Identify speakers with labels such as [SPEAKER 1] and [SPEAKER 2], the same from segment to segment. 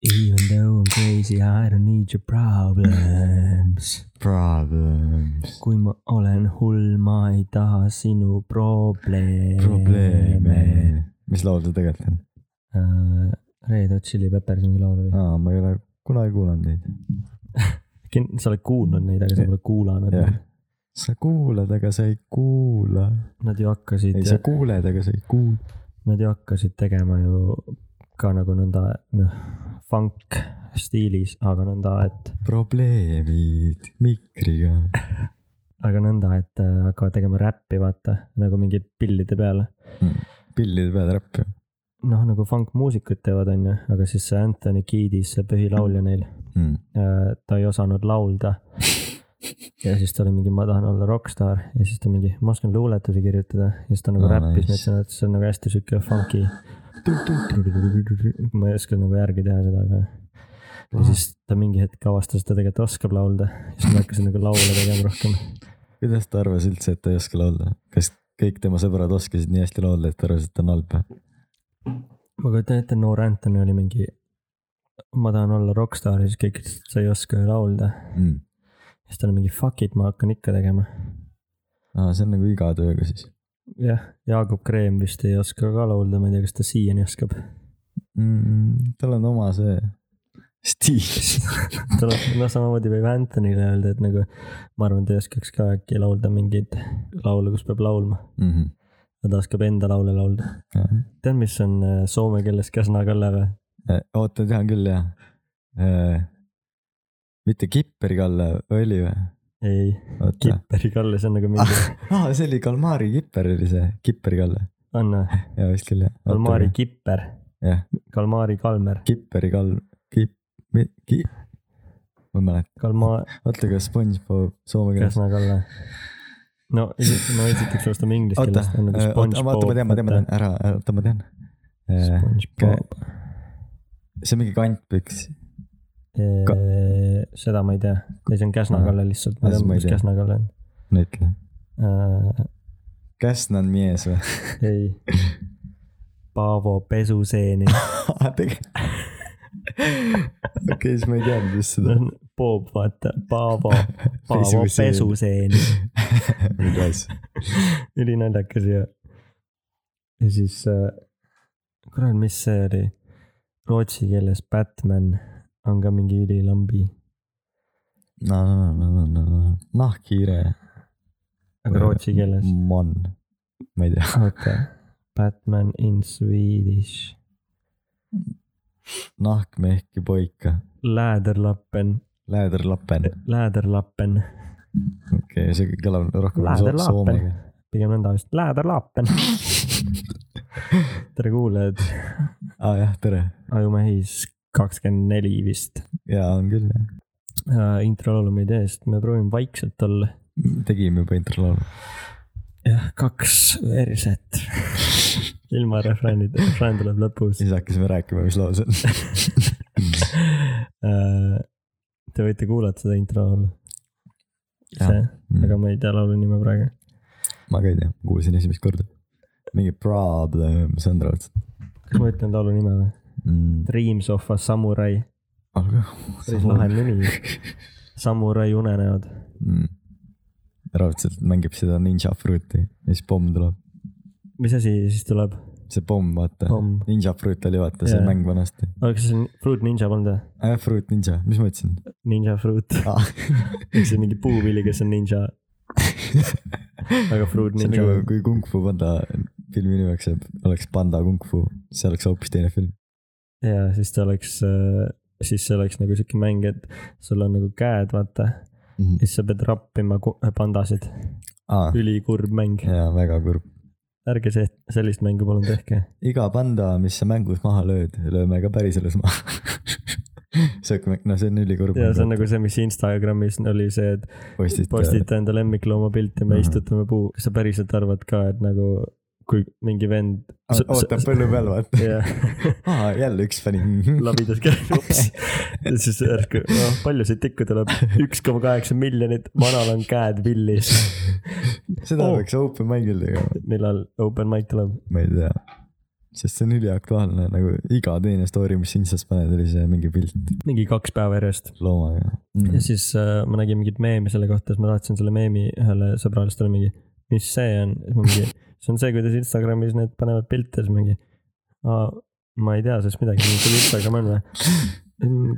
[SPEAKER 1] even though I'm crazy , I don't need your problems .
[SPEAKER 2] Problems .
[SPEAKER 1] kui ma olen hull , ma ei taha sinu probleeme .
[SPEAKER 2] probleeme . mis laul see tegelikult on ?
[SPEAKER 1] Äh, Red Hot Chili Peppers mingi laul oli .
[SPEAKER 2] aa , ma ei ole kunagi kuulanud neid .
[SPEAKER 1] sa oled kuulnud neid , aga sa pole kuulanud
[SPEAKER 2] jah
[SPEAKER 1] yeah. ..
[SPEAKER 2] sa kuulad , aga sa ei kuula .
[SPEAKER 1] Nad ju hakkasid
[SPEAKER 2] ei , sa , kuuled , aga sa ei kuul- .
[SPEAKER 1] nad ju hakkasid tegema ju ka nagu nõnda , noh , funk stiilis , aga nõnda , et ,
[SPEAKER 2] probleemid mikriga .
[SPEAKER 1] aga nõnda , et äh, hakkavad tegema räppi , vaata , nagu mingid pillide peale .
[SPEAKER 2] pillide peal räppi .
[SPEAKER 1] noh , nagu funk muusikud teevad , onju , aga siis see Anthony Kiedis , see põhilaulja neil ,
[SPEAKER 2] Hmm.
[SPEAKER 1] ta ei osanud laulda . ja siis ta oli mingi , ma tahan olla rokkstaar ja siis ta mingi , ma oskan luuletusi kirjutada ja siis ta nagu
[SPEAKER 2] Aa,
[SPEAKER 1] no, räppis
[SPEAKER 2] nice.
[SPEAKER 1] nice. , nii et see on nagu hästi sihuke funky . ma ei oska nagu järgi teha seda , aga . ja siis ta mingi hetk avastas , et ta tegelikult oskab laulda , siis ma hakkasin nagu laule tegema rohkem .
[SPEAKER 2] kuidas ta arvas üldse , et ta ei oska laulda ? kas kõik tema sõbrad oskasid nii hästi laulda , et ta arvas , et ta on halb või ?
[SPEAKER 1] ma kujutan ette , noor Anthony oli mingi , ma tahan olla rokkstaar ja siis kõik ütlesid , et sa ei oska ju laulda .
[SPEAKER 2] Hmm.
[SPEAKER 1] siis ta oli mingi fuck it , ma hakkan ikka tegema .
[SPEAKER 2] aa , see on nagu iga tööga siis
[SPEAKER 1] jah , Jaagup Kreem vist ei oska ka laulda , ma ei tea , kas ta siiani oskab .
[SPEAKER 2] mm, . tal on oma see stiil .
[SPEAKER 1] tuleb , noh , samamoodi võib Antonile öelda , et nagu ma arvan , ta ei oskaks ka äkki laulda mingeid laule , kus peab laulma ,
[SPEAKER 2] Mhm.
[SPEAKER 1] aga ta oskab enda laule laulda . tead , mis on äh, soome keeles käsna-kalle või ?
[SPEAKER 2] Äh, oota , tean küll jah . mitte Kipperi Kalle oli või ?
[SPEAKER 1] ei ,
[SPEAKER 2] oota ,
[SPEAKER 1] Kipperi-Kalle , see on nagu mingi ,
[SPEAKER 2] aa see oli Kalmari Kipper oli see , Kipperi Kalle ,
[SPEAKER 1] on või ?
[SPEAKER 2] jaa vist küll jah .
[SPEAKER 1] Kalmari . Kipper ,
[SPEAKER 2] jah ,
[SPEAKER 1] Kalmari Kalmer ,
[SPEAKER 2] Kipperi Kall- , Kip- , Ki- , ma ei mäleta ,
[SPEAKER 1] Kalma- ,
[SPEAKER 2] oota kas SpongeBob soome keeles .
[SPEAKER 1] käsna-kalle . no , no esiteks alustame inglise
[SPEAKER 2] oota äh,
[SPEAKER 1] keelest , on , nagu
[SPEAKER 2] oota ,
[SPEAKER 1] SpongeBob .
[SPEAKER 2] oota ma tean , ma tean , ma tean , ära , oota ma tean .
[SPEAKER 1] SpongeBob ,
[SPEAKER 2] see on mingi kantpüks , Ka-
[SPEAKER 1] Äh, seda ma ei tea , ei see on Käsna-Kalle lihtsalt , ma
[SPEAKER 2] Ah, siis
[SPEAKER 1] tean ,
[SPEAKER 2] ma ei
[SPEAKER 1] mis
[SPEAKER 2] tea.
[SPEAKER 1] Käsna-Kalle on
[SPEAKER 2] no ütle .
[SPEAKER 1] Äh,
[SPEAKER 2] Käsna on mees või ?
[SPEAKER 1] ei . Paavo pesuseeni ,
[SPEAKER 2] tegelikult . okei , siis ma ei teadnud just seda .
[SPEAKER 1] Bob vaata , Paavo , Paavo
[SPEAKER 2] Pesuseen.
[SPEAKER 1] pesuseeni ,
[SPEAKER 2] mingi asja .
[SPEAKER 1] ülinaljakas ja . ja siis , kurat , mis see oli , rootsi keeles Batman on ka mingi ülilambi ,
[SPEAKER 2] no , no , no , no , no , no , nahkhiire .
[SPEAKER 1] aga rootsi keeles ,
[SPEAKER 2] Mon , ma ei tea ,
[SPEAKER 1] oota , Batman in Swedish ,
[SPEAKER 2] nahkmehki poika ,
[SPEAKER 1] Läderlappen ,
[SPEAKER 2] läderlappen ,
[SPEAKER 1] Läderlappen ,
[SPEAKER 2] okei okay, , see kõlab rohkem so
[SPEAKER 1] Läderlappen.
[SPEAKER 2] soomega .
[SPEAKER 1] pigem nõnda vist , Läderlappen . tere kuulajad
[SPEAKER 2] aa ah, jah , tere ,
[SPEAKER 1] ajumehis kakskümmend neli vist
[SPEAKER 2] jaa on küll jah ,
[SPEAKER 1] äh, . introlaulu me ei tee , sest me proovime vaikselt olla .
[SPEAKER 2] tegime juba introlaulu .
[SPEAKER 1] jah , kaks verset . ilma refräänid , refrään tuleb lõpus
[SPEAKER 2] siis hakkasime rääkima , mis laul see on .
[SPEAKER 1] äh, . Te võite kuulata seda introlaulu . ise , aga ma ei tea laulu nime praegu .
[SPEAKER 2] ma ka Mm. ei tea , kuulsin esimest korda . mingi problem , see on raudselt
[SPEAKER 1] kas ma ütlen laulu nime või ?
[SPEAKER 2] mm, .
[SPEAKER 1] Dreams of a samurai ,
[SPEAKER 2] aga .
[SPEAKER 1] päris lahe nimi . samurai unenäod .
[SPEAKER 2] mm. . raudselt mängib seda Ninja Fruiti ja siis pomm tuleb ,
[SPEAKER 1] mis asi siis tuleb ?
[SPEAKER 2] see pomm , vaata .
[SPEAKER 1] Pomm.
[SPEAKER 2] Ninja Fruit oli vaata see
[SPEAKER 1] Jaa.
[SPEAKER 2] yeah. mäng vanasti
[SPEAKER 1] oleks see on Fruit Ninja polnud või ?
[SPEAKER 2] äh, . Fruit Ninja , mis ma ütlesin
[SPEAKER 1] Ninja Fruit .
[SPEAKER 2] ah, ?
[SPEAKER 1] ehk siis mingi puuvili , kes on ninja . aga Fruit
[SPEAKER 2] see on
[SPEAKER 1] Ninja
[SPEAKER 2] nagu , kui Kung Fu Panda filmi nimeks jääb , oleks Panda Kung Fu , see oleks hoopis teine film .
[SPEAKER 1] ja siis ta oleks , siis see oleks nagu siuke mäng , et sul on nagu käed , vaata ,
[SPEAKER 2] Mm.
[SPEAKER 1] siis sa pead rappima ku- äh, pandasid ,
[SPEAKER 2] Ah,
[SPEAKER 1] ülikurb mäng .
[SPEAKER 2] jaa , väga kurb .
[SPEAKER 1] ärge see , sellist mängu palun tehke .
[SPEAKER 2] iga panda , mis sa mängus maha lööd , lööme ka päriselus maha . see on , no see on ülikurb .
[SPEAKER 1] ja see on nagu see , mis Instagramis oli see , et
[SPEAKER 2] postid .
[SPEAKER 1] postita enda lemmiklooma pilt ja me
[SPEAKER 2] Mhm.
[SPEAKER 1] istutame puu . kas sa päriselt arvad ka , et nagu kui mingi vend .
[SPEAKER 2] ootab põllu peal , vaata .
[SPEAKER 1] jah ,
[SPEAKER 2] aa , jälle üks fänn .
[SPEAKER 1] labidas käib . ja siis järsku , noh , palju siit tikku tuleb , üks koma kaheksa miljonit , vanal on käed villis .
[SPEAKER 2] seda
[SPEAKER 1] Oo. Oh.
[SPEAKER 2] peaks open mic'il tegema ,
[SPEAKER 1] millal open mic tuleb ?
[SPEAKER 2] ma ei tea . sest see on üliaktuaalne nagu iga teine story , mis Instas paned , oli see mingi pilt
[SPEAKER 1] mingi kaks päeva järjest .
[SPEAKER 2] loomaga
[SPEAKER 1] ja
[SPEAKER 2] mm. .
[SPEAKER 1] siis äh, ma nägin mingit meemi selle kohta , siis ma tahtsin selle meemi ühele sõbrale , siis ta oli mingi , mis see on , siis ma mingi , see on see , kuidas Instagramis need panevad pilte , siis mingi . ma ei tea sellest midagi , sul Instagram on või ?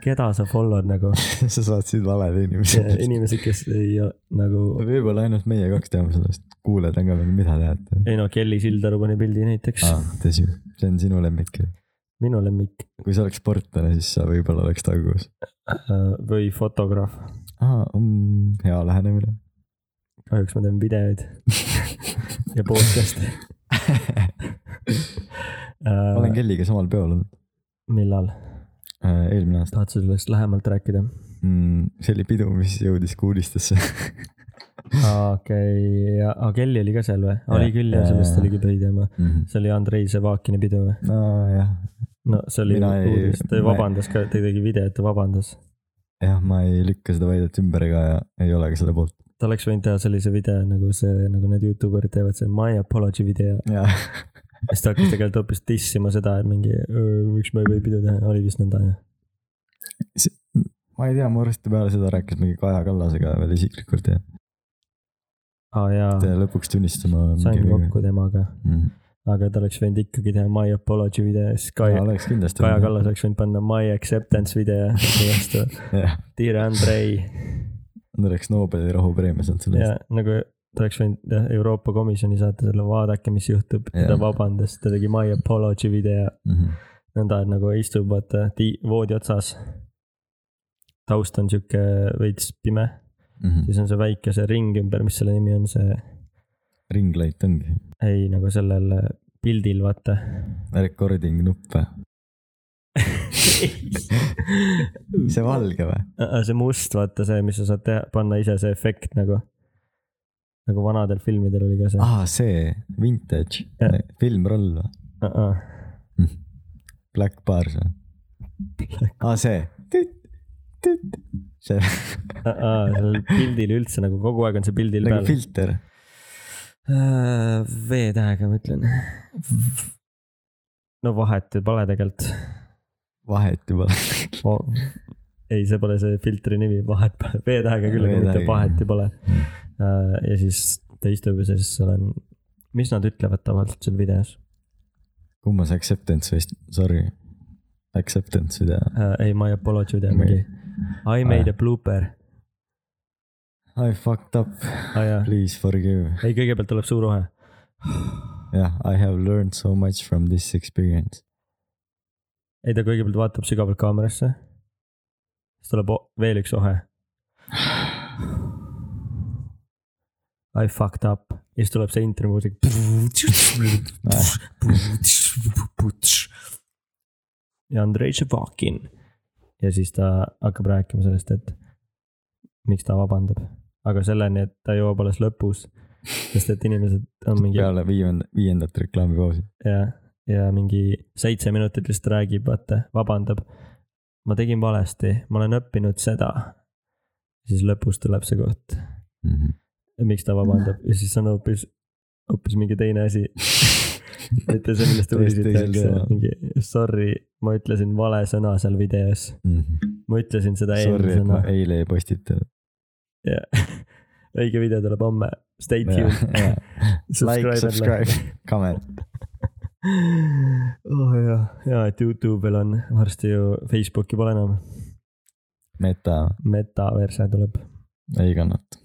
[SPEAKER 1] keda sa follow'd nagu ,
[SPEAKER 2] sa saatsid valele inimesele .
[SPEAKER 1] inimesed , kes ei o- nagu ,
[SPEAKER 2] võib-olla ainult meie kaks teame sellest , kuulajad on ka veel , mida teate .
[SPEAKER 1] ei no Kelly Sildaru pani pildi näiteks ,
[SPEAKER 2] tõsi , see on sinu lemmik ju .
[SPEAKER 1] minu lemmik
[SPEAKER 2] kui sa oleks sportlane , siis sa võib-olla oleks tagus .
[SPEAKER 1] äh, või fotograaf ,
[SPEAKER 2] aa mm, , hea lähenemine .
[SPEAKER 1] kahjuks ma teen videoid ja podcast'e
[SPEAKER 2] ma olen
[SPEAKER 1] äh, .
[SPEAKER 2] Kelliga samal peol olnud
[SPEAKER 1] millal ,
[SPEAKER 2] äh, eelmine aasta
[SPEAKER 1] tahad sa sellest lähemalt rääkida ?
[SPEAKER 2] mm, . see oli pidu , mis jõudis kuulistesse .
[SPEAKER 1] Aa, okei , ja aga Kelly oli ka seal või ? oli
[SPEAKER 2] Jah.
[SPEAKER 1] küll ja
[SPEAKER 2] Jaa,
[SPEAKER 1] sellest
[SPEAKER 2] jaa,
[SPEAKER 1] oligi põhiteema .
[SPEAKER 2] Mhm.
[SPEAKER 1] see oli Andrei Sevakini pidu või ?
[SPEAKER 2] nojah ,
[SPEAKER 1] no see oli
[SPEAKER 2] Mina ei-
[SPEAKER 1] uudis , ta
[SPEAKER 2] ma ei-
[SPEAKER 1] vabandas ka , ta tegi videot ja vabandas .
[SPEAKER 2] jah , ma ei lükka seda väidet ümber ega ei ole ka selle poolt .
[SPEAKER 1] ta oleks võinud teha sellise video nagu see , nagu need Youtuberid teevad , see My Apology video .
[SPEAKER 2] jaa ,
[SPEAKER 1] siis ta hakkas tegelikult hoopis dissima seda , et mingi , miks ma ei või pidu teha , oli vist nõnda jah .
[SPEAKER 2] ma ei tea , mu arust peale seda rääkis mingi Kaja Kallasega veel isiklikult ja
[SPEAKER 1] aa
[SPEAKER 2] et
[SPEAKER 1] Ah, jaa ,
[SPEAKER 2] lõpuks tunnistama .
[SPEAKER 1] sain kokku temaga ,
[SPEAKER 2] mm. .
[SPEAKER 1] aga ta oleks võinud ikkagi teha My Apology video ja siis Kaja ,
[SPEAKER 2] oleks kindlasti .
[SPEAKER 1] Kaja . Kallas oleks võinud panna My Acceptance video ja sellest ,
[SPEAKER 2] jah ,
[SPEAKER 1] Dear Andrei
[SPEAKER 2] ta oleks Nobeli rahupreemia saanud selle
[SPEAKER 1] ja nagu ta oleks võinud jah, Euroopa Komisjoni saata selle vaadake , mis juhtub ja
[SPEAKER 2] Jah.
[SPEAKER 1] ta vabandas , ta tegi My Apology video ,
[SPEAKER 2] eest .
[SPEAKER 1] nõnda et nagu istub vaata ti- voodi otsas . taust on sihuke veits pime ,
[SPEAKER 2] Mhm.
[SPEAKER 1] siis on see väike see ring ümber , mis selle nimi on , see ,
[SPEAKER 2] ringlait ongi ,
[SPEAKER 1] ei nagu sellel pildil vaata .
[SPEAKER 2] recording nupp või ? see
[SPEAKER 1] see
[SPEAKER 2] valge või ?
[SPEAKER 1] Äh, see must , vaata see , mis sa saad teha , panna ise see efekt nagu , nagu vanadel filmidel oli ka see .
[SPEAKER 2] aa , see vintage
[SPEAKER 1] Jah. ,
[SPEAKER 2] filmroll või ?
[SPEAKER 1] Äh,
[SPEAKER 2] Black Bars või ? aa , see . see
[SPEAKER 1] Aa, sellel Äh, pildil üldse nagu kogu aeg on see pildil
[SPEAKER 2] nagu Äh,
[SPEAKER 1] peal .
[SPEAKER 2] filter ,
[SPEAKER 1] V-tähega ma ütlen . no vahet ju pole tegelikult .
[SPEAKER 2] vahet juba .
[SPEAKER 1] ei , see pole see filtri nimi , vahet pole , V-tähega küll , aga mitte
[SPEAKER 2] V-tähega.
[SPEAKER 1] vahet ju pole . ja siis ta istub ja siis seal on , mis nad ütlevad tavaliselt seal videos ?
[SPEAKER 2] kummas acceptance või , sorry , acceptance või tea ?
[SPEAKER 1] Äh, ei , ma ei apology tea
[SPEAKER 2] Ma ei- Ah,
[SPEAKER 1] mingi . I made a blooper .
[SPEAKER 2] I fucked up ,
[SPEAKER 1] aa jaa ,
[SPEAKER 2] please forgive .
[SPEAKER 1] ei kõigepealt tuleb suur ohe .
[SPEAKER 2] jah , I have learned so much from this experience .
[SPEAKER 1] ei , ta kõigepealt vaatab sügavalt kaamerasse . siis tuleb o- veel üks ohe . I fucked up ja siis tuleb see intromuusik . ja Andrei Ševakin . ja siis ta hakkab rääkima sellest , et miks ta vabandab , aga selleni , et ta jõuab alles lõpus , sest et inimesed on mingi
[SPEAKER 2] peale viienda , viiendat reklaamipausi .
[SPEAKER 1] ja , ja mingi seitse minutit vist räägib , vaata , vabandab . ma tegin valesti , ma olen õppinud seda . siis lõpus tuleb see koht , Mhm. miks ta vabandab ja siis on hoopis , hoopis mingi teine asi . mitte see , millest uudiseid
[SPEAKER 2] Täiesti teiselt
[SPEAKER 1] tehakse
[SPEAKER 2] sõnal. ,
[SPEAKER 1] mingi sorry , ma ütlesin vale sõna seal videos , ma ütlesin seda
[SPEAKER 2] Mhm. Sorry , et ma
[SPEAKER 1] eelmisena .
[SPEAKER 2] eile ei postitanud .
[SPEAKER 1] õige video tuleb homme , stay tuned .
[SPEAKER 2] Like , subscribe , comment .
[SPEAKER 1] oh jah , ja et Youtube'il on varsti ju Facebooki pole enam ,
[SPEAKER 2] meta
[SPEAKER 1] metaverse tuleb .
[SPEAKER 2] ei kannata .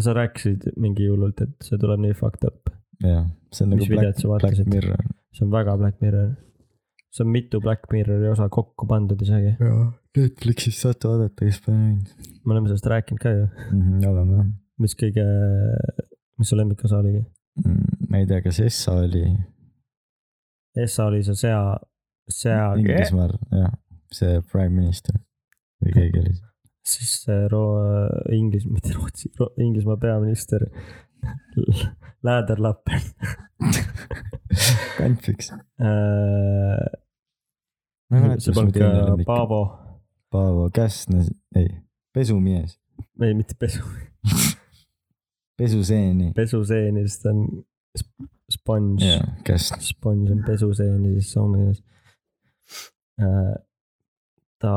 [SPEAKER 1] sa rääkisid mingi hullult , et see tuleb nii fucked up ,
[SPEAKER 2] jah , see on nagu
[SPEAKER 1] Mis videot
[SPEAKER 2] Black
[SPEAKER 1] sa ,
[SPEAKER 2] Black
[SPEAKER 1] vaatasid?
[SPEAKER 2] Mirror .
[SPEAKER 1] see on väga Black Mirror . see on mitu Black Mirrori osa kokku pandud isegi ,
[SPEAKER 2] jaa , Netflixis saate vaadata , kes pole näinud
[SPEAKER 1] me oleme sellest rääkinud ka ju ,
[SPEAKER 2] mm, . oleme jah
[SPEAKER 1] mis kõige , mis su lemmikosa oligi ?
[SPEAKER 2] mm, . ma ei tea , kas Essa oli
[SPEAKER 1] Essa oli see sea , sea ,
[SPEAKER 2] Inglismaal , jah , see prime minister või keegi oli .
[SPEAKER 1] siis see Ro- , Inglis- , mitte Rootsi , Inglismaa peaminister Läderlapp
[SPEAKER 2] Kanfiks .
[SPEAKER 1] äh, . see polnud ka Paavo ,
[SPEAKER 2] Paavo Käsna , ei , pesumees ,
[SPEAKER 1] ei mitte pesu ,
[SPEAKER 2] pesuseeni .
[SPEAKER 1] pesuseeni , sest ta on sponge
[SPEAKER 2] jaa , käest .
[SPEAKER 1] sponge on pesuseeni siis soome keeles . ta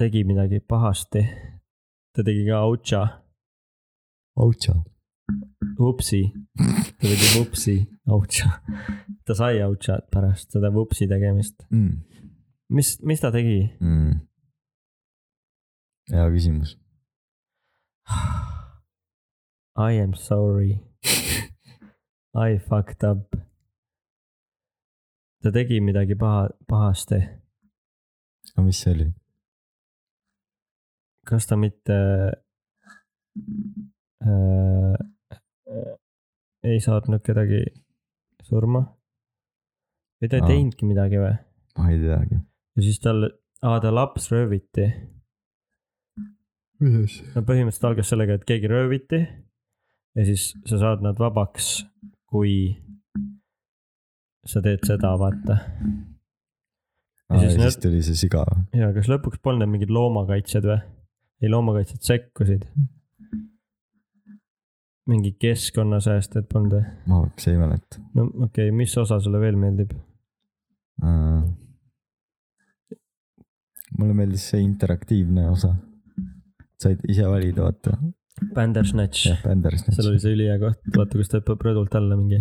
[SPEAKER 1] tegi midagi pahasti . ta tegi ka autša ,
[SPEAKER 2] Outša .
[SPEAKER 1] vupsi , ta tegi vupsi , autša . ta sai autšat pärast seda vupsi tegemist .
[SPEAKER 2] Mm,
[SPEAKER 1] mis , mis ta tegi ?
[SPEAKER 2] hea mm. küsimus .
[SPEAKER 1] I am sorry . I fucked up . ta tegi midagi paha , pahasti .
[SPEAKER 2] aga mis see oli ?
[SPEAKER 1] kas ta mitte äh, äh, ei saatnud kedagi surma või ta ei
[SPEAKER 2] Aa.
[SPEAKER 1] teinudki midagi või
[SPEAKER 2] ma ei teagi .
[SPEAKER 1] ja siis tal , aa ta laps rööviti .
[SPEAKER 2] kuidas ?
[SPEAKER 1] no põhimõtteliselt algas sellega , et keegi rööviti ja siis sa saad nad vabaks , kui sa teed seda , vaata . Ja
[SPEAKER 2] aa , ja
[SPEAKER 1] siis
[SPEAKER 2] siis
[SPEAKER 1] need-
[SPEAKER 2] tuli see siga või ?
[SPEAKER 1] ja kas lõpuks polnud need mingid loomakaitsjad või ? ei , loomakaitsjad sekkusid . mingi keskkonnasäästjad polnud või ?
[SPEAKER 2] ma hoopis ei mäleta
[SPEAKER 1] no okei okay, , mis osa sulle veel meeldib ?
[SPEAKER 2] uh, . mulle meeldis see interaktiivne osa . said ise valida , vaata .
[SPEAKER 1] Bandersnatch .
[SPEAKER 2] jah , Bänders .
[SPEAKER 1] seal oli see ülihea koht , vaata kus ta hüppab rõdult alla mingi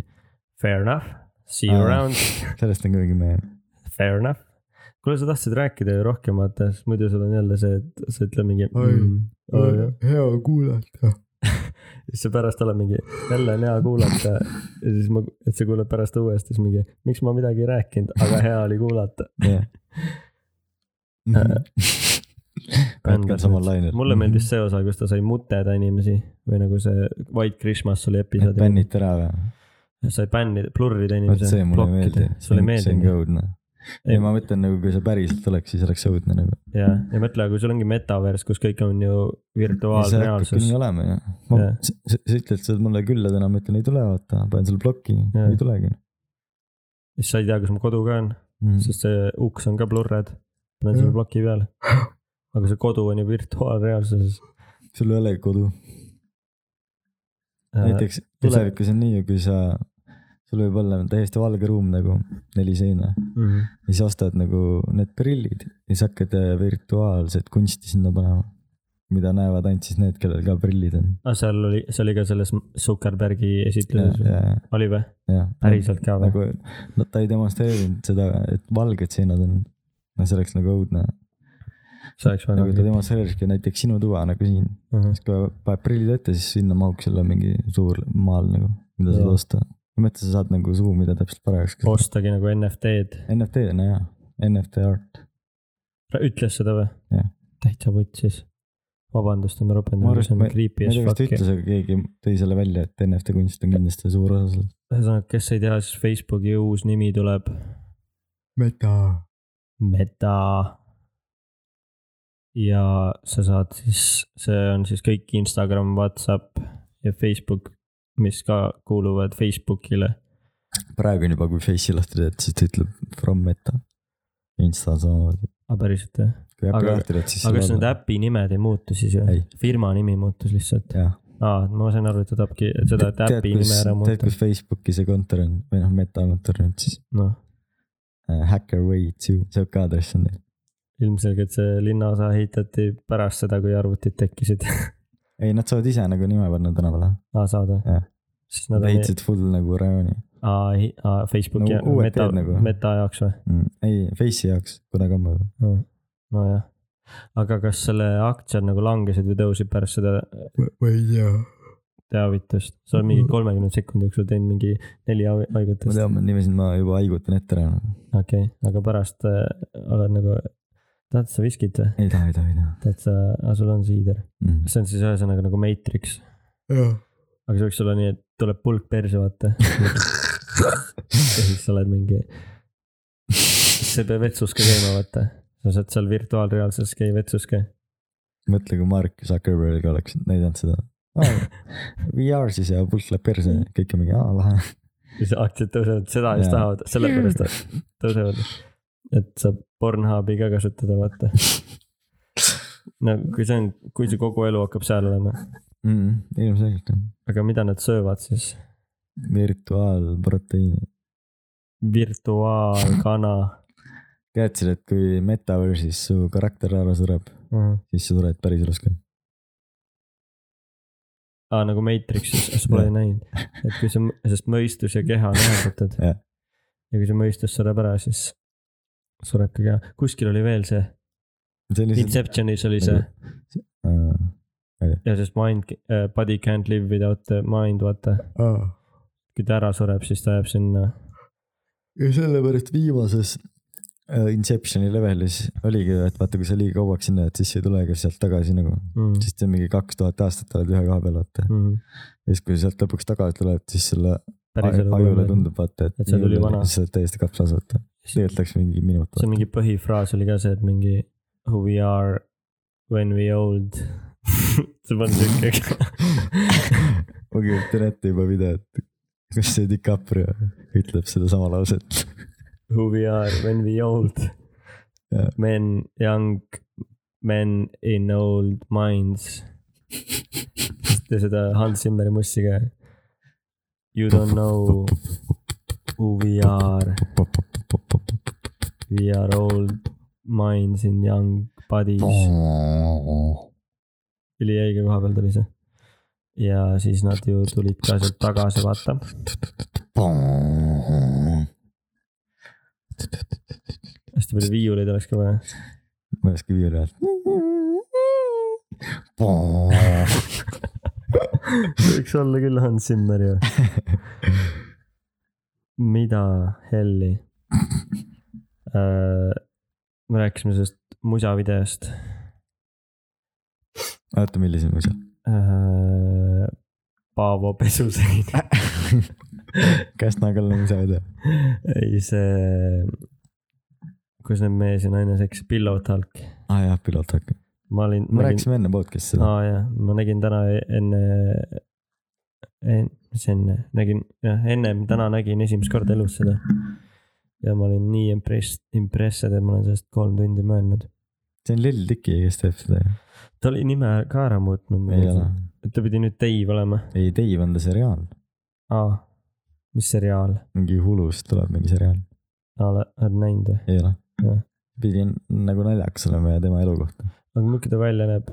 [SPEAKER 1] fair enough , see you
[SPEAKER 2] Aa.
[SPEAKER 1] around ,
[SPEAKER 2] sellest on kõige meem .
[SPEAKER 1] fair enough . kuule , sa tahtsid rääkida ju rohkem , vaata , sest muidu sul on jälle see , et sa ütled mingi
[SPEAKER 2] Oi.
[SPEAKER 1] mm, . Oh, jah.
[SPEAKER 2] hea kuulata .
[SPEAKER 1] siis sa pärast oled mingi , jälle on hea kuulata ja siis ma , et sa kuuled pärast uuesti , siis mingi , miks ma midagi ei rääkinud , aga hea oli kuulata .
[SPEAKER 2] jah .
[SPEAKER 1] Bänders-
[SPEAKER 2] Bänders samal lainel .
[SPEAKER 1] Mhm.
[SPEAKER 2] Mhm.
[SPEAKER 1] mulle meeldis . see osa , kus ta sai muteda inimesi või nagu see White Christmas oli episood .
[SPEAKER 2] bänniti ära või ?
[SPEAKER 1] sai bännida , plurrida
[SPEAKER 2] vot
[SPEAKER 1] inimesi .
[SPEAKER 2] see mulle ei meeldi .
[SPEAKER 1] sulle ei
[SPEAKER 2] see on
[SPEAKER 1] meeldi
[SPEAKER 2] ka ? õudne . ei , ma mõtlen nagu , kui see päriselt oleks , siis oleks õudne nagu .
[SPEAKER 1] ja , ja mõtle , kui sul ongi metavers , kus kõik on ju virtuaalne
[SPEAKER 2] see hakkabki
[SPEAKER 1] reaalsus
[SPEAKER 2] nii . olema ju . ma
[SPEAKER 1] Jah. ,
[SPEAKER 2] sa sa ütled , sa oled mulle külla täna , ma ütlen ei tule , vaata , panen sulle ploki ,
[SPEAKER 1] Jah.
[SPEAKER 2] ei tulegi
[SPEAKER 1] siis sa ei tea , kus mu kodu ka on ,
[SPEAKER 2] mm. .
[SPEAKER 1] sest see uks on ka plurred . panen selle
[SPEAKER 2] Jah.
[SPEAKER 1] ploki peale . aga see kodu on ju virtuaalreaalsuses .
[SPEAKER 2] sul ei olegi kodu ,
[SPEAKER 1] Äh,
[SPEAKER 2] näiteks tulevikus on nii ju , kui sa , sul võib olla täiesti valge ruum nagu neli seina
[SPEAKER 1] mhm.
[SPEAKER 2] ja siis ostad nagu need prillid ja siis hakkad äh, virtuaalset kunsti sinna panema , mida näevad ainult siis need , kellel ka prillid on .
[SPEAKER 1] aga Ah, seal oli , see oli ka selles Zuckerbergi esitluses või ? oli või ? päriselt ka või ?
[SPEAKER 2] nagu no, ta ei demonstreerinud seda , et valged seinad on , no see oleks nagu õudne ,
[SPEAKER 1] see oleks väga Mhm.
[SPEAKER 2] nagu ta
[SPEAKER 1] klipp .
[SPEAKER 2] demonstreeribki näiteks sinu tuba nagu siin , siis kui paned prillid ette , siis sinna mahuks jälle mingi suur maal nagu , mida
[SPEAKER 1] Jaa.
[SPEAKER 2] saad osta . ma mõtlen , sa saad nagu zoom ida täpselt parajaks .
[SPEAKER 1] ostagi nagu NFT-d .
[SPEAKER 2] NFT , no jaa , NFT art ,
[SPEAKER 1] ütles seda või
[SPEAKER 2] Jah. ?
[SPEAKER 1] täitsa vutsis . vabandust , et ma
[SPEAKER 2] Ma
[SPEAKER 1] ropendan ,
[SPEAKER 2] arvan,
[SPEAKER 1] see on
[SPEAKER 2] et
[SPEAKER 1] creepy
[SPEAKER 2] ma
[SPEAKER 1] as
[SPEAKER 2] ei tea , kas ta
[SPEAKER 1] fuck .
[SPEAKER 2] ütles , aga keegi tõi selle välja , et NFT kunst on kindlasti suur osa sellest .
[SPEAKER 1] ühesõnaga , kes ei tea , siis Facebooki uus nimi tuleb
[SPEAKER 2] meta .
[SPEAKER 1] Meta . ja sa saad siis , see on siis kõik Instagram , Whatsapp ja Facebook , mis ka kuuluvad Facebookile .
[SPEAKER 2] praegu on juba , kui Face'i lahti teed , siis ta ütleb from meta . Insta samamoodi ,
[SPEAKER 1] aga päriselt jah ?
[SPEAKER 2] kui äppi
[SPEAKER 1] Aga-
[SPEAKER 2] lahti teed , siis . nagu-
[SPEAKER 1] aga kas need äpi nimed ei muutu siis ju
[SPEAKER 2] Ei. ?
[SPEAKER 1] firma nimi muutus lihtsalt .
[SPEAKER 2] jah ,
[SPEAKER 1] aa , ma sain aru , et ta tahabki et seda , et
[SPEAKER 2] tead,
[SPEAKER 1] äpi
[SPEAKER 2] kus-
[SPEAKER 1] nime ära
[SPEAKER 2] tead ,
[SPEAKER 1] muuta .
[SPEAKER 2] kus Facebooki see kontor on või noh , meta kontor nüüd siis
[SPEAKER 1] noh ,
[SPEAKER 2] äh, , Hackerway2 , sihuke aadress on neil .
[SPEAKER 1] ilmselgelt see linnaosa ehitati pärast seda , kui arvutid tekkisid .
[SPEAKER 2] ei , nad saavad ise nagu nime panna tänavale .
[SPEAKER 1] aa , saad või
[SPEAKER 2] Jah. ?
[SPEAKER 1] siis nad on ,
[SPEAKER 2] Nad ehitasid full nagu rajooni
[SPEAKER 1] aa , aa ,
[SPEAKER 2] No
[SPEAKER 1] Facebooki
[SPEAKER 2] uued
[SPEAKER 1] meta
[SPEAKER 2] teed nagu. ,
[SPEAKER 1] meta jaoks või ?
[SPEAKER 2] mm. . ei , Face'i jaoks kunagi ammu juba .
[SPEAKER 1] Mm. nojah , aga kas selle aktsiad nagu langesid või tõusid pärast seda
[SPEAKER 2] ma ei tea .
[SPEAKER 1] teavitust , sa oled mingi kolmekümne sekundi jooksul teinud mingi neli hau-
[SPEAKER 2] ma
[SPEAKER 1] haigutust ,
[SPEAKER 2] tean , Mm. ma nimesid ma juba haigutan ette ära . nagu.
[SPEAKER 1] okei okay. , aga pärast äh, oled nagu , tahad sa viskit või ?
[SPEAKER 2] ei taha , ei taha , ei taha
[SPEAKER 1] tahad sa , aa sul on siider ,
[SPEAKER 2] mm. .
[SPEAKER 1] see on siis ühesõnaga nagu Matrix ,
[SPEAKER 2] jah .
[SPEAKER 1] aga see võiks olla nii , et tuleb pulk perse vaata ja siis sa oled mingi , sa ei pea vetsus ka käima vaata , sa saad seal virtuaalreaalsuses käia vetsus ka ,
[SPEAKER 2] mõtle , kui Mark Zuckerberg oleks näidanud seda oh, . VR siis ja pulk läheb perse , kõik on mingi , aa lahe .
[SPEAKER 1] siis aktsiad tõusevad , seda just
[SPEAKER 2] Jaa.
[SPEAKER 1] tahavad , sellepärast tõusevad , et saab Pornhubi ka kasutada , vaata . no kui see on , kui see kogu elu hakkab seal olema ,
[SPEAKER 2] mm, . ilmselgelt jah .
[SPEAKER 1] aga mida nad söövad siis ?
[SPEAKER 2] virtuaalproteiini .
[SPEAKER 1] virtuaalkana
[SPEAKER 2] teadsid , et kui metaverse'is su karakter ära sureb ,
[SPEAKER 1] uh .
[SPEAKER 2] siis sa sured päriselus ka ?
[SPEAKER 1] -huh. nagu Matrixis , sa pole
[SPEAKER 2] Jah.
[SPEAKER 1] näinud , et kui sa , sest mõistus ja keha on ühendatud .
[SPEAKER 2] Jah.
[SPEAKER 1] ja kui su mõistus sureb ära , siis sureb ka keha , kuskil oli veel see ,
[SPEAKER 2] see Nagu- oli see .
[SPEAKER 1] Inceptionis oli see ja sest mind , body can't live without the mind , vaata , kui ta ära sureb , siis ta jääb sinna .
[SPEAKER 2] ja sellepärast viimases äh, Inceptioni levelis oligi , et vaata , kui sa liiga kauaks sinna jääd , siis sa ei tule ka sealt tagasi nagu ,
[SPEAKER 1] Mm.
[SPEAKER 2] siis see on mingi kaks tuhat aastat oled ühe koha peal , vaata . ja siis , kui sa sealt lõpuks tagasi tuled , siis selle aj- ajule
[SPEAKER 1] see
[SPEAKER 2] tundub , vaata , et
[SPEAKER 1] Et see tuli vana.
[SPEAKER 2] sa oled täiesti kapsas , vaata . tegelikult läks mingi minut .
[SPEAKER 1] on mingi põhifraas oli ka see , et mingi who we are when we old . see on siuke .
[SPEAKER 2] ma kirjutan ette juba videot , kus see DiCaprio ütleb sedasama lauset .
[SPEAKER 1] Who we are when we old
[SPEAKER 2] Jah.
[SPEAKER 1] men , young men in old minds . ja seda Hans Zimmeri mussi ka . You don't know who we are , we are old minds in young bodies . üliõige koha peal tuli see . ja siis nad ju tulid ka sealt tagasi , vaata . hästi palju viiuleid oleks ka vaja .
[SPEAKER 2] ma ei oska viia reaalselt .
[SPEAKER 1] võiks olla küll Hans Zimmer ju . mida helli ? me rääkisime sellest musavideost .
[SPEAKER 2] oota , millise ma ei saa ?
[SPEAKER 1] Äh, Paavo pesusein .
[SPEAKER 2] Käsna Kallam ei saa teha .
[SPEAKER 1] ei , see , kus need mees ja naine seksis , Pillow Talk .
[SPEAKER 2] aa ah, jah , piloot hakkab .
[SPEAKER 1] ma olin .
[SPEAKER 2] me rääkisime enne podcast'i seda .
[SPEAKER 1] aa jaa , ma nägin täna e-, enne , mis enne , nägin jah ,
[SPEAKER 2] Mm-hmm.
[SPEAKER 1] ennem täna nägin esimest korda elus seda . ja ma olin nii impress- , impressed , et ma olen sellest kolm tundi mõelnud .
[SPEAKER 2] see on Lill Dicki , kes teeb seda ju .
[SPEAKER 1] ta oli nime ka ära muutnud .
[SPEAKER 2] ei ole .
[SPEAKER 1] ta pidi nüüd Dave olema .
[SPEAKER 2] ei , Dave on ta seriaal .
[SPEAKER 1] aa , mis seriaal ?
[SPEAKER 2] mingi Hulust tuleb mingi seriaal .
[SPEAKER 1] oled näinud või ?
[SPEAKER 2] ei ole
[SPEAKER 1] Jah. ?
[SPEAKER 2] pidi nagu naljakas olema ja tema elu kohta .
[SPEAKER 1] aga milline ta välja näeb ?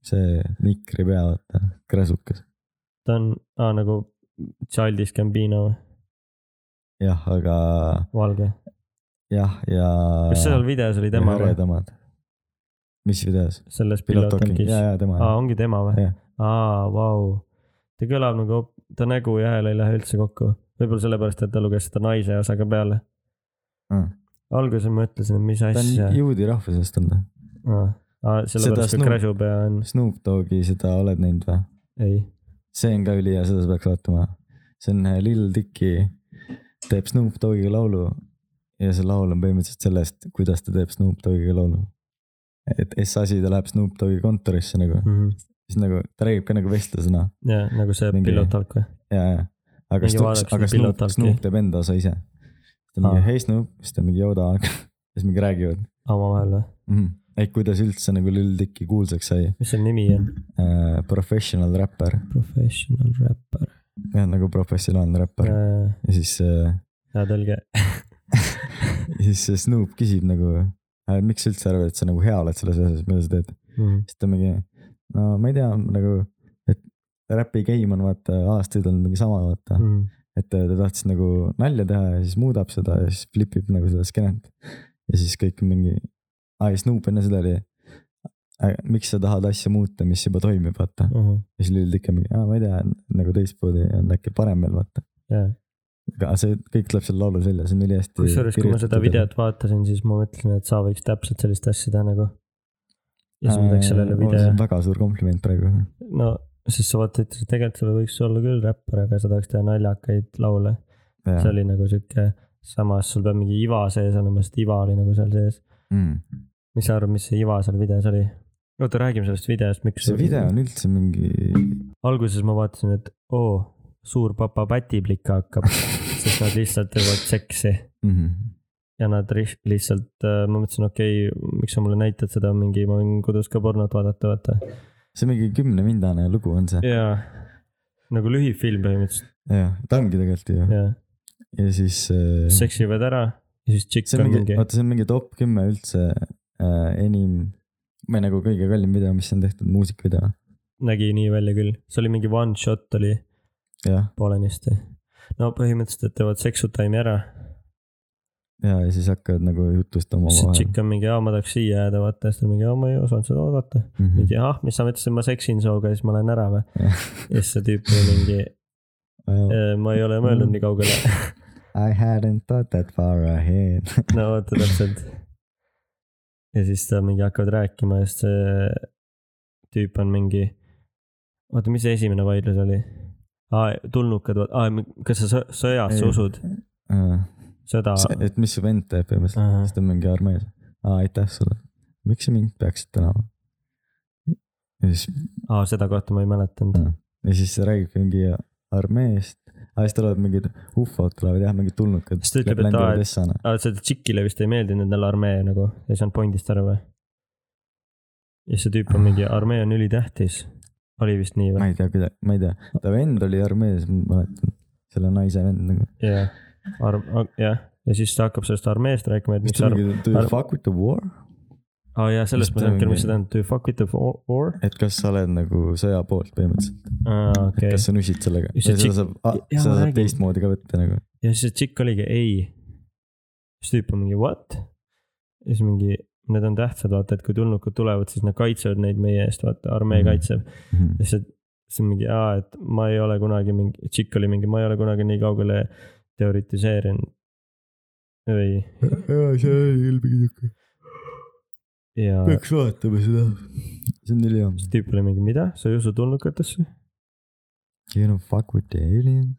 [SPEAKER 2] see mikri pea , vaata , kräsukas .
[SPEAKER 1] ta on , aa nagu Childish Gambino või ?
[SPEAKER 2] jah , aga
[SPEAKER 1] valge .
[SPEAKER 2] jah , ja .
[SPEAKER 1] kas seal videos oli tema või ?
[SPEAKER 2] hõredamad . mis videos ?
[SPEAKER 1] selles
[SPEAKER 2] Pilot Talking ,
[SPEAKER 1] pilotalkis
[SPEAKER 2] ja ,? ja tema
[SPEAKER 1] aa , ongi tema või
[SPEAKER 2] Jah. ?
[SPEAKER 1] aa , vau . ta kõlab nagu , ta nägu ja hääl ei lähe üldse kokku . võib-olla sellepärast , et ta luges seda naise osa ka peale .
[SPEAKER 2] Mm.
[SPEAKER 1] alguses ma ütlesin , et mis
[SPEAKER 2] ta
[SPEAKER 1] asja
[SPEAKER 2] on . juudi rahvusest on ta .
[SPEAKER 1] aa , sellepärast , et
[SPEAKER 2] Snoop-
[SPEAKER 1] Crashi pea on ,
[SPEAKER 2] Snoop Dogi , seda oled näinud või ?
[SPEAKER 1] ei .
[SPEAKER 2] see on ka ülihea , seda sa peaks vaatama . see on äh, Lil Dicky teeb Snoop Dogiga laulu ja see laul on põhimõtteliselt sellest , kuidas ta teeb Snoop Dogiga laulu . et S asi , ta läheb Snoop Dogi kontorisse nagu ,
[SPEAKER 1] Mhm.
[SPEAKER 2] siis nagu ta räägib ka nagu vestlusena
[SPEAKER 1] ja nagu see
[SPEAKER 2] Mingi-
[SPEAKER 1] pilotalk või ?
[SPEAKER 2] ja , ja , aga
[SPEAKER 1] Mingi
[SPEAKER 2] Snoop
[SPEAKER 1] vaadake ,
[SPEAKER 2] aga
[SPEAKER 1] seda
[SPEAKER 2] Snoop ,
[SPEAKER 1] pilotalki.
[SPEAKER 2] Snoop teeb enda osa ise . ta on
[SPEAKER 1] Aa.
[SPEAKER 2] mingi hei Snoop , siis ta on mingi jõuda aeg ja siis mingi räägivad
[SPEAKER 1] omavahel või ?
[SPEAKER 2] mm. . et kuidas üldse nagu Lil Dicky kuulsaks sai
[SPEAKER 1] mis selle nimi on ?
[SPEAKER 2] uh, , professional räppar ,
[SPEAKER 1] Professional rapper .
[SPEAKER 2] nagu professionaalne räppar ja,
[SPEAKER 1] hea
[SPEAKER 2] ja siis uh, ,
[SPEAKER 1] tõlge .
[SPEAKER 2] siis see Snoop küsib nagu äh, , miks sa üldse arvad , et sa nagu hea oled selles asjas , mida sa teed .
[SPEAKER 1] Mhm.
[SPEAKER 2] siis ta mingi , no ma ei tea nagu , et räpi game on vaata aastaid olnud mingi sama vaata mm. .
[SPEAKER 1] Mhm.
[SPEAKER 2] et ta tahtis nagu nalja teha ja siis muudab seda ja siis flipib nagu seda skeenet . ja siis kõik mingi , aa ja Snoop enne seda oli , miks sa tahad asja muuta , mis juba toimib , vaata .
[SPEAKER 1] Mhm.
[SPEAKER 2] ja siis Lil Dick on mingi , aa ma ei tea , nagu teistmoodi on äkki parem veel , vaata .
[SPEAKER 1] jaa ,
[SPEAKER 2] aga see kõik tuleb seal laulus välja , see on ülihästi .
[SPEAKER 1] kusjuures , kui ma seda . videot vaatasin , siis ma mõtlesin , et sa võiks täpselt sellist asja teha nagu . ja siis ma teeks sellele video .
[SPEAKER 2] Äh, väga suur kompliment praegu .
[SPEAKER 1] no siis sa vaata ütlesid , et tegelikult sa võiks olla küll räppar , aga sa tahaks teha naljakaid laule . see oli nagu sihuke , samas sul peab mingi iva sees olema , sest iva oli nagu seal sees .
[SPEAKER 2] Mm.
[SPEAKER 1] mis sa arvad , mis see iva seal videos oli ? oota , räägime sellest videost , miks .
[SPEAKER 2] see video on üldse mingi ,
[SPEAKER 1] alguses ma vaatasin , et oo , suur papa pätiplika hakkab , sest nad lihtsalt teevad seksi
[SPEAKER 2] Mhm.
[SPEAKER 1] ja nad ri- lihtsalt , ma mõtlesin , okei okay, , miks sa mulle näitad seda mingi , ma võin kodus ka pornot vaadata , vaata .
[SPEAKER 2] see on mingi kümnevindane lugu on see .
[SPEAKER 1] jaa , nagu lühifilm põhimõtteliselt ,
[SPEAKER 2] jah , ta ongi tegelikult ju .
[SPEAKER 1] jah .
[SPEAKER 2] ja siis äh,
[SPEAKER 1] seksivad ära ja siis tšikk
[SPEAKER 2] see on
[SPEAKER 1] on
[SPEAKER 2] mingi ,
[SPEAKER 1] mingi ,
[SPEAKER 2] vaata , see on mingi top kümme üldse äh, enim või nagu kõige kallim video , mis on tehtud , muusikavideo .
[SPEAKER 1] nägi nii välja küll , see oli mingi one shot oli
[SPEAKER 2] jah ,
[SPEAKER 1] poolenisti . no põhimõtteliselt , et teevad seksu time'i ära ,
[SPEAKER 2] ja , ja siis hakkavad nagu jutustama
[SPEAKER 1] siis
[SPEAKER 2] omavahel .
[SPEAKER 1] tšikk on mingi , aa ma tahaks siia jääda , vaata , siis ta on mingi , aa ma ei osanud seda oodata .
[SPEAKER 2] Mm. Mhm.
[SPEAKER 1] mingi ah , mis sa mõtlesid , ma seksin sinuga ja siis ma lähen ära või ? ja siis see tüüp oli mingi , ma ei ole mõelnud nii kaugele .
[SPEAKER 2] I hadn't thought that far ahead .
[SPEAKER 1] no vaata täpselt . ja siis ta mingi hakkavad rääkima ja siis see tüüp on mingi , oota , mis see esimene vaidlus oli ? aa , tulnukad , aa , kas sa sõ- sõjasse
[SPEAKER 2] Ei.
[SPEAKER 1] usud , sõda ?
[SPEAKER 2] et mis su vend teeb
[SPEAKER 1] Ahah.
[SPEAKER 2] põhimõtteliselt , siis ta on mingi armees . aa , aitäh sulle . miks sa mind peaksid tänama ? ja siis ,
[SPEAKER 1] aa , seda kohta ma ei mäletanud .
[SPEAKER 2] ja siis ta räägib mingi armeest . aa , siis tulevad mingid ufod tulevad jah , mingid tulnukad .
[SPEAKER 1] Siis ta ütleb, et aa, et-
[SPEAKER 2] Essana .
[SPEAKER 1] aa , seda tšikile vist ei meeldinud endale armee nagu , ei saanud pointist aru või ? ja siis see tüüp on mingi , armee on ülitähtis . oli vist nii
[SPEAKER 2] ma
[SPEAKER 1] või ?
[SPEAKER 2] ei tea , keda , ma ei tea , ta vend oli armees , ma mäletan , selle naise vend nagu .
[SPEAKER 1] jah , arm- , jah , ja siis ta hakkab sellest armeest rääkima , et
[SPEAKER 2] mis
[SPEAKER 1] miks
[SPEAKER 2] ta
[SPEAKER 1] arm- ,
[SPEAKER 2] mingi , do you
[SPEAKER 1] arv-
[SPEAKER 2] fuck with the war ?
[SPEAKER 1] aa jaa , sellest ma
[SPEAKER 2] mis ta
[SPEAKER 1] ei saanud küll , mis
[SPEAKER 2] mingi-
[SPEAKER 1] see tähendab , do you fuck with the fo- war ?
[SPEAKER 2] et kas sa oled nagu sõja poolt põhimõtteliselt ,
[SPEAKER 1] aa ,
[SPEAKER 2] et
[SPEAKER 1] okei .
[SPEAKER 2] kas sa nüsid sellega
[SPEAKER 1] Ja see
[SPEAKER 2] ja seda
[SPEAKER 1] tšik-
[SPEAKER 2] saab ,
[SPEAKER 1] jaa,
[SPEAKER 2] seda
[SPEAKER 1] ma
[SPEAKER 2] saab
[SPEAKER 1] räägin.
[SPEAKER 2] teistmoodi ka võtta nagu .
[SPEAKER 1] ja siis see tšikk oligi ei . siis tüüp on mingi what ? ja siis mingi , need on tähtsad , vaata , et kui tulnukad tulevad , siis nad kaitsevad neid meie eest , vaata , armee
[SPEAKER 2] Mhm.
[SPEAKER 1] mm. kaitseb . ja siis , siis on mingi aa , et ma ei ole kunagi mingi , tšikk oli mingi , ma ei ole kunagi nii kaugele teoritiseerinud . või ,
[SPEAKER 2] jaa , see oli küll mingi niuke ,
[SPEAKER 1] ja
[SPEAKER 2] peaks vaatama seda . see on ülihea .
[SPEAKER 1] siis tüüp oli mingi , mida , sa ei usu tulnukatesse ?
[SPEAKER 2] You don't fuck with the alien .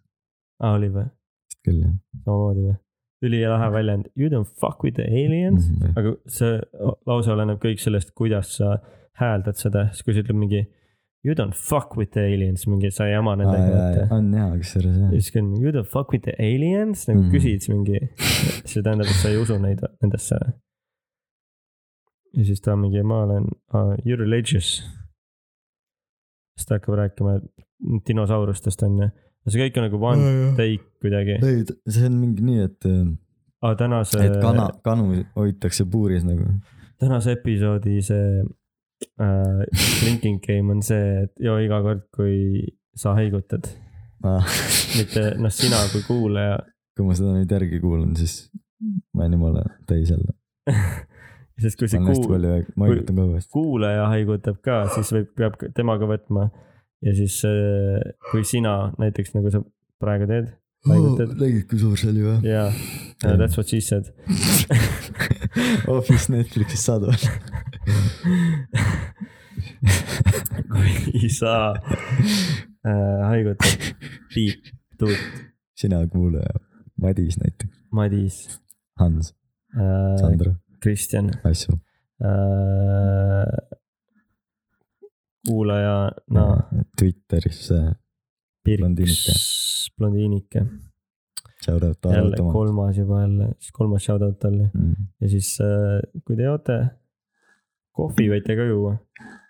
[SPEAKER 1] aa , oli või ?
[SPEAKER 2] vist küll jah .
[SPEAKER 1] samamoodi või ? ülilahe väljend , you don't fuck with the aliens mm .
[SPEAKER 2] Mhm.
[SPEAKER 1] -hmm. aga see lause oleneb kõik sellest , kuidas sa hääldad seda , siis kui sa ütled mingi you don't fuck with the aliens , mingi sa ei jama nendega , vaata .
[SPEAKER 2] on hea , kusjuures jah
[SPEAKER 1] ja . siis kui on you don't fuck with the aliens , nagu mm
[SPEAKER 2] Mhm.
[SPEAKER 1] -hmm. küsid siis mingi , see tähendab , et sa ei usu neid , nendesse . ja siis ta on mingi , ma olen uh, , you are religious . siis ta hakkab rääkima dinosaurustest on ju , see kõik on nagu
[SPEAKER 2] Mm.
[SPEAKER 1] one take kuidagi ,
[SPEAKER 2] ei , see on mingi nii , et ,
[SPEAKER 1] aga tänase .
[SPEAKER 2] et kana , kanu hoitakse puuris nagu .
[SPEAKER 1] tänase episoodi see äh, drinking game on see , et joo iga kord , kui sa haigutad , mitte noh , sina kui kuulaja .
[SPEAKER 2] kui ma seda nüüd järgi kuulan , siis ma olen jumala täis jälle .
[SPEAKER 1] sest kui see
[SPEAKER 2] ma olen hästi
[SPEAKER 1] kuul,
[SPEAKER 2] palju aeg , ma
[SPEAKER 1] kui-
[SPEAKER 2] harjutan kogu aeg .
[SPEAKER 1] kuulaja haigutab ka , siis võib , peab ka- temaga võtma . ja siis äh, kui sina näiteks nagu sa praegu teed , haigutad
[SPEAKER 2] nägid , kui suur see oli või ?
[SPEAKER 1] ja yeah, that's what she said .
[SPEAKER 2] Office Netflixis saadaval .
[SPEAKER 1] kui sa äh, haigutad , piip , tuut ,
[SPEAKER 2] sina kuulaja , Madis näiteks ,
[SPEAKER 1] Madis
[SPEAKER 2] Hans ,
[SPEAKER 1] äh, ,
[SPEAKER 2] Sandro ,
[SPEAKER 1] Kristjan
[SPEAKER 2] Assu .
[SPEAKER 1] Äh, kuulajana
[SPEAKER 2] Twitteris , äh, blondiinike.
[SPEAKER 1] Pirks , blondiinike ,
[SPEAKER 2] shout out ,
[SPEAKER 1] jälle
[SPEAKER 2] arvatama .
[SPEAKER 1] kolmas juba jälle , siis kolmas shoutout talle
[SPEAKER 2] Mm.
[SPEAKER 1] ja siis äh, kui te joote kohvi , võite ka juua ,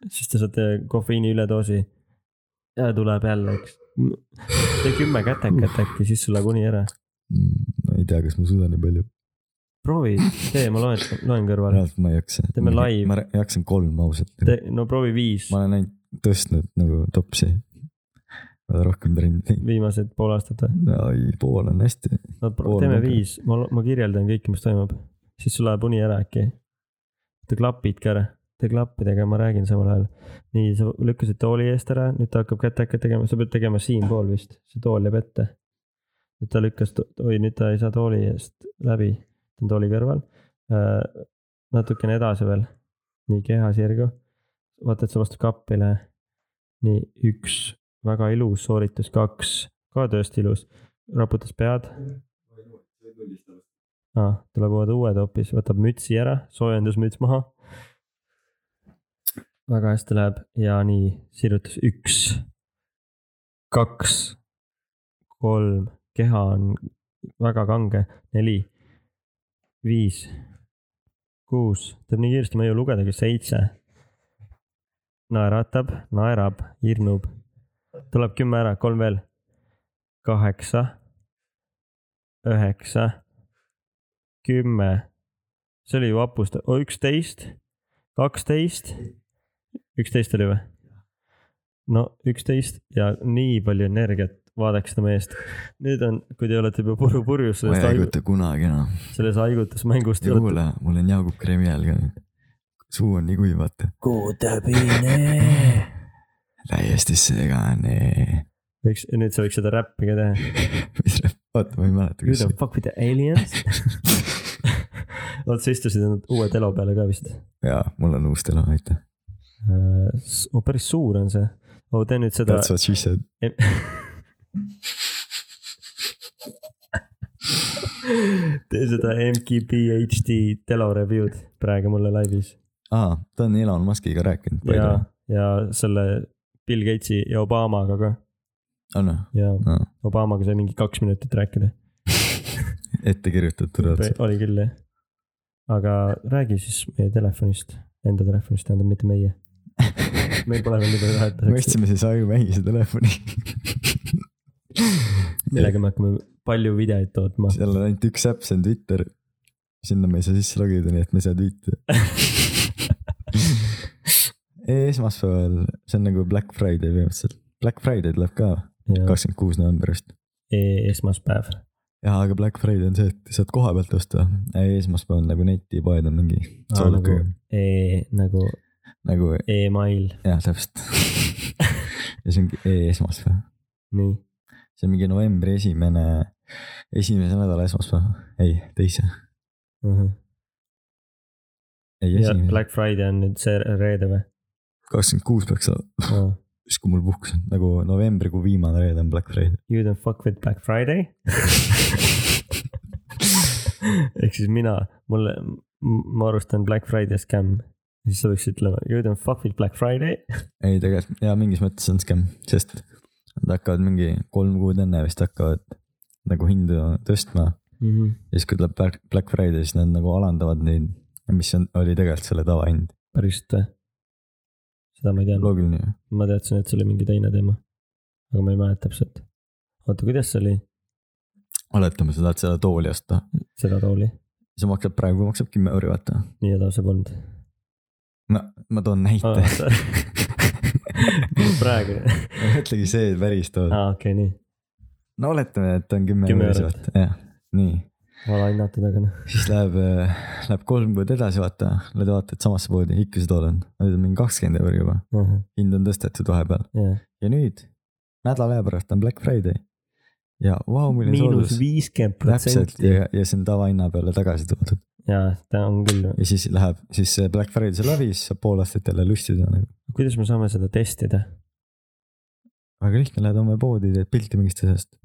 [SPEAKER 1] siis te saate kofeiini üledoosi . ja tuleb jälle üks , tee kümme kätekat äkki , siis sul läheb uni ära .
[SPEAKER 2] Mm, ma ei tea , kas ma suudan nii palju .
[SPEAKER 1] proovi , tee , ma loen , loen kõrvale ,
[SPEAKER 2] reaalselt ma ei jaksa .
[SPEAKER 1] Teeme live.
[SPEAKER 2] ma ra- jaksan kolm ausalt .
[SPEAKER 1] no proovi viis
[SPEAKER 2] ma olen ainult tõstnud nagu topsi . ma olen rohkem trenni teinud .
[SPEAKER 1] viimased pool aastat või ?
[SPEAKER 2] ai , pool on hästi .
[SPEAKER 1] no pro-
[SPEAKER 2] Pool
[SPEAKER 1] teeme
[SPEAKER 2] nuga.
[SPEAKER 1] viis , ma , ma kirjeldan kõike , mis toimub , siis sul läheb uni ära äkki . tee klapid ka ära , tee klappidega , ma räägin samal ajal . nii , sa lükkasid tooli eest ära , nüüd ta hakkab kätekat tegema , sa pead tegema siinpool vist , see tool jääb ette . nüüd ta lükkas , oi , nüüd ta ei saa tooli eest läbi , ta on tooli kõrval . natukene edasi veel , nii keha sirgu , vaata , et sa vastu kappi ei lähe . nii , üks , väga ilus sooritus , kaks , ka tõesti ilus , raputas pead ah, . tuleb uued uued hoopis , võtab mütsi ära , soojendusmüts maha . väga hästi läheb ja nii , sirutus üks , kaks , kolm , keha on väga kange , neli , viis , kuus , teeb nii kiiresti , ma ei jõua lugedagi , seitse . naeratab , naerab , hirmub , tuleb kümme ära , kolm veel . kaheksa , üheksa , kümme , see oli ju hapustav , üksteist , kaksteist , üksteist oli või ? no üksteist ja nii palju energiat , vaadake seda meest . nüüd on , kui te olete juba puru purjus
[SPEAKER 2] ma
[SPEAKER 1] sellest
[SPEAKER 2] ei
[SPEAKER 1] haigut- ,
[SPEAKER 2] haiguta kunagi enam .
[SPEAKER 1] selles haigutusmängust .
[SPEAKER 2] ja kuule , mul on Jaagup Kremi all ka . suu on nii kuiv , vaata .
[SPEAKER 1] kuutõbine .
[SPEAKER 2] täiesti segane .
[SPEAKER 1] võiks , nüüd sa võiks seda räppi ka teha .
[SPEAKER 2] mis rap , oota , ma ei mäleta ,
[SPEAKER 1] You
[SPEAKER 2] kas
[SPEAKER 1] don't fuck with the aliens . Nad sa istusid nad uue telo peale ka vist .
[SPEAKER 2] jaa , mul on uus telo , aitäh .
[SPEAKER 1] Oh, päris suur on see oh, . tee nüüd seda .
[SPEAKER 2] That's what she said .
[SPEAKER 1] tee seda MKBHD telo review'd praegu mulle laivis .
[SPEAKER 2] aa , ta on Elon Muskiga rääkinud
[SPEAKER 1] ja
[SPEAKER 2] palju .,
[SPEAKER 1] ja selle Bill Gatesi ja Obamaga ka
[SPEAKER 2] on
[SPEAKER 1] ja
[SPEAKER 2] või ?
[SPEAKER 1] Obamaga sai mingi kaks minutit rääkida .
[SPEAKER 2] ette kirjutatud raudselt .
[SPEAKER 1] oli küll jah . aga räägi siis meie telefonist , enda telefonist , tähendab mitte meie . meil pole veel nii palju
[SPEAKER 2] me
[SPEAKER 1] vahetuseks ,
[SPEAKER 2] ostsime siis Aju Mängise telefoni .
[SPEAKER 1] millega me hakkame palju videoid tootma .
[SPEAKER 2] seal on ainult üks äpp , see on Twitter . sinna me ei saa sisse logida , nii et me ei saa tweet'i . esmaspäeval , see on nagu Black Friday põhimõtteliselt . Black Friday tuleb ka kakskümmend kuus november vist .
[SPEAKER 1] e-, esmaspäev ,
[SPEAKER 2] jaa , aga Black Friday on see , et saad koha pealt osta . esmaspäeval nagu netipoed on mingi
[SPEAKER 1] Aa,
[SPEAKER 2] soolikaga .
[SPEAKER 1] e nagu
[SPEAKER 2] nagu
[SPEAKER 1] email ,
[SPEAKER 2] jah , täpselt . ja see ongi esmaspäev .
[SPEAKER 1] nii .
[SPEAKER 2] see on mingi novembri esimene , esimese nädala esmaspäev , ei teise , ei
[SPEAKER 1] ja
[SPEAKER 2] esimene ,
[SPEAKER 1] Black Friday on nüüd see reede või ?
[SPEAKER 2] kakskümmend kuus peaks olema , siis kui mul puhkus on , nagu novembrikuu viimane reede on Black Friday .
[SPEAKER 1] You don't fuck with Black Friday . ehk siis mina , mulle , ma arvestan Black Friday skämm , siis sa võiks ütlema you don't fuck with Black Friday .
[SPEAKER 2] ei tegelikult ja mingis mõttes on skämm , sest nad hakkavad mingi kolm kuud enne vist hakkavad nagu hindu tõstma
[SPEAKER 1] Mm -hmm.
[SPEAKER 2] ja siis , kui tuleb Black- Black Friday , siis nad nagu alandavad neid , mis on , oli tegelikult selle tavahind ,
[SPEAKER 1] päriselt või ? äh, seda ma ei teadnud ,
[SPEAKER 2] loogiline ju .
[SPEAKER 1] ma teadsin , et see oli mingi teine teema . aga ma ei mäleta täpselt . oota , kuidas see oli ,
[SPEAKER 2] oletame , sa tahad seda tooli osta ,
[SPEAKER 1] seda tooli ,
[SPEAKER 2] see maksab praegu , maksab kümme euri , vaata .
[SPEAKER 1] nii ja taas ei polnud .
[SPEAKER 2] no ma toon näite .
[SPEAKER 1] praegu ,
[SPEAKER 2] mõtlegi see päris tood .
[SPEAKER 1] aa okei , nii ,
[SPEAKER 2] no oletame , et on kümme
[SPEAKER 1] Kümme
[SPEAKER 2] eurot ,
[SPEAKER 1] eurot.
[SPEAKER 2] vaata , jah , nii .
[SPEAKER 1] vana hinnata taga noh ,
[SPEAKER 2] siis läheb , läheb kolm kuud edasi , vaata , lähed vaatad samasse poodi , ikka see tool on , nüüd on mingi kakskümmend euri juba , hind on tõstetud vahepeal
[SPEAKER 1] jah .
[SPEAKER 2] ja nüüd nädala aja pärast on Black Friday . ja vau , milline
[SPEAKER 1] miinus
[SPEAKER 2] soodus ,
[SPEAKER 1] viiskümmend
[SPEAKER 2] täpselt
[SPEAKER 1] protsenti .
[SPEAKER 2] ja , ja see on tavahinna peale tagasi toodud
[SPEAKER 1] jaa , ta on küll ,
[SPEAKER 2] ja siis läheb , siis see Black Friday saab läbi , siis saab pool aastat jälle lustida nagu .
[SPEAKER 1] kuidas me saame seda testida ?
[SPEAKER 2] väga lihtne , lähed homme poodi , teed pilti mingist asjast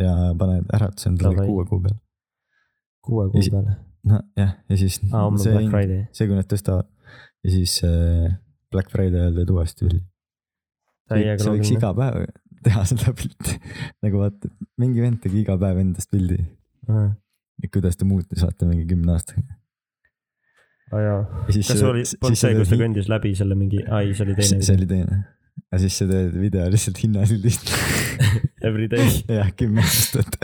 [SPEAKER 2] ja paned äratuse endale
[SPEAKER 1] Davai.
[SPEAKER 2] kuue kuu peale .
[SPEAKER 1] kuue kuu
[SPEAKER 2] Esi-
[SPEAKER 1] peale ,
[SPEAKER 2] nojah , ja siis
[SPEAKER 1] aa homme
[SPEAKER 2] see
[SPEAKER 1] Black
[SPEAKER 2] hind ,
[SPEAKER 1] Friday ,
[SPEAKER 2] see kui nad tõstavad ja siis äh, Black Friday ajal teed uuesti pildi .
[SPEAKER 1] täiega
[SPEAKER 2] sa võiks
[SPEAKER 1] loogiline ,
[SPEAKER 2] iga päev teha seda pilti , nagu vaata , mingi vend tegi iga päev endast pildi , kuidas ta muutus , vaata mingi kümne aastaga .
[SPEAKER 1] aa jaa .
[SPEAKER 2] ja siis
[SPEAKER 1] kas see oli , polnud see , kus ta
[SPEAKER 2] kõndis ?
[SPEAKER 1] kõndis läbi selle mingi , ai see oli teine
[SPEAKER 2] see , oli teine . aga siis sa teed video lihtsalt hinnasildist
[SPEAKER 1] everyday .
[SPEAKER 2] ja kümme aastat .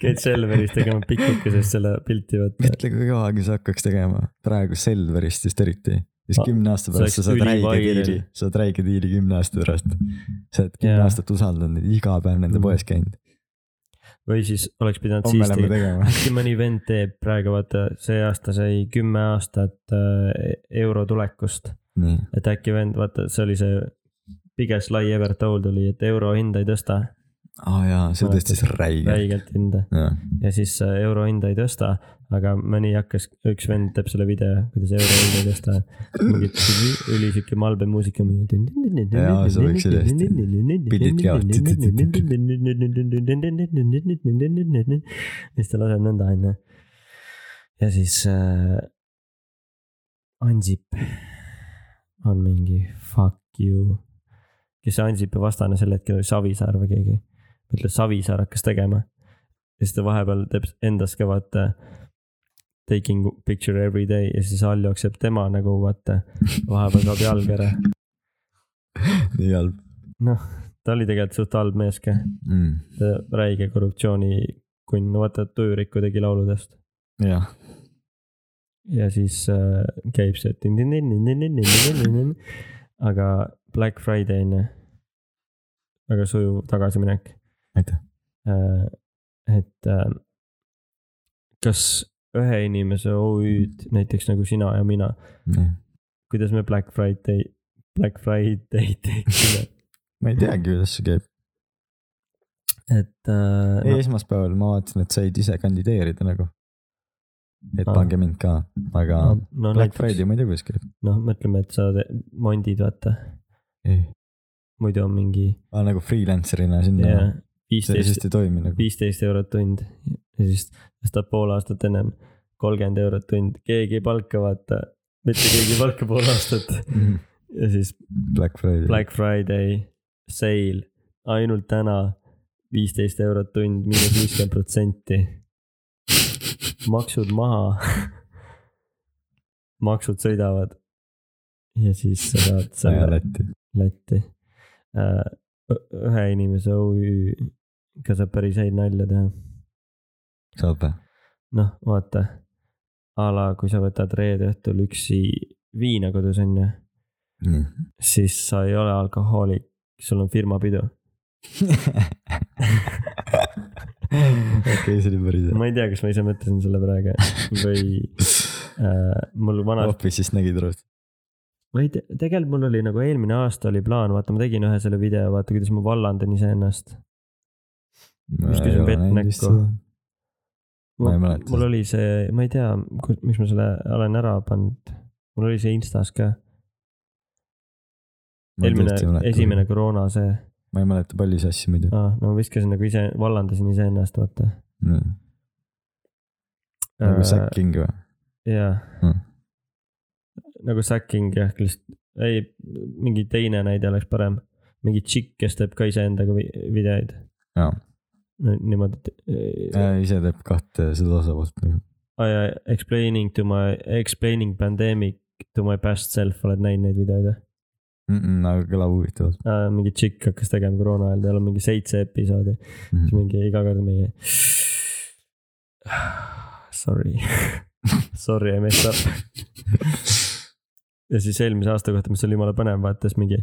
[SPEAKER 1] Keit Selverist tegema pikukesest selle pilti , vaata .
[SPEAKER 2] mõtle , kui kaua aega sa hakkaks tegema , praegu Selverist just eriti . siis
[SPEAKER 1] Ma-
[SPEAKER 2] kümne aasta
[SPEAKER 1] see
[SPEAKER 2] pärast Ah, sa
[SPEAKER 1] oleks
[SPEAKER 2] saad räige
[SPEAKER 1] üliviral.
[SPEAKER 2] diili , saad räige diili kümne aasta pärast . sa oled kümme
[SPEAKER 1] Jaa.
[SPEAKER 2] aastat usaldanud neid , iga päev nende
[SPEAKER 1] Mhm.
[SPEAKER 2] poes käinud .
[SPEAKER 1] või siis oleks pidanud
[SPEAKER 2] homme
[SPEAKER 1] siis
[SPEAKER 2] lähme
[SPEAKER 1] tegema .
[SPEAKER 2] tegema .
[SPEAKER 1] äkki mõni vend teeb praegu , vaata see aasta sai kümme aastat äh, euro tulekust ,
[SPEAKER 2] nii ,
[SPEAKER 1] et äkki vend , vaata see oli see biggest lie ever told oli , et euro hinda ei tõsta ,
[SPEAKER 2] aa jaa , see
[SPEAKER 1] Mäletad?
[SPEAKER 2] tõstis räige .
[SPEAKER 1] räigelt hinda
[SPEAKER 2] jah ,
[SPEAKER 1] ja siis äh, euro hinda ei tõsta , aga mõni hakkas , üks vend teeb selle video , kuidas euro hinda ei tõsta , mingit üli sihuke malbe muusika .
[SPEAKER 2] Jaa, see oleks üli hästi. Pildid käivad.
[SPEAKER 1] ja siis ta laseb nõnda onju . ja siis äh, Ansip on mingi fuck you , kes see Ansipi vastane sel hetkel oli , Savisaar või keegi , ütle Savisaar hakkas tegema . ja siis ta vahepeal teeb endas ka vaata taking picture every day ja siis all jookseb tema nagu vaata , vahepeal saab jalg ära ,
[SPEAKER 2] nii halb .
[SPEAKER 1] noh , ta oli tegelikult suht halb mees ka ,
[SPEAKER 2] mm. .
[SPEAKER 1] äh, räige korruptsioonikunn , vaata Tüüriku tegi lauludest
[SPEAKER 2] jah ,
[SPEAKER 1] ja siis äh, käib see tin-tin-tin-tin-tin-tin-tin-tin-tin-tin. aga Black Friday on ju , väga sujuv tagasiminek
[SPEAKER 2] aitäh .
[SPEAKER 1] äh, . et äh, kas ühe inimese OÜ-d , näiteks nagu sina ja mina , kuidas me Black Friday , Black Friday teeksime ,
[SPEAKER 2] ma ei teagi , kuidas see käib .
[SPEAKER 1] et äh,
[SPEAKER 2] ei , esmaspäeval ma vaatasin , et said ise kandideerida nagu . et
[SPEAKER 1] Aa.
[SPEAKER 2] pange mind ka , aga
[SPEAKER 1] no, no
[SPEAKER 2] Black
[SPEAKER 1] näiteks
[SPEAKER 2] Friday , Ah. ma ei tea , kuidas käib .
[SPEAKER 1] noh , mõtleme , et sa te- mondid , vaata , muidu on mingi
[SPEAKER 2] aa , nagu freelancer'ina sinna
[SPEAKER 1] jah, .
[SPEAKER 2] see
[SPEAKER 1] viisteist
[SPEAKER 2] vist ei toimi nagu .
[SPEAKER 1] viisteist eurot tund ja siis tõstab pool aastat ennem kolmkümmend eurot tund , keegi ei palka , vaata . mitte keegi ei palka pool aastat ja siis
[SPEAKER 2] Mhm. Black Friday .
[SPEAKER 1] Black Friday , sale , ainult täna viisteist eurot tund , miinus viiskümmend protsenti , maksud maha . maksud sõidavad . ja siis sa saad
[SPEAKER 2] aja
[SPEAKER 1] selle
[SPEAKER 2] Lätti .
[SPEAKER 1] Lätti . ühe inimese OÜ-ga saab päris häid nalja teha
[SPEAKER 2] saab või ?
[SPEAKER 1] noh , vaata a la , kui sa võtad reede õhtul üksi viina kodus onju ,
[SPEAKER 2] nii .
[SPEAKER 1] siis sa ei ole alkohoolik , sul on firmapidu .
[SPEAKER 2] okei , see oli päris hea .
[SPEAKER 1] ma ei tea , kas ma ise mõtlesin selle praegu või äh, mul vana ,
[SPEAKER 2] Office'ist nägid rohkem .
[SPEAKER 1] ma ei tea , tegelikult mul oli nagu eelmine aasta oli plaan , vaata , ma tegin ühe selle video , vaata , kuidas ma vallandan iseennast . Vist käisin pett näkku.
[SPEAKER 2] Ma ei mäleta
[SPEAKER 1] mul
[SPEAKER 2] seda.
[SPEAKER 1] oli see , ma ei tea , miks ma selle olen ära pannud , mul oli see Instas ka , eelmine , esimene . koroona see
[SPEAKER 2] ma ei mäleta paljusid asju muidu .
[SPEAKER 1] ah, , no ma viskasin nagu ise , vallandasin iseennast , vaata . Äh,
[SPEAKER 2] nagu säkking või ?
[SPEAKER 1] jah
[SPEAKER 2] Mm. ,
[SPEAKER 1] nagu säkking jah , lihtsalt , ei , mingi teine näide oleks parem . mingi tšikk , kes teeb ka iseendaga vi- videoid .
[SPEAKER 2] Jaa.
[SPEAKER 1] niimoodi , et äh,
[SPEAKER 2] ise teeb kahte seda osapoolt nagu .
[SPEAKER 1] I am explaining to my , explaining pandemic to my past self , oled näinud neid videoid või ?
[SPEAKER 2] aga kõlab huvitavalt
[SPEAKER 1] mingi tšikk hakkas tegema koroona ajal , tal on mingi seitse episoodi , siis
[SPEAKER 2] mm. .
[SPEAKER 1] mingi iga kord mingi . Sorry , sorry I messed up . ja siis eelmise aasta kohta , mis oli jumala põnev , vaata siis mingi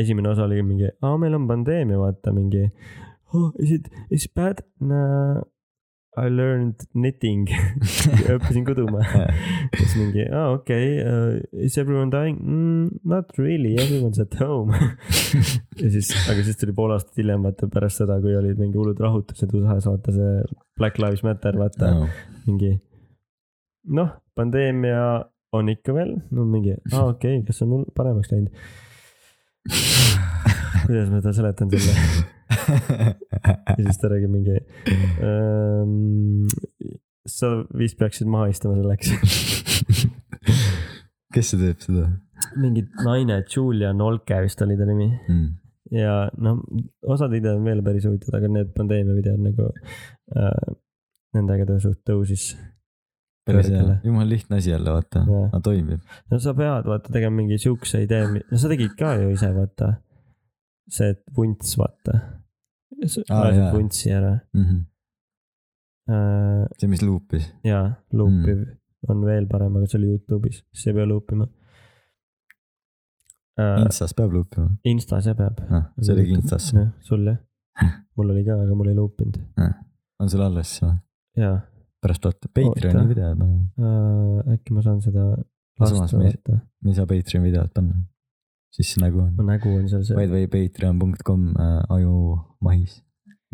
[SPEAKER 1] esimene osa oli mingi , aa , meil on pandeemia , vaata mingi oh, . Is it , is it bad no, ? I learned knitting , õppisin kuduma . siis mingi , aa , okei okay, uh, , is everyone dying mm, ? Not really , everyone's at home . ja siis , aga siis tuli pool aastat hiljem , vaata pärast seda , kui olid mingi hullud rahutused USA-s , vaata see Black Lives Matter , vaata
[SPEAKER 2] No.
[SPEAKER 1] mingi noh , pandeemia on ikka veel , no mingi , aa okei okay, , kas on hull- paremaks läinud ? kuidas ma ta seletan selle ja siis ta räägib mingi ähm, . sa vist peaksid maha istuma selleks .
[SPEAKER 2] kes see teeb seda
[SPEAKER 1] mingi naine , Julia Nolke vist oli ta nimi
[SPEAKER 2] mm. ?
[SPEAKER 1] ja noh , osad videod on veel päris huvitavad , aga need pandeemia videod nagu äh, , nendega ta suht tõusis .
[SPEAKER 2] päris hea
[SPEAKER 1] Kõrgele. ,
[SPEAKER 2] jumala lihtne asi jälle vaata
[SPEAKER 1] Jaa. ,
[SPEAKER 2] aga toimib .
[SPEAKER 1] no sa pead vaata tegema mingi siukse idee , no sa tegid ka ju ise vaata . see et vunts vaata . sa
[SPEAKER 2] Aa,
[SPEAKER 1] lasid
[SPEAKER 2] jaa.
[SPEAKER 1] vuntsi ära äh, .
[SPEAKER 2] Mhm. see , mis luupis ,
[SPEAKER 1] ja luupiv mm. on veel parem , aga see oli Youtube'is , siis ei pea luupima äh, .
[SPEAKER 2] Instas peab luupima
[SPEAKER 1] Instas jah peab .
[SPEAKER 2] ah, , see oligi Instas ,
[SPEAKER 1] sul jah , mul oli ka , aga mul ei luupinud
[SPEAKER 2] on sul alles see või ?
[SPEAKER 1] ja
[SPEAKER 2] pärast vaata Patreoni
[SPEAKER 1] Oota.
[SPEAKER 2] videod , noh. me
[SPEAKER 1] äh, äkki ma saan seda
[SPEAKER 2] Samas
[SPEAKER 1] lasta
[SPEAKER 2] me-
[SPEAKER 1] vaata ,
[SPEAKER 2] ei saa Patreoni videot panna , siis nagu on
[SPEAKER 1] mu . nägu on seal
[SPEAKER 2] By
[SPEAKER 1] see ,
[SPEAKER 2] the way , patreon.com äh, ajumahis .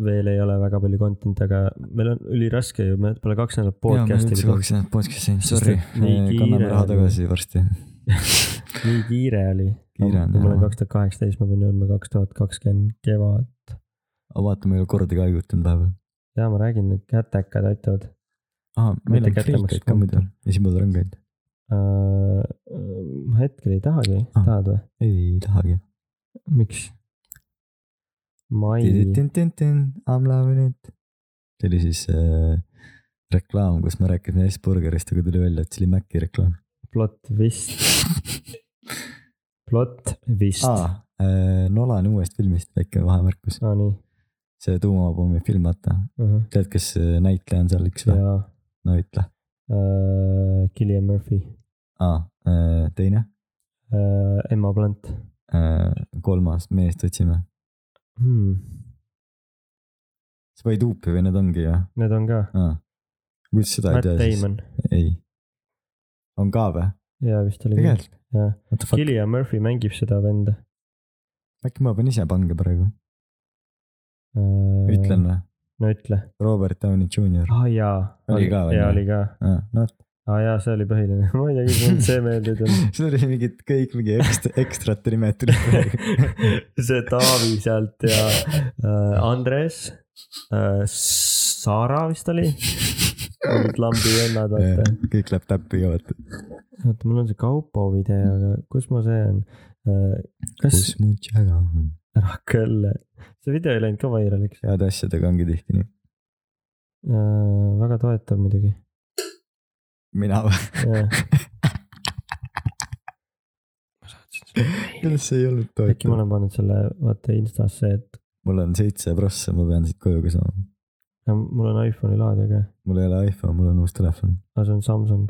[SPEAKER 1] veel ei ole väga palju content'i , aga meil on üliraske ju , me pole kaks nädalat podcast'i
[SPEAKER 2] üldse
[SPEAKER 1] pidanud.
[SPEAKER 2] kaks nädalat podcast'i teinud ,
[SPEAKER 1] Sest
[SPEAKER 2] sorry
[SPEAKER 1] et . nii kiire
[SPEAKER 2] kanname raha
[SPEAKER 1] oli.
[SPEAKER 2] tagasi varsti .
[SPEAKER 1] nii kiire oli .
[SPEAKER 2] Kiire on,
[SPEAKER 1] kui ma olen
[SPEAKER 2] jah.
[SPEAKER 1] kaks tuhat kaheksateist , ma pean jõudma kaks tuhat kakskümmend kevad .
[SPEAKER 2] aga vaata , ma ei ole kordagi haigutanud vahepeal .
[SPEAKER 1] ja ma räägin , need kätekad aitavad
[SPEAKER 2] aa , meil
[SPEAKER 1] Mitte
[SPEAKER 2] on
[SPEAKER 1] kätte
[SPEAKER 2] freekaid ka
[SPEAKER 1] maksta.
[SPEAKER 2] muidu , esimesed rõngaid .
[SPEAKER 1] uh, . ma hetkel ei tahagi
[SPEAKER 2] Ah.
[SPEAKER 1] ah. , tahad või ?
[SPEAKER 2] ei tahagi .
[SPEAKER 1] miks ? mai ,
[SPEAKER 2] I'm loving it . see oli siis äh, reklaam , kus me rääkisime S-burgerist , aga tuli välja , et see oli Maci reklaam .
[SPEAKER 1] plot vist , plot vist ah. .
[SPEAKER 2] aa , Nolan uuest filmist väike vahemärkus ,
[SPEAKER 1] aa Ah, nii
[SPEAKER 2] see tuumapommi film , vaata .
[SPEAKER 1] uh . -huh.
[SPEAKER 2] tead , kes see näitleja on seal üks või ?
[SPEAKER 1] ja
[SPEAKER 2] no ütle .
[SPEAKER 1] äh, Killian Murphy
[SPEAKER 2] aa , teine ,
[SPEAKER 1] äh, , Emma Blunt
[SPEAKER 2] kolmas meest otsime .
[SPEAKER 1] hmm. .
[SPEAKER 2] Spidehupi või need ongi jah ?
[SPEAKER 1] Need on ka ,
[SPEAKER 2] kuidas seda ei
[SPEAKER 1] Matt
[SPEAKER 2] tea siis ?
[SPEAKER 1] Damon
[SPEAKER 2] ei . on ka või ?
[SPEAKER 1] ja vist oli küll ,
[SPEAKER 2] tegelikult ?
[SPEAKER 1] jah .
[SPEAKER 2] What the fuck ,
[SPEAKER 1] Killian Murphy mängib seda venda
[SPEAKER 2] äkki ma pean ise pange praegu ,
[SPEAKER 1] äh, .
[SPEAKER 2] ütlen . või ?
[SPEAKER 1] no ütle .
[SPEAKER 2] Robert Downey Jr .
[SPEAKER 1] ah jaa .
[SPEAKER 2] Oli ka või?
[SPEAKER 1] jaa , oli ka .
[SPEAKER 2] noh ,
[SPEAKER 1] aa jaa , see oli põhiline , ma ei tea , kuidas mul see meelde ei tulnud .
[SPEAKER 2] sul oli mingid kõik mingi ekstra , ekstrate nimed tulid praegu .
[SPEAKER 1] see Taavi sealt ja äh, Andres äh, , Sara vist oli , olid lambi vennad , vaata .
[SPEAKER 2] kõik läheb täppi ka vaata .
[SPEAKER 1] oota , mul on see Kaupo video , aga kus mu see on äh, ? kas
[SPEAKER 2] kus , mu tšäga on ?
[SPEAKER 1] ära küll , see video ei läinud ka vairaliks
[SPEAKER 2] heade asjadega ongi tihti nii .
[SPEAKER 1] äh, , väga toetav muidugi .
[SPEAKER 2] mina või ?
[SPEAKER 1] ma saatsin sulle meili .
[SPEAKER 2] see ei
[SPEAKER 1] äkki
[SPEAKER 2] olnud
[SPEAKER 1] ma
[SPEAKER 2] toetav .
[SPEAKER 1] olen pannud selle , vaata Instasse , et
[SPEAKER 2] mul on seitse prossa , ma pean siit koju ka saama .
[SPEAKER 1] ja mul on iPhone'i laadija ka ,
[SPEAKER 2] mul ei ole iPhone , mul on uus telefon .
[SPEAKER 1] aga see on Samsung .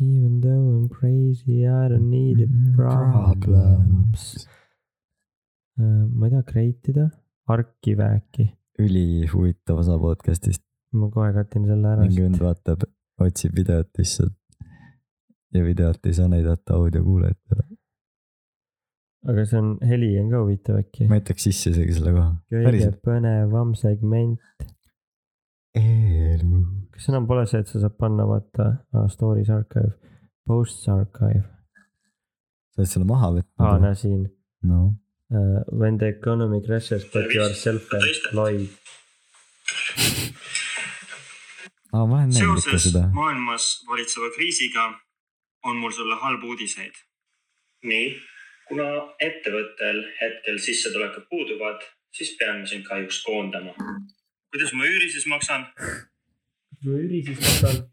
[SPEAKER 1] Even though I m crazy , I don't need a
[SPEAKER 2] Mm-hmm. Mm,
[SPEAKER 1] problems . Uh, ma ei tea , create ida , arkive äkki ,
[SPEAKER 2] ülihuvitav osa podcast'ist ,
[SPEAKER 1] ma kohe katin selle ära .
[SPEAKER 2] mingi vend vaatab , otsib videot lihtsalt ja videot ei saa näidata audiokuulajatele .
[SPEAKER 1] aga see on , heli on ka huvitav äkki .
[SPEAKER 2] ma jätaks sisse isegi selle koha .
[SPEAKER 1] kõige
[SPEAKER 2] päriselt .
[SPEAKER 1] põnevam segment ,
[SPEAKER 2] elu .
[SPEAKER 1] kas enam pole see , et sa saad panna vaata ah, stories archive , posts archive ,
[SPEAKER 2] sa oled selle maha võtnud
[SPEAKER 1] aa
[SPEAKER 2] või?
[SPEAKER 1] näe siin
[SPEAKER 2] noh ,
[SPEAKER 1] uh, . When the economy crashes but you are self-employed .
[SPEAKER 2] aa ma olen näinud ikka
[SPEAKER 3] seoses
[SPEAKER 2] seda .
[SPEAKER 3] maailmas valitseva kriisiga on mul sulle halbu uudiseid . nii , kuna ettevõttel hetkel sissetulekud puuduvad , siis peame sind kahjuks koondama . kuidas ma üüri siis maksan ?
[SPEAKER 1] no Jüri siis võtan .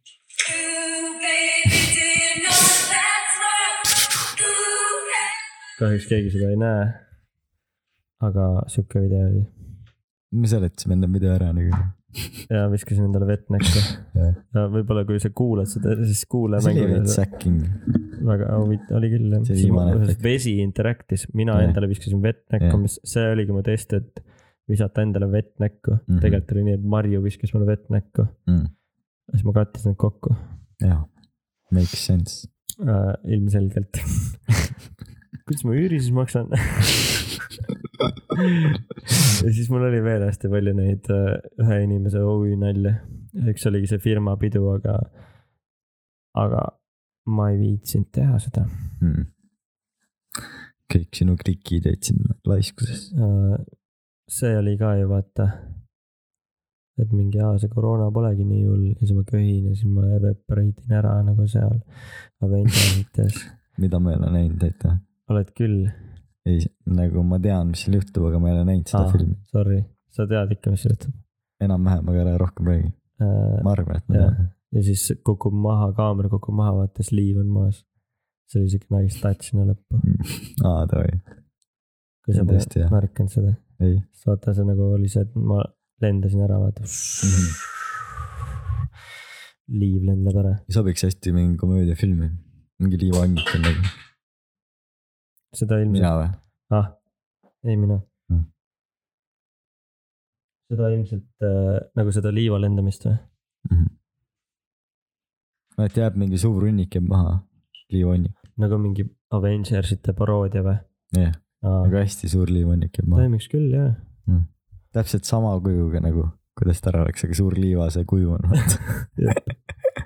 [SPEAKER 1] kahjuks keegi seda ei näe . aga sihuke video oli
[SPEAKER 2] me seletasime enne video ära nagu .
[SPEAKER 1] ja viskasin endale vett näkku . võib-olla kui sa kuulad seda , siis kuule
[SPEAKER 2] see oli veits
[SPEAKER 1] mängu .
[SPEAKER 2] säkking .
[SPEAKER 1] väga huvitav oli küll
[SPEAKER 2] See viimane
[SPEAKER 1] jah .
[SPEAKER 2] efekt.
[SPEAKER 1] vesi interaktis , mina
[SPEAKER 2] Jah.
[SPEAKER 1] endale viskasin vett näkku ,
[SPEAKER 2] Jah.
[SPEAKER 1] mis see oligi mu test , et visata endale vett näkku mm
[SPEAKER 2] Mhm. Mm.
[SPEAKER 1] -hmm. . tegelikult oli nii , et Marju viskas mulle vett näkku , siis ma kattisin need kokku
[SPEAKER 2] jah , makes sense .
[SPEAKER 1] äh, , ilmselgelt . kuidas ma üüri siis maksan ? ja siis mul oli veel hästi palju neid äh, ühe inimese OÜ nalju . üks oligi see firma pidu , aga , aga ma ei viitsinud teha seda
[SPEAKER 2] mm. . kõik sinu klikid jäid sinna laiskusesse .
[SPEAKER 1] äh, . see oli ka ju vaata , et mingi aa , see koroona polegi nii hull ja siis ma köhin ja siis ma evaporate in ära nagu seal Avengerites .
[SPEAKER 2] mida ma ei ole näinud , aitäh .
[SPEAKER 1] oled küll ,
[SPEAKER 2] ei , nagu ma tean , mis seal juhtub , aga ma ei ole näinud seda
[SPEAKER 1] Aa.
[SPEAKER 2] ah. filmi .
[SPEAKER 1] sorry , sa tead ikka , mis juhtub
[SPEAKER 2] enam-vähem , aga ära rohkem räägi .
[SPEAKER 1] äh, .
[SPEAKER 2] ma arvan , et ma
[SPEAKER 1] Jah.
[SPEAKER 2] tean .
[SPEAKER 1] ja siis kukub maha , kaamera kukub maha , vaata siis liiv on maas . see oli siuke nice touch sinna lõppu ,
[SPEAKER 2] aa , davai ,
[SPEAKER 1] kui sa
[SPEAKER 2] see on
[SPEAKER 1] pole
[SPEAKER 2] tõesti hea.
[SPEAKER 1] märganud seda .
[SPEAKER 2] ei .
[SPEAKER 1] siis vaata , see nagu oli see , et ma lendasin ära , vaata . liiv lendab ära ,
[SPEAKER 2] sobiks hästi mingi komöödiafilmi , mingi liivaannik on nagu ,
[SPEAKER 1] seda ilmselt ,
[SPEAKER 2] mina või ?
[SPEAKER 1] ah , ei mina
[SPEAKER 2] Mm. .
[SPEAKER 1] seda ilmselt äh, nagu seda liiva lendamist või ?
[SPEAKER 2] et jääb Mhm. mingi suur hunnik jääb maha , liivaannik ,
[SPEAKER 1] nagu mingi Avengersite paroodia või ?
[SPEAKER 2] jah , aga hästi suur liivaannik jääb maha ,
[SPEAKER 1] toimiks küll jah ,
[SPEAKER 2] täpselt sama kujuga nagu , kuidas ta ära läks , aga suur liiva see kuju on , vaata .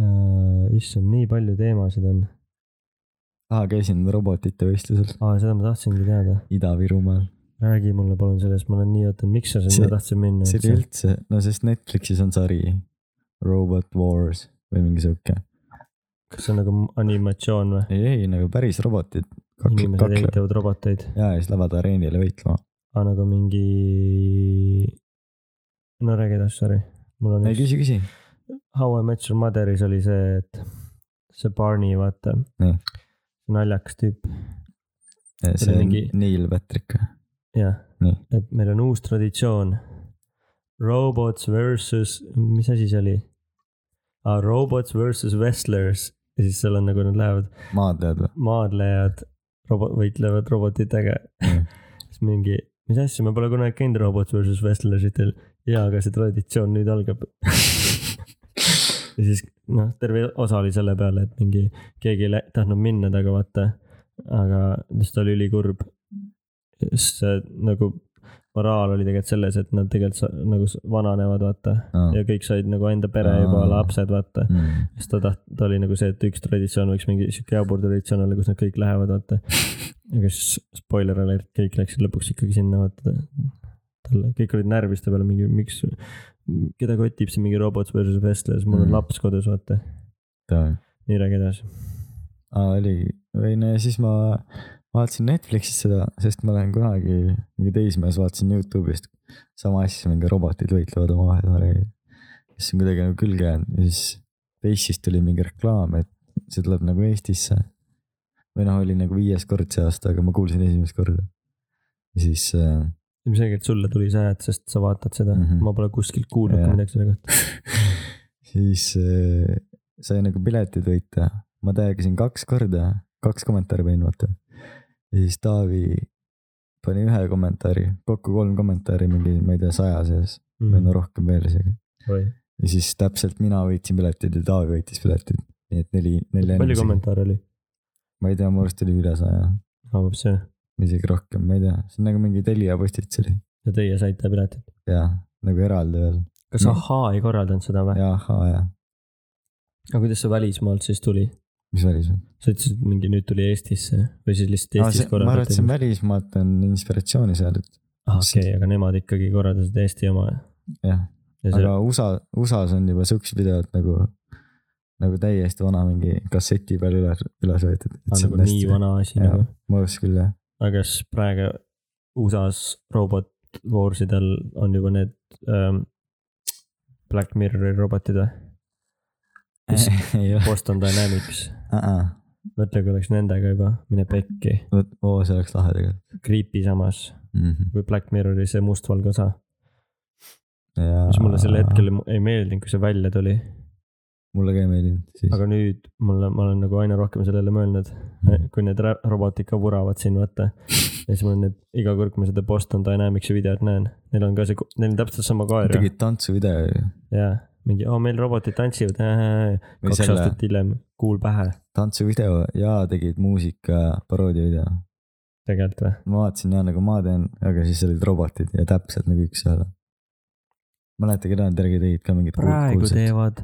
[SPEAKER 2] Äh.
[SPEAKER 1] issand , nii palju teemasid on ,
[SPEAKER 2] aa , käisin robotite võistlusel
[SPEAKER 1] aa seda ma tahtsingi teada
[SPEAKER 2] Ida-Virumaal ,
[SPEAKER 1] räägi mulle palun sellest , ma olen nii ootanud , miks sa sinna
[SPEAKER 2] See-
[SPEAKER 1] tahtsid minna
[SPEAKER 2] see oli ? üldse , no sest Netflixis on sari Robot Wars või mingi sihuke ,
[SPEAKER 1] kas see on nagu animatsioon või ?
[SPEAKER 2] ei , ei nagu päris robotid , kaks ,
[SPEAKER 1] inimesed
[SPEAKER 2] kaks
[SPEAKER 1] ehitavad roboteid ,
[SPEAKER 2] ja siis lähevad areenile võitlema .
[SPEAKER 1] aga nagu mingi . no räägi edasi , sorry , mul on
[SPEAKER 2] ei
[SPEAKER 1] üks ,
[SPEAKER 2] küsi , küsi .
[SPEAKER 1] How I Met Your Mother'is oli see , et see Barney , vaata
[SPEAKER 2] Nii. .
[SPEAKER 1] naljakas tüüp ,
[SPEAKER 2] see on
[SPEAKER 1] mingi-
[SPEAKER 2] Neil Patrick või ?
[SPEAKER 1] jah
[SPEAKER 2] Nii. .
[SPEAKER 1] et meil on uus traditsioon . Robots versus , mis asi see oli ? Robots versus wrestlers ja siis seal on nagu nad lähevad ,
[SPEAKER 2] maadlejad või ?
[SPEAKER 1] maadlejad robo- , võitlevad robotitega
[SPEAKER 2] Mm. .
[SPEAKER 1] siis mingi , mis asja , ma pole kunagi käinud Robots versus wrestleritel . jaa , aga see traditsioon nüüd algab . ja siis noh , terve osa oli selle peale , et mingi keegi ei lä- tahtnud minna taga vaata , aga siis ta oli ülikurb . sest see nagu moraal oli tegelikult selles , et nad tegelikult sa- nagu s- vananevad , vaata
[SPEAKER 2] Aa.
[SPEAKER 1] ja kõik said nagu enda pere juba
[SPEAKER 2] Aa. ,
[SPEAKER 1] lapsed , vaata .
[SPEAKER 2] Mm.
[SPEAKER 1] siis ta taht- , ta oli nagu see , et üks traditsioon võiks mingi sihuke jabur traditsioon olla , kus nad kõik lähevad , vaata . aga siis spoiler alert , kõik läksid lõpuks ikkagi sinna , vaata . talle , kõik olid närvis ta peale mingi , miks , keda kotib see mingi robots versus wrestlers , mul on
[SPEAKER 2] Mm.
[SPEAKER 1] laps kodus , vaata . nii räägi edasi .
[SPEAKER 2] aa , oli , või no ja siis ma vaatasin Netflixist seda , sest ma olen kunagi mingi teismees , vaatasin Youtube'ist sama asja , mingi robotid võitlevad omavahel värgi . siis see on kuidagi nagu külge jäänud ja siis Facebookis tuli mingi reklaam , et see tuleb nagu Eestisse . või noh , oli nagu viies kord see aasta , aga ma kuulsin esimest korda . ja siis äh,
[SPEAKER 1] ilmselgelt sulle tuli see hääd , sest sa vaatad seda mm ,
[SPEAKER 2] Mhm.
[SPEAKER 1] -hmm. ma pole kuskilt kuulnud
[SPEAKER 2] Jah.
[SPEAKER 1] ka midagi selle kohta .
[SPEAKER 2] siis äh, sai nagu piletid võita . ma täiega kaks korda , kaks kommentaari panin vaata . ja siis Taavi pani ühe kommentaari , kokku kolm kommentaari mingi , ma ei tea , saja sees
[SPEAKER 1] Mhm. Mm.
[SPEAKER 2] või no rohkem veel isegi . ja siis täpselt mina võitsin piletid ja Taavi võitis piletid . nii et neli , neli .
[SPEAKER 1] palju ? kommentaare oli ?
[SPEAKER 2] ma ei tea , mu arust oli üle saja ,
[SPEAKER 1] avab see
[SPEAKER 2] isegi rohkem , ma ei tea , see on nagu mingi Telia postitus oli
[SPEAKER 1] ja teie saite piletid .
[SPEAKER 2] ja nagu eraldi veel
[SPEAKER 1] kas
[SPEAKER 2] No.
[SPEAKER 1] ahhaa ei korraldanud seda või ?
[SPEAKER 2] ja ahaa ja ,
[SPEAKER 1] aga kuidas see välismaalt siis tuli ?
[SPEAKER 2] mis välismaal .
[SPEAKER 1] sa ütlesid , et mingi nüüd tuli Eestisse või siis lihtsalt
[SPEAKER 2] ma
[SPEAKER 1] Eestis
[SPEAKER 2] arvan , et see on
[SPEAKER 1] korraldati ?
[SPEAKER 2] välismaalt on inspiratsiooni saadud ,
[SPEAKER 1] okei , aga nemad ikkagi korraldasid Eesti oma
[SPEAKER 2] jah
[SPEAKER 1] ja see
[SPEAKER 2] aga USA , USA-s on juba siuksed videod nagu , nagu täiesti vana mingi kasseti peal üles , üles võetud .
[SPEAKER 1] on nagu nii . vana asi
[SPEAKER 2] jah
[SPEAKER 1] nagu .,
[SPEAKER 2] ma arvaks küll jah ,
[SPEAKER 1] aga kas praegu USA-s robot warsidel on juba need ähm, Black Mirrori robotid või ? Mis-
[SPEAKER 2] ei ole ,
[SPEAKER 1] Boston Dynamics , mõtle , kui oleks nendega juba , mine pekki .
[SPEAKER 2] vot , oo , see oleks lahe tegelikult
[SPEAKER 1] Creepy samas ,
[SPEAKER 2] mm . -hmm.
[SPEAKER 1] kui Black Mirrori see mustvalge osa , mis mulle sel hetkel ei meeldinud , kui see välja tuli
[SPEAKER 2] mulle ka ei meeldinud siis .
[SPEAKER 1] aga nüüd mulle , ma olen nagu aina rohkem sellele mõelnud ,
[SPEAKER 2] Mhm.
[SPEAKER 1] kui need ra- robotid ka vuravad siin , vaata . ja siis mul on need , iga kord , kui ma seda Boston Dynamicsi videot näen , neil on ka see , neil on täpselt sama kaer ju ,
[SPEAKER 2] tegid tantsuvideo ju ,
[SPEAKER 1] jaa . mingi , aa meil robotid tantsivad ,
[SPEAKER 2] Või
[SPEAKER 1] kaks
[SPEAKER 2] selle-
[SPEAKER 1] aastat hiljem , kuul pähe
[SPEAKER 2] tantsuvideo ja tegid muusika paroodiavideo .
[SPEAKER 1] tegelikult või ?
[SPEAKER 2] ma vaatasin ja nagu ma teen , aga siis olid robotid ja täpselt nagu üks-ühele . mäleta , keda nad järgi tegid ka mingid
[SPEAKER 1] praegu
[SPEAKER 2] kuulsad-
[SPEAKER 1] teevad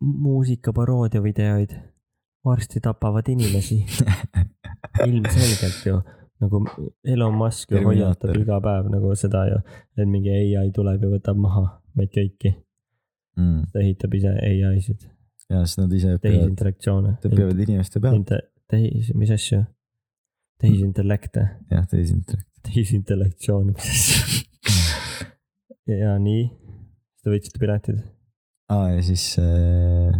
[SPEAKER 1] muusikaparoodia videoid , varsti tapavad inimesi . ilmselgelt ju , nagu Elon Musk ju hoiatab
[SPEAKER 2] Terminaator.
[SPEAKER 1] iga päev nagu seda ju , et mingi ai tuleb ja võtab maha meid kõiki ,
[SPEAKER 2] mm. .
[SPEAKER 1] ta ehitab ise ai-sid ,
[SPEAKER 2] ja siis nad ise õpivad ,
[SPEAKER 1] tehisinteraktsioone .
[SPEAKER 2] õpivad inimeste pealt .
[SPEAKER 1] tehis , mis asju ? tehisintellekte ,
[SPEAKER 2] jah , tehisintellekt .
[SPEAKER 1] tehisintellektsioone , mis asju ? ja nii , te võitsite piletid ,
[SPEAKER 2] aa , ja siis äh,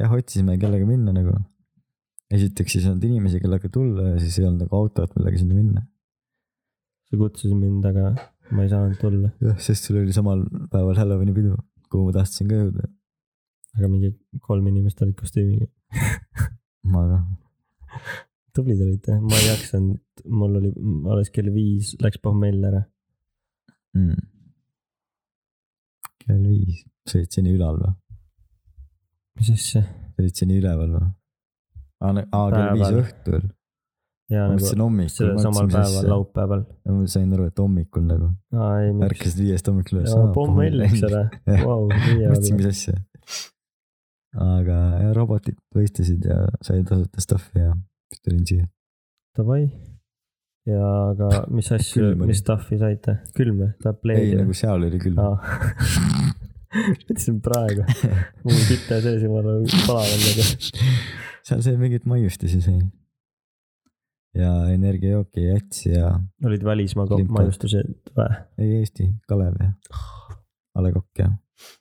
[SPEAKER 2] jah , otsisime kellega minna nagu . esiteks siis ei olnud inimesi , kellega tulla ja siis ei olnud nagu autot , millega sinna minna .
[SPEAKER 1] sa kutsusid mind , aga ma ei saanud tulla .
[SPEAKER 2] jah , sest sul oli samal päeval Halloweeni pidu , kuhu ma tahtsin ka jõuda .
[SPEAKER 1] aga mingi kolm inimest olid kostüümiga .
[SPEAKER 2] ma ka .
[SPEAKER 1] tublid olite , ma ei jaksanud , mul oli alles kell viis läks pohmell ära .
[SPEAKER 2] mm. . kell viis . sa olid seni ülal või ?
[SPEAKER 1] mis asja ?
[SPEAKER 2] sa olid seni üleval või ? aa , kell viis
[SPEAKER 1] Päeval.
[SPEAKER 2] õhtul .
[SPEAKER 1] ja
[SPEAKER 2] ma
[SPEAKER 1] nagu
[SPEAKER 2] mõtlesin hommikul .
[SPEAKER 1] sellel samal päeval ,. laupäeval .
[SPEAKER 2] ma sain aru , et hommikul nagu .
[SPEAKER 1] aa ei , miks ?
[SPEAKER 2] ärkasid viiest hommikul üles .
[SPEAKER 1] pohmell läks ära ,
[SPEAKER 2] Jah.
[SPEAKER 1] vau , nii
[SPEAKER 2] mõtlesin ,
[SPEAKER 1] hea .
[SPEAKER 2] mis asja . aga ja, robotid võistlesid ja sai tasuta stuff'i ja siis tulin siia .
[SPEAKER 1] Davai . ja aga mis asju
[SPEAKER 2] Külm , oli.
[SPEAKER 1] mis stuff'i saite ? külm või ? tahab
[SPEAKER 2] ei ,
[SPEAKER 1] pleedi
[SPEAKER 2] nagu
[SPEAKER 1] või ?
[SPEAKER 2] seal oli küll .
[SPEAKER 1] aa , ütlesin praegu , mul küte sees ja ma olen palav olnud .
[SPEAKER 2] seal sai mingit maiustisi sai . ja energiajooki ja jats ja ,
[SPEAKER 1] olid välismaa
[SPEAKER 2] Limpad.
[SPEAKER 1] majustused või ?
[SPEAKER 2] ei Eesti , Kalev ja A Le Coq ja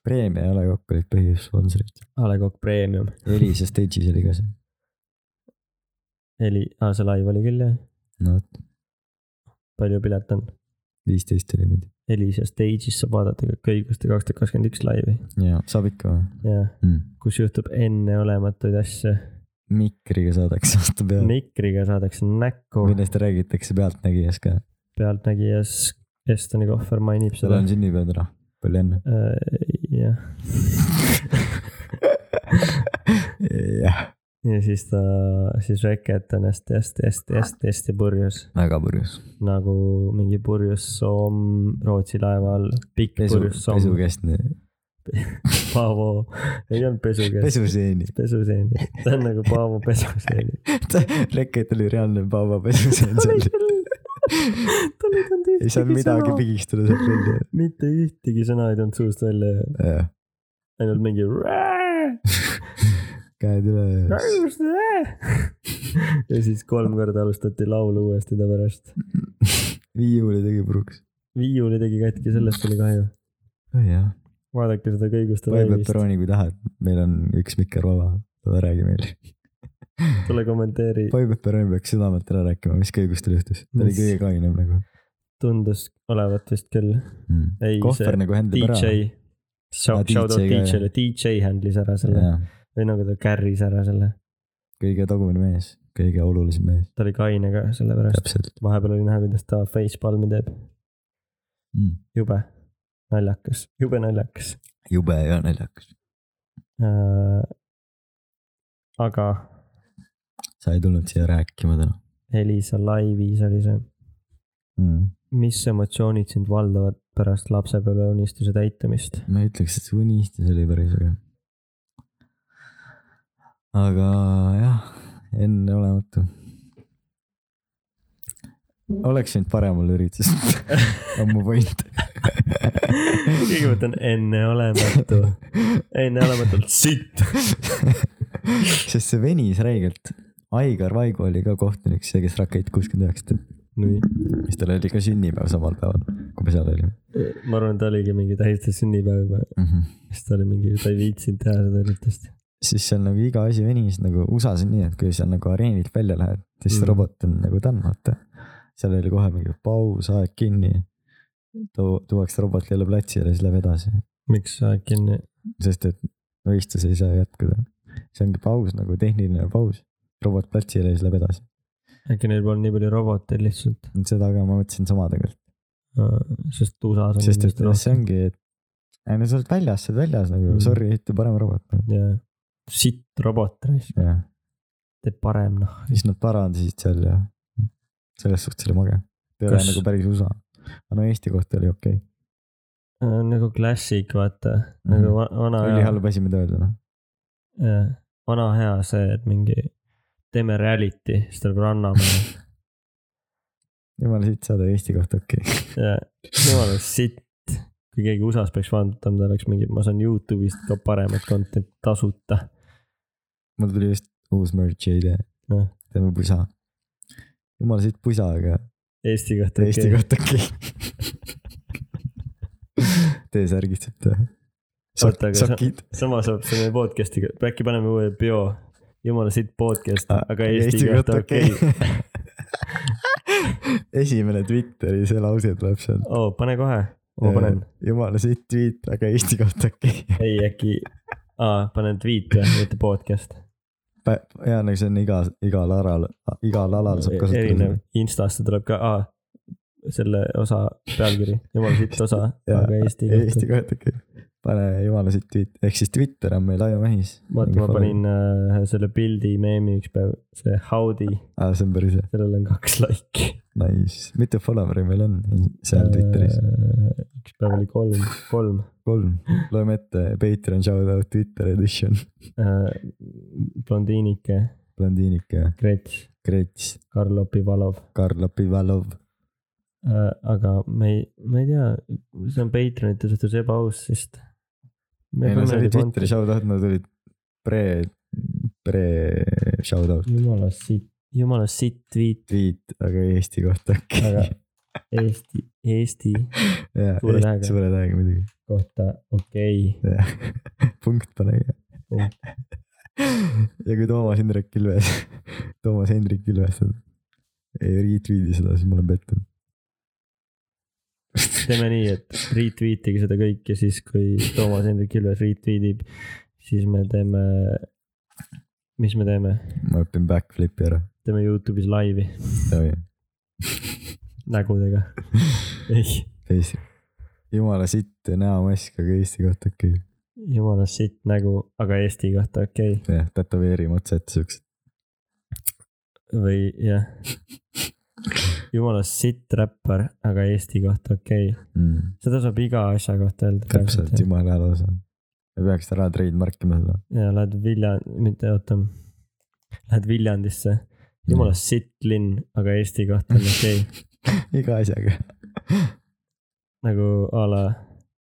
[SPEAKER 2] preemia ja A Le Coq olid põhisponsorid .
[SPEAKER 1] A Le Coq Premium .
[SPEAKER 2] Elisa Stage'is oli ka see .
[SPEAKER 1] Heli , aa see live oli küll jah ,
[SPEAKER 2] no vot ,
[SPEAKER 1] palju pilet on ?
[SPEAKER 2] viisteist oli muidu .
[SPEAKER 1] Elisa Stage'is saab vaadata kõik õiguste kaks tuhat kakskümmend üks laivi
[SPEAKER 2] jaa , saab ikka või
[SPEAKER 1] ja
[SPEAKER 2] mm. ?
[SPEAKER 1] kus juhtub enneolematuid asju .
[SPEAKER 2] mikriga saadakse vastu peale .
[SPEAKER 1] mikriga saadakse näkku ,
[SPEAKER 2] millest räägitakse Pealtnägijas ka .
[SPEAKER 1] pealtnägijas Estoni kohver mainib
[SPEAKER 2] tal
[SPEAKER 1] seda
[SPEAKER 2] on . sünnipäev täna , palju õnne .
[SPEAKER 1] jah ,
[SPEAKER 2] jah ,
[SPEAKER 1] ja siis ta , siis Reket on hästi-hästi-hästi-hästi purjus
[SPEAKER 2] väga purjus .
[SPEAKER 1] nagu mingi purjus soom Rootsi laeval , pikk
[SPEAKER 2] pesu ,
[SPEAKER 1] purjus soom ,
[SPEAKER 2] pesukeskne ,
[SPEAKER 1] Paavo , ei olnud pesukees ,
[SPEAKER 2] pesuseeni .
[SPEAKER 1] pesuseeni , ta on nagu Paavo pesuseeni .
[SPEAKER 2] Rekket oli reaalne Paavo pesuseen
[SPEAKER 1] tal
[SPEAKER 2] seal
[SPEAKER 1] ei . tulnud
[SPEAKER 2] ei
[SPEAKER 1] ühtegi
[SPEAKER 2] saanud midagi
[SPEAKER 1] sõna ,
[SPEAKER 2] pigistada sealt välja .
[SPEAKER 1] mitte ühtegi sõna ei tulnud suust välja ,
[SPEAKER 2] jah ,
[SPEAKER 1] ainult mingi .
[SPEAKER 2] käed üle ja siis
[SPEAKER 1] ja siis kolm korda alustati laulu uuesti ta pärast .
[SPEAKER 2] viiuli tegi puruks .
[SPEAKER 1] viiuli tegi katki , sellest oli kahju .
[SPEAKER 2] jah ,
[SPEAKER 1] vaadake seda kõiguste
[SPEAKER 2] vaid
[SPEAKER 1] laivist ,
[SPEAKER 2] peperooni , kui tahad , meil on üks mikker vaba , tule räägi meile .
[SPEAKER 1] tule kommenteeri ,
[SPEAKER 2] Vaibet Peroni peaks südamelt ära rääkima , mis kõigust tal juhtus , ta oli
[SPEAKER 1] Mis-
[SPEAKER 2] kõige kainem nagu
[SPEAKER 1] tundus olevat vist küll .
[SPEAKER 2] mm. .
[SPEAKER 1] ei , see
[SPEAKER 2] kohver nagu händib ära .
[SPEAKER 1] DJ , shout
[SPEAKER 2] Aa,
[SPEAKER 1] shout out
[SPEAKER 2] DJ ka,
[SPEAKER 1] DJ-le , DJ handlis ära selle
[SPEAKER 2] jah ,
[SPEAKER 1] või nagu ta carry's ära selle ,
[SPEAKER 2] kõige tagumine mees , kõige olulisem mees ,
[SPEAKER 1] ta oli kaine ka sellepärast ,
[SPEAKER 2] täpselt
[SPEAKER 1] vahepeal oli näha , kuidas ta facepalmi teeb ,
[SPEAKER 2] mm. .
[SPEAKER 1] jube naljakas , jube naljakas
[SPEAKER 2] jube ja naljakas ,
[SPEAKER 1] äh, . aga
[SPEAKER 2] sa ei tulnud siia rääkima täna
[SPEAKER 1] Elisa laivis oli see ,
[SPEAKER 2] mm. .
[SPEAKER 1] mis emotsioonid sind valdavad pärast lapsepõlveunistuse täitumist ?
[SPEAKER 2] ma ei ütleks , et see unistus oli päris äge . aga jah , enneolematu . oleks võinud paremal üritusel , on mu point .
[SPEAKER 1] kõigepealt on enneolematu , enneolematult sitt .
[SPEAKER 2] sest see venis räigelt . Aigar Vaigo oli ka kohtunik , see , kes Rakett kuuskümmend üheksa teeb ,
[SPEAKER 1] nii ,
[SPEAKER 2] siis tal oli ka sünnipäev samal päeval , kui me seal olime
[SPEAKER 1] ma arvan , et ta oligi mingi tähistas sünnipäev juba ,
[SPEAKER 2] mm . -hmm.
[SPEAKER 1] siis ta oli mingi , ta ei viitsinud teha seda üritust .
[SPEAKER 2] siis seal nagu iga asi venis nagu USA-s on nii , et kui sa nagu areenilt välja lähed , siis
[SPEAKER 1] Mhm.
[SPEAKER 2] mm. robot on nagu done , vaata . seal oli kohe mingi paus , aeg kinni . too , tuuakse robot jälle platsile , siis läheb edasi ,
[SPEAKER 1] miks sa kinni ,
[SPEAKER 2] sest et võistlus ei saa jätkuda . see ongi paus nagu tehniline paus , robot platsile ja siis läheb edasi .
[SPEAKER 1] äkki neil pole nii palju roboteid lihtsalt ,
[SPEAKER 2] seda ka ma mõtlesin sama tegelikult ,
[SPEAKER 1] sest USA-s on .
[SPEAKER 2] sest et noh, see . ongi , et ei no sa oled väljas , sa oled väljas nagu
[SPEAKER 1] Mhm.
[SPEAKER 2] mm. sorry , ehita parem robot nagu. .
[SPEAKER 1] jaa , sitt robot ,
[SPEAKER 2] jah ,
[SPEAKER 1] teeb parem noh .
[SPEAKER 2] siis nad parandasid seal ja selles suhtes oli mage . ei ole
[SPEAKER 1] Kas-
[SPEAKER 2] nagu päris USA , aga no Eesti kohta oli okei okay. ,
[SPEAKER 1] nagu klassik , vaata , nagu va- vana
[SPEAKER 2] oli
[SPEAKER 1] hea ,
[SPEAKER 2] halb asi , mida öelda noh .
[SPEAKER 1] vana hea see , et mingi teeme reality , siis tuleb Rannamäe
[SPEAKER 2] jumala siit saada Eesti kohta okei okay. .
[SPEAKER 1] ja jumala sitt , kui keegi USA-s peaks vaatama , ta oleks mingi , ma saan Youtube'ist ka paremat content'i tasuta .
[SPEAKER 2] mul tuli just uus merch'i idee
[SPEAKER 1] Noh. ,
[SPEAKER 2] teeme pusa . jumala siit pusa , aga
[SPEAKER 1] Eesti kohta
[SPEAKER 2] okay. Eesti . kohta okei okay. . T-särgid saab teha .
[SPEAKER 1] Oota, aga sa-
[SPEAKER 2] sokid .
[SPEAKER 1] sama saab see meie podcast'i , äkki paneme uue peo , jumala sitt podcast , Ah,
[SPEAKER 2] Ah,
[SPEAKER 1] aga Eesti, Eesti kohta okei okay. .
[SPEAKER 2] okay. . esimene Twitteri see lause tuleb sealt .
[SPEAKER 1] oo , pane kohe , ma panen ,
[SPEAKER 2] Ehm, jumala siit tweet , aga Eesti kohta okei okay. .
[SPEAKER 1] ei äkki , aa , panen tweet või , mitte podcast .
[SPEAKER 2] ja nagu see on iga , igal alal , igal alal saab kasutada
[SPEAKER 1] E-, erinev ,. Instasse tuleb ka , aa , selle osa pealkiri , jumala sitt osa ,
[SPEAKER 2] Jaa,
[SPEAKER 1] aga Eesti kohta
[SPEAKER 2] Eesti . kohta okei okay. . pane jumala siit tweet , ehk siis Twitter on meil ajamehis .
[SPEAKER 1] vaata , ma panin . äh, selle pildi meemi üks päev , see howdy ,
[SPEAKER 2] aa , see on päris hea ,
[SPEAKER 1] sellel on kaks like'i .
[SPEAKER 2] nice , mitu follower'i meil on
[SPEAKER 1] Äh,
[SPEAKER 2] seal Twitteris ?
[SPEAKER 1] üks päev oli kolm , kolm .
[SPEAKER 2] kolm , loeme ette , Patreon shout out Twitter edition ,
[SPEAKER 1] äh, blondiinike ,
[SPEAKER 2] blondiinike ,
[SPEAKER 1] Grets ,
[SPEAKER 2] Krets ,
[SPEAKER 1] Karl Opivalov ,
[SPEAKER 2] Karl Lapivalov ,
[SPEAKER 1] Äh, aga me ei , ma ei tea , see on Patreonite suhtes ebaaus , sest .
[SPEAKER 2] ei no see oli Twitteri shout out , nad olid pre , pre shout out ,
[SPEAKER 1] jumala sitt , jumala sitt tweet ,
[SPEAKER 2] tweet , aga Eesti kohta äkki .
[SPEAKER 1] aga Eesti , Eesti
[SPEAKER 2] jaa ,
[SPEAKER 1] suure tähega.
[SPEAKER 2] suure tähega muidugi ,
[SPEAKER 1] kohta okei
[SPEAKER 2] punkt panegi .
[SPEAKER 1] Punkt.
[SPEAKER 2] ja kui Toomas Hendrik Ilves , Toomas Hendrik Ilves ei retweet'i seda , siis ma olen pettunud .
[SPEAKER 1] okay. . teeme nii , et retweetige seda kõike , siis kui Toomas Hendrik Ilves retweetib , siis me teeme , mis me teeme ,
[SPEAKER 2] ma õpin backflip'i ära .
[SPEAKER 1] teeme Youtube'is laivi nägudega . ei ,
[SPEAKER 2] Eesti , jumala sitt näomask , aga Eesti kohta okei okay. .
[SPEAKER 1] jumala sitt nägu , aga Eesti kohta okei okay.
[SPEAKER 2] jah , tätoveerime otsa ette siuksed .
[SPEAKER 1] või jah . jumala sitt räppar , aga Eesti kohta okei okay. ,
[SPEAKER 2] Mm,
[SPEAKER 1] seda saab iga asja kohta öelda .
[SPEAKER 2] täpselt , jumala hea lause . me peaks ära trademark ima seda .
[SPEAKER 1] ja lähed Vilja , mitte oota , lähed Viljandisse , jumala sitt linn , aga Eesti kohta on okei okay. ,
[SPEAKER 2] Mm, iga asjaga .
[SPEAKER 1] nagu a la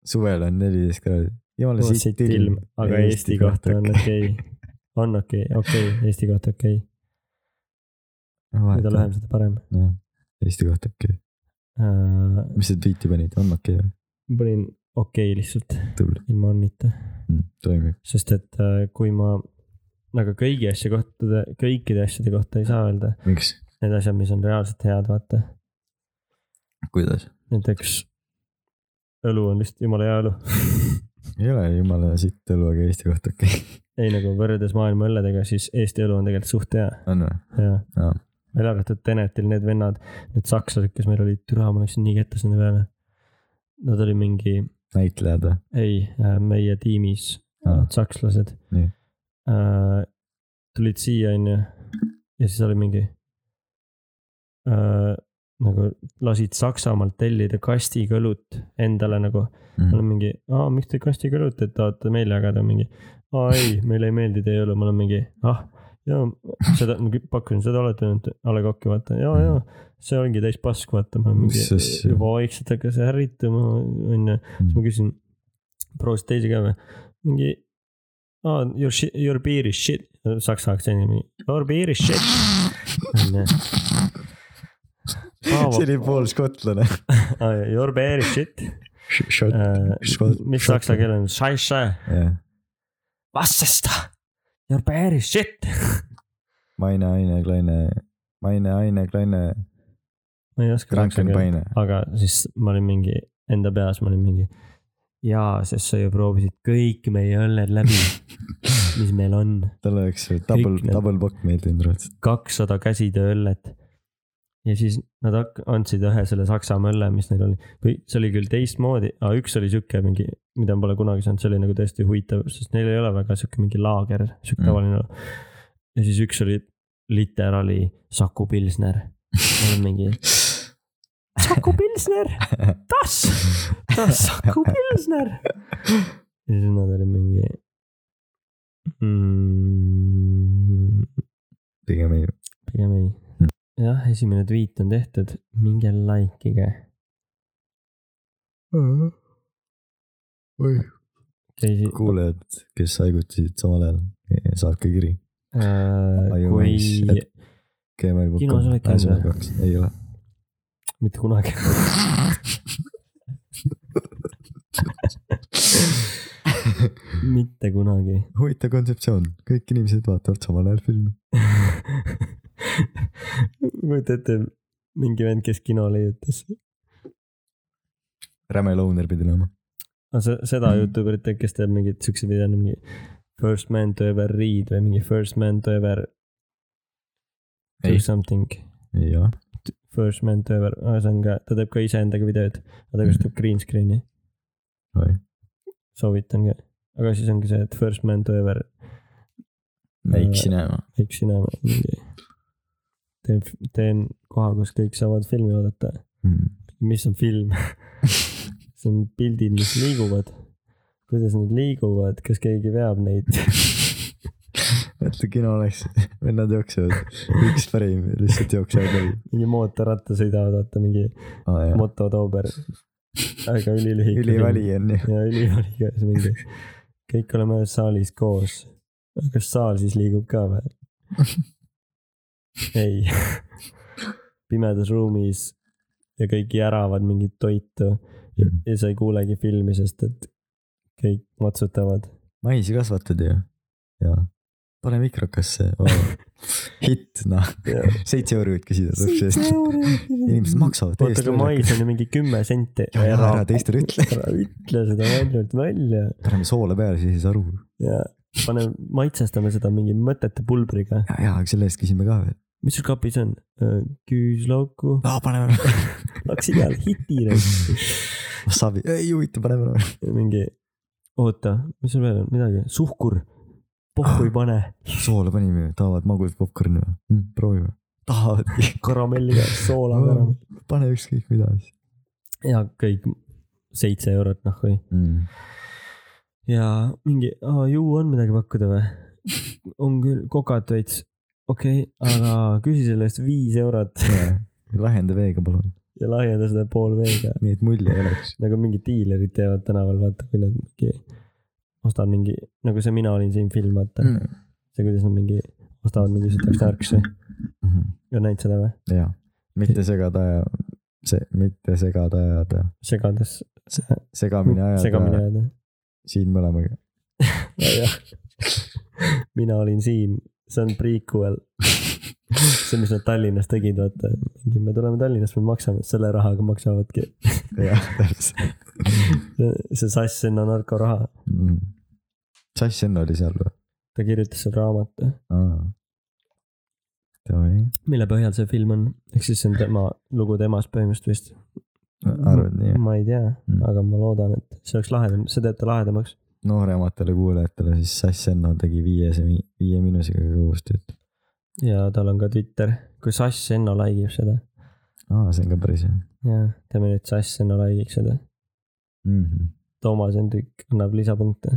[SPEAKER 2] suvel on neliteist kraadi . jumala
[SPEAKER 1] jumala sitt ilm , aga Eesti kohta on okei okay. . on okei okay. , okei okay. , Eesti kohta okei okay. , mida
[SPEAKER 2] mida
[SPEAKER 1] lühem , seda parem
[SPEAKER 2] jah , Eesti kohta okei okay. .
[SPEAKER 1] uh, .
[SPEAKER 2] mis sa tweet'i panid , on okei okay. ,
[SPEAKER 1] ma panin okei okay lihtsalt ,
[SPEAKER 2] tubli
[SPEAKER 1] ilma onnita ,
[SPEAKER 2] mm, , toimib .
[SPEAKER 1] sest et uh, kui ma , aga kõigi asjade kohta , kõikide asjade kohta ei saa öelda ,
[SPEAKER 2] miks ,
[SPEAKER 1] need asjad , mis on reaalselt head , vaata
[SPEAKER 2] kuidas ?
[SPEAKER 1] näiteks õlu on lihtsalt jumala hea õlu .
[SPEAKER 2] ei ole jumala sitt õlu , aga Eesti kohta okei okay. .
[SPEAKER 1] ei nagu võrreldes maailma õlledega , siis Eesti õlu on tegelikult suht hea
[SPEAKER 2] on või ?
[SPEAKER 1] ja
[SPEAKER 2] aa ,
[SPEAKER 1] välja arvatud Tenetil need vennad , need sakslased , kes meil olid , türa , ma läksin nii kettas nende peale . Nad olid mingi ,
[SPEAKER 2] näitlejad või ?
[SPEAKER 1] ei , meie tiimis
[SPEAKER 2] Aa.
[SPEAKER 1] need sakslased Äh,
[SPEAKER 2] Nii. .
[SPEAKER 1] tulid siia , onju , ja siis oli mingi äh, nagu lasid Saksamaalt tellida kastiga õlut endale nagu
[SPEAKER 2] mm,
[SPEAKER 1] ma olen mingi , aa , miks te kastiga rõhutate , et tahate meile jagada , mingi . aa ei , meile ei meeldi teie õlu , ma olen mingi , ah , jaa , seda , ma kü- pakkusin , seda olete nüüd A Le Coq'i vaata , jaa , jaa . see ongi täis pask , vaata , ma olen mingi
[SPEAKER 2] Mis asja? ,
[SPEAKER 1] juba vaikselt hakkas ärrituma , onju .
[SPEAKER 2] mm.
[SPEAKER 1] siis ma küsin , proovisid teisi ka või ? mingi , aa , your shit , your beer is shit , saksa aktsendiga mingi , your beer is shit . onju ,
[SPEAKER 2] see oli poolskotlane .
[SPEAKER 1] your beer is shit .
[SPEAKER 2] Äh,
[SPEAKER 1] Äh, mis saksa keel on , scheisse
[SPEAKER 2] jah ,
[SPEAKER 1] vastesta . You are very shit .
[SPEAKER 2] maine , aine , kleine , maine , aine , kleine ,
[SPEAKER 1] ma ei oska .
[SPEAKER 2] krankenpaine .
[SPEAKER 1] aga siis ma olin mingi , enda peas ma olin mingi . jaa , sest sa ju proovisid kõik meie õlled läbi , mis meil on .
[SPEAKER 2] tal oleks double
[SPEAKER 1] Kõik , need-
[SPEAKER 2] double bock meeldinud raudselt .
[SPEAKER 1] kakssada käsitööõllet . ja siis nad hak- andsid ühe selle Saksamaa õlle , mis neil oli , või see oli küll teistmoodi , aga üks oli sihuke mingi , mida ma pole kunagi saanud , see oli nagu tõesti huvitav , sest neil ei ole väga sihuke mingi laager , sihuke mm.
[SPEAKER 2] Mm.
[SPEAKER 1] tavaline . ja siis üks oli literaali Saku Pilsner . ma olen mingi , Saku Pilsner , tas , tas Saku Pilsner . ja siis nad olid mingi mm, .
[SPEAKER 2] pigem ei ,
[SPEAKER 1] pigem ei
[SPEAKER 2] Mm. .
[SPEAKER 1] jah , esimene tweet on tehtud , minge likeige . Keisi-
[SPEAKER 2] kuulajad , kes haigutasid samal ajal , saatke kiri .
[SPEAKER 1] äh, kui , Kinos oled käinud või?
[SPEAKER 2] ei ole .
[SPEAKER 1] mitte kunagi . mitte kunagi .
[SPEAKER 2] huvitav kontseptsioon , kõik inimesed vaatavad samal ajal filmi .
[SPEAKER 1] kujuta ette , mingi vend , kes kino leiutas .
[SPEAKER 2] räme loner pidi olema .
[SPEAKER 1] aga Ah, se- seda Youtuberit , kes teeb mingeid siukseid videoid , mingi first man to ever read või mingi first man to ever do
[SPEAKER 2] Ei.
[SPEAKER 1] something .
[SPEAKER 2] jah ,
[SPEAKER 1] First man to ever , see on ka , ta teeb ka iseendaga videoid , aga ta kasutab green screen'i ,
[SPEAKER 2] Mhm. oi ,
[SPEAKER 1] soovitan ka . aga siis ongi see , et first man to ever ,
[SPEAKER 2] väikse näema .
[SPEAKER 1] eks sina mingi . teen , teen koha , kus kõik saavad filmi vaadata .
[SPEAKER 2] Hmm.
[SPEAKER 1] mis on film ? see on pildid , mis liiguvad . kuidas nad liiguvad , kas keegi veab neid ?
[SPEAKER 2] mõtle , kino oleks , vennad jooksevad , üks parim , lihtsalt jooksevad läbi .
[SPEAKER 1] mingi mootorratta sõidavad , vaata mingi mototoober . aga ülilühike .
[SPEAKER 2] ülivali on ju .
[SPEAKER 1] ja ülikooliga siis mingi , kõik oleme ühes saalis koos . kas saal siis liigub ka või ? ei . pimedas
[SPEAKER 2] Hmm.
[SPEAKER 1] ruumis ja kõik järavad mingit toitu ja, ja sa ei kuulegi filmi , sest et kõik matsutavad .
[SPEAKER 2] maisi kasvatad ju ? jaa . pane mikrokasse oh. . hitt , noh , seitse eurot küsida suhtes eest . inimesed maksavad
[SPEAKER 1] oota ,
[SPEAKER 2] täiesti
[SPEAKER 1] aga mais on ju mingi kümme senti .
[SPEAKER 2] Ja ära teistele ütle.
[SPEAKER 1] ära ütle seda valjult välja
[SPEAKER 2] paneme soola peale , siis ei saa aru .
[SPEAKER 1] ja paneme , maitsestame seda mingi mõtete pulbriga .
[SPEAKER 2] ja , ja aga selle eest küsime ka veel .
[SPEAKER 1] mis sul kapis on ? küüslauku ,
[SPEAKER 2] aa , paneme ära .
[SPEAKER 1] hakkasin jälle hitile .
[SPEAKER 2] Wasabi , ei huvita , paneme ära .
[SPEAKER 1] mingi , oota , mis sul veel on , midagi , suhkur , pohhu ei pane ,
[SPEAKER 2] soola panime , tahavad magusat popkorni või mm, ? proovime . tahavadki .
[SPEAKER 1] karamelliga , soola , karamell
[SPEAKER 2] pane ükskõik mida siis
[SPEAKER 1] ja kõik seitse eurot noh või .
[SPEAKER 2] mm. .
[SPEAKER 1] ja mingi , ju on midagi pakkuda või ? on küll , kokad veits , okei okay, , aga küsi selle eest viis eurot
[SPEAKER 2] lahenda veega palun ,
[SPEAKER 1] ja lahjenda seda pool veega .
[SPEAKER 2] nii et mulje ei oleks .
[SPEAKER 1] nagu mingid diilerid teevad tänaval , vaata kui nad mingi , ostavad mingi , nagu see Mina olin siin film , vaata mm. . see , kuidas nad mingi , ostavad mingi sitaks tarkse .
[SPEAKER 2] Mm-hmm.
[SPEAKER 1] oled näinud seda või ?
[SPEAKER 2] jaa , mitte segada ja see , mitte segada ajada ,
[SPEAKER 1] segades ,
[SPEAKER 2] segamini
[SPEAKER 1] Mm, segamini
[SPEAKER 2] ajada
[SPEAKER 1] ajada .
[SPEAKER 2] siin me oleme .
[SPEAKER 1] jah , Mina olin siin , see on prequel . see , mis nad Tallinnas tegid , vaata , mingi me tuleme Tallinnast , me maksame , selle rahaga maksavadki .
[SPEAKER 2] jah , täpselt
[SPEAKER 1] see Sass Enno narkoraha ,
[SPEAKER 2] mm. . Sass Enn oli seal või ?
[SPEAKER 1] ta kirjutas seal raamatu ,
[SPEAKER 2] Davai ,
[SPEAKER 1] mille põhjal see film on , ehk siis see on tema lugu temast põhimõtteliselt vist .
[SPEAKER 2] arvad nii ?
[SPEAKER 1] ma ei tea
[SPEAKER 2] Mm.
[SPEAKER 1] mm. , aga ma loodan , et see oleks lahedam , see teeb ta lahedamaks .
[SPEAKER 2] noorematele kuulajatele siis Sass Enno tegi viies ja mi- viie miinusega koostööd .
[SPEAKER 1] ja tal on ka Twitter , kui Sass Enno like ib seda .
[SPEAKER 2] aa , see on ka päris hea
[SPEAKER 1] jaa , teeme nüüd Sass Enno like'iks seda .
[SPEAKER 2] mm . -hmm.
[SPEAKER 1] Toomas Hendrik annab lisapunkte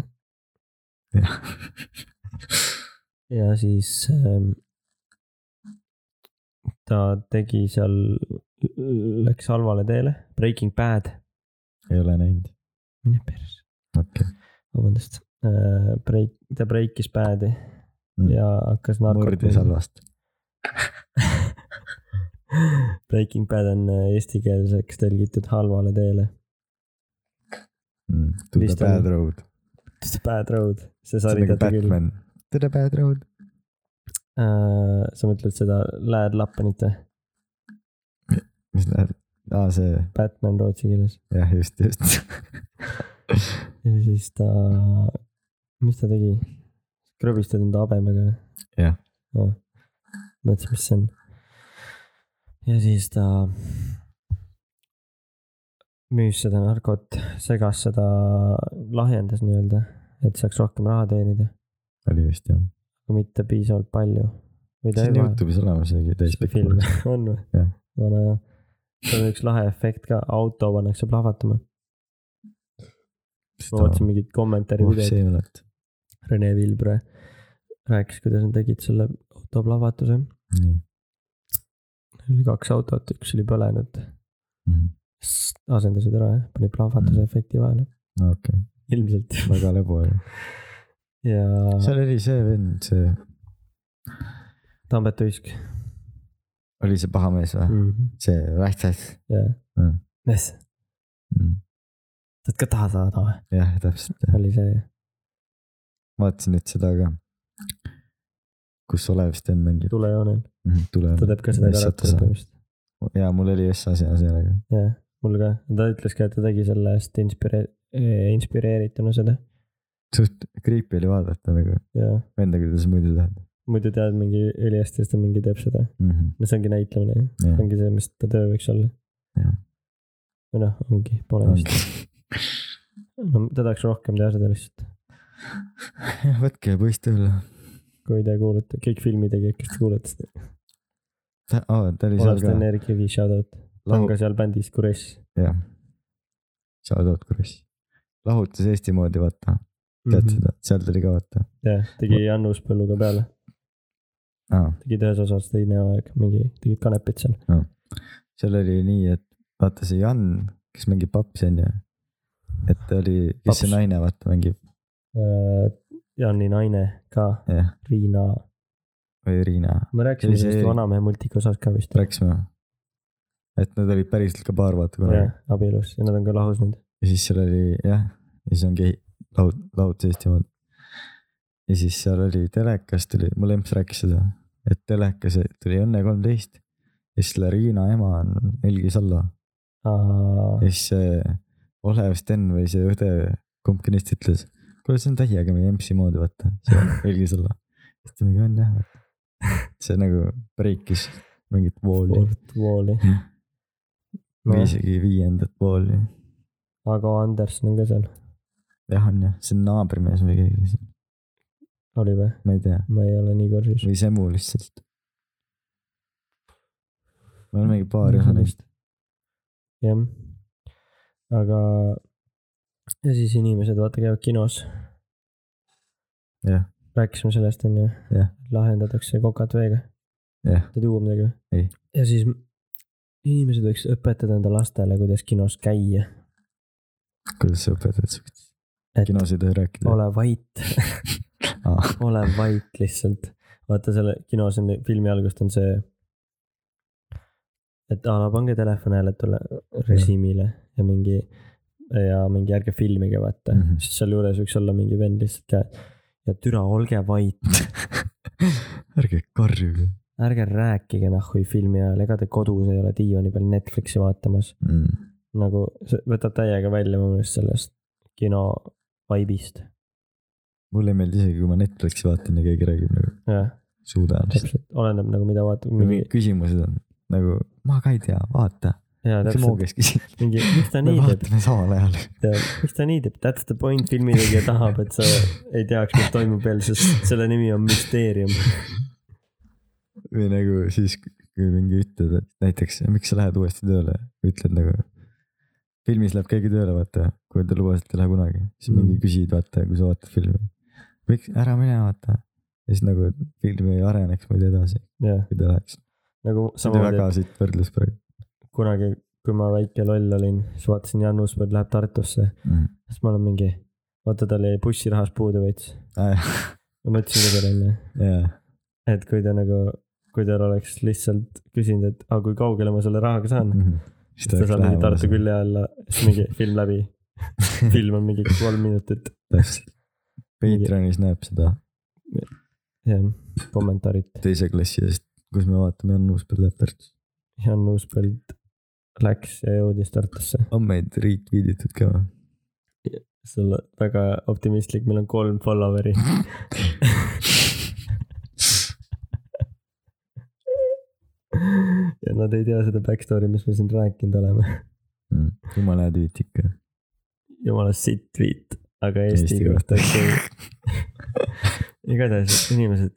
[SPEAKER 2] jah ,
[SPEAKER 1] ja siis ähm, ta tegi seal , läks halvale teele , Breaking Bad ,
[SPEAKER 2] ei ole näinud ,
[SPEAKER 1] mine pers ,
[SPEAKER 2] okei okay. .
[SPEAKER 1] vabandust äh, . Break , ta breikis Badi
[SPEAKER 2] Mm.
[SPEAKER 1] mm. ja hakkas narkot
[SPEAKER 2] murdis . halvast .
[SPEAKER 1] Breaking Bad on äh, eestikeelseks tõlgitud halvale teele .
[SPEAKER 2] mm. . To the
[SPEAKER 1] Vist oli.
[SPEAKER 2] bad road .
[SPEAKER 1] Bad Road , see
[SPEAKER 2] see on
[SPEAKER 1] sari
[SPEAKER 2] nagu
[SPEAKER 1] teate küll .
[SPEAKER 2] Batman . To the bad road .
[SPEAKER 1] Äh, sa mõtled seda Lad Lappanit või ?
[SPEAKER 2] mis läheb , aa see ,
[SPEAKER 1] Batman rootsi keeles .
[SPEAKER 2] jah just , just .
[SPEAKER 1] ja siis ta , mis ta tegi ? krõbistad enda habemega või ?
[SPEAKER 2] Jah.
[SPEAKER 1] no. . mõtlesin , mis see on . ja siis ta müüs seda narkot , segas seda , lahjendas nii-öelda , et saaks rohkem raha teenida ,
[SPEAKER 2] oli vist jah .
[SPEAKER 1] aga mitte piisavalt palju . või ta
[SPEAKER 2] see
[SPEAKER 1] ei
[SPEAKER 2] on
[SPEAKER 1] vahe ,
[SPEAKER 2] Youtube'is olemas isegi täispikk
[SPEAKER 1] film . on või
[SPEAKER 2] Jah. ?
[SPEAKER 1] vana hea . seal on üks lahe efekt ka , auto pannakse plahvatama . ma vaatasin mingit kommentaari videot .
[SPEAKER 2] Oh, see ei mäleta .
[SPEAKER 1] Rene Vilbre rääkis , kuidas nad tegid selle auto plahvatuse .
[SPEAKER 2] nii
[SPEAKER 1] oli kaks autot , üks oli põlenud ,
[SPEAKER 2] mm. ,
[SPEAKER 1] asendasid ära ja panid plahvatuse
[SPEAKER 2] Mhm.
[SPEAKER 1] efekti vahele .
[SPEAKER 2] okei okay. ,
[SPEAKER 1] ilmselt .
[SPEAKER 2] väga lebo ju .
[SPEAKER 1] ja
[SPEAKER 2] seal oli see vend , see ,
[SPEAKER 1] Tambet Uisk
[SPEAKER 2] oli see paha mees või mm. ?
[SPEAKER 1] mm. .
[SPEAKER 2] see Rähtsas
[SPEAKER 1] jah
[SPEAKER 2] Mm. .
[SPEAKER 1] mees ,
[SPEAKER 2] mm. .
[SPEAKER 1] tahad ka taha saada või ?
[SPEAKER 2] jah , täpselt ,
[SPEAKER 1] oli see ,
[SPEAKER 2] vaatasin nüüd seda ka . kus Olev Sten mängib .
[SPEAKER 1] tulejoonel ,
[SPEAKER 2] tule .
[SPEAKER 1] ta teeb ka seda karakteri põhimõtteliselt .
[SPEAKER 2] jaa , mul oli S-as ja sellega .
[SPEAKER 1] jah , mul ka , ta ütles ka , et ta tegi sellest inspire- , inspireerituna seda
[SPEAKER 2] suht creepy oli vaadata nagu ,
[SPEAKER 1] ja
[SPEAKER 2] venda , kuidas muidu tead
[SPEAKER 1] muidu tead mingi ülihästi , siis ta mingi teeb seda .
[SPEAKER 2] mm . -hmm.
[SPEAKER 1] no see ongi näitlemine jah .
[SPEAKER 2] Jah.
[SPEAKER 1] see ongi see , mis ta töö võiks olla
[SPEAKER 2] Jah. .
[SPEAKER 1] või noh , ongi , pole vist . no ta tahaks rohkem teha seda lihtsalt .
[SPEAKER 2] jah , võtke poiss tööle .
[SPEAKER 1] kui te kuulete , kõik filmitegijad , kes te kuulete seda .
[SPEAKER 2] ta , aa , ta oli seal
[SPEAKER 1] olemas
[SPEAKER 2] ka Nagu-
[SPEAKER 1] on . Erik Jõgi , shout out . ta on
[SPEAKER 2] lahu-
[SPEAKER 1] ka , seal bändis Kuress
[SPEAKER 2] jah . sa oled Outcrush . lahutus Eesti moodi , vaata , tead mm -hmm. . seda , seal tuli ka vaata .
[SPEAKER 1] Mhm. jah , tegi Annus põlluga peale .
[SPEAKER 2] aa ,
[SPEAKER 1] tegid ühes osas , teine aeg mingi , tegid kanepit seal .
[SPEAKER 2] seal oli nii , et vaata see Jan , kes mängib papsi onju . et ta oli , kes see
[SPEAKER 1] Paps.
[SPEAKER 2] naine vaata mängib ,
[SPEAKER 1] Äh, Janni naine ka ,
[SPEAKER 2] jah ,
[SPEAKER 1] Riina .
[SPEAKER 2] või Riina ,
[SPEAKER 1] me rääkisime
[SPEAKER 2] Oli see
[SPEAKER 1] sellest
[SPEAKER 2] Eerik?
[SPEAKER 1] vanamehe multika osas ka vist .
[SPEAKER 2] rääkisime . et nad olid päriselt ka paar vaata kunagi
[SPEAKER 1] jah , abielus ja nad on ka lahus nüüd .
[SPEAKER 2] ja siis seal oli jah , ja siis ongi laud , laud Eestimaad . ja siis seal oli telekas tuli , mul emps rääkis seda , et telekas tuli Õnne kolmteist ja siis selle Riina ema on Helgi Sallo ja siis see Olev Sten või see õde , kumbki neist ütles , kuule , see on täiega meie MC moodi , vaata , see Helgi Sallo . siis ta mingi on jah , see nagu breikis mingit vooli
[SPEAKER 1] Fort Walli .
[SPEAKER 2] või isegi viiendat vooli .
[SPEAKER 1] Ago Anderson on ka seal ,
[SPEAKER 2] jah , on jah , see on naabrimees või keegi ,
[SPEAKER 1] oli või ?
[SPEAKER 2] ma ei tea ,
[SPEAKER 1] ma ei ole nii kursis .
[SPEAKER 2] või Semu lihtsalt . ma olen mingi paari osa neist .
[SPEAKER 1] jah , aga ja siis inimesed vaata käivad kinos .
[SPEAKER 2] Jah. .
[SPEAKER 1] rääkisime sellest onju
[SPEAKER 2] Jah. .
[SPEAKER 1] lahendatakse kokad veega .
[SPEAKER 2] Jah.
[SPEAKER 1] tahad juua midagi või
[SPEAKER 2] Ei. ?
[SPEAKER 1] ja siis m- inimesed võiks õpetada enda lastele , kuidas kinos käia .
[SPEAKER 2] kuidas sa õpetad siukest
[SPEAKER 1] et
[SPEAKER 2] kinosid rääkida ?
[SPEAKER 1] ole vait ,
[SPEAKER 2] Ah,
[SPEAKER 1] ole vait lihtsalt . vaata selle kinos on filmi algust on see , et a la pange telefon hääletule režiimile ja mingi ja mingi ärge filmige vaata mm ,
[SPEAKER 2] Mhm.
[SPEAKER 1] -hmm. siis sealjuures võiks olla mingi vend lihtsalt ka ja türa olge vait ,
[SPEAKER 2] ärge karjuge
[SPEAKER 1] ärge rääkige nahhui filmi ajal , ega te kodus ei ole diivani peal Netflixi vaatamas .
[SPEAKER 2] mm. .
[SPEAKER 1] nagu see võtab täiega välja mu meelest sellest kino vaibist .
[SPEAKER 2] mulle ei meeldi isegi , kui ma Netflixi vaatan ja keegi räägib nagu
[SPEAKER 1] jah ,
[SPEAKER 2] suudan .
[SPEAKER 1] täpselt , oleneb nagu mida vaatab mingi
[SPEAKER 2] mingid küsimused on nagu , ma ka ei tea , vaata .
[SPEAKER 1] jaa
[SPEAKER 2] see
[SPEAKER 1] täpselt ,
[SPEAKER 2] Mooges küsib ,
[SPEAKER 1] mingi miks ta
[SPEAKER 2] me
[SPEAKER 1] nii teeb ,
[SPEAKER 2] vaatame samal ajal .
[SPEAKER 1] tead , miks ta nii teeb , that's the point , filmitegija tahab , et sa ei teaks , mis toimub veel , sest selle nimi on müsteerium .
[SPEAKER 2] või nagu siis , kui mingi ütled , et näiteks , miks sa lähed uuesti tööle , ütled nagu . filmis läheb keegi tööle , vaata , kui ta lubas , et ei lähe kunagi ,
[SPEAKER 1] Mm.
[SPEAKER 2] siis mm. mingi küsid , vaata , kui sa vaatad filmi . miks , ära mine vaata . ja siis nagu et film ei areneks muidu edasi ,
[SPEAKER 1] jah ,
[SPEAKER 2] kui ta läheks .
[SPEAKER 1] nagu
[SPEAKER 2] see oli
[SPEAKER 1] samamoodi
[SPEAKER 2] väga siit võrdlus praegu
[SPEAKER 1] kunagi , kui ma väike loll olin , siis vaatasin Jan Uuspõld läheb Tartusse ,
[SPEAKER 2] mm. .
[SPEAKER 1] siis ma olen mingi , vaata tal jäi bussirahast puudu veits .
[SPEAKER 2] Ah,
[SPEAKER 1] ma ütlesin ka talle onju ,
[SPEAKER 2] jah ,
[SPEAKER 1] et kui ta nagu , kui tal oleks lihtsalt küsinud , et aga kui kaugele ma selle rahaga saan mm ,
[SPEAKER 2] jaa .
[SPEAKER 1] siis ta saab mingi Tartu . külje alla , siis mingi film läbi , film on mingi kolm minutit ,
[SPEAKER 2] täpselt . Patreonis näeb seda
[SPEAKER 1] jah , kommentaarid .
[SPEAKER 2] teise klassi eest , kus me vaatame Jan Uuspõld läheb Tartus .
[SPEAKER 1] Jan Uuspõld läks ja jõudis Tartusse ,
[SPEAKER 2] on meid retweetitud ka või ?
[SPEAKER 1] see on väga optimistlik , meil on kolm follower'i . ja nad ei tea seda backstory , mis me siin rääkinud oleme ,
[SPEAKER 2] jumala Mm, hea tweet ikka .
[SPEAKER 1] jumala sitt tweet , aga Eesti
[SPEAKER 2] Eesti
[SPEAKER 1] kohta
[SPEAKER 2] kohta.
[SPEAKER 1] ikka igatahes inimesed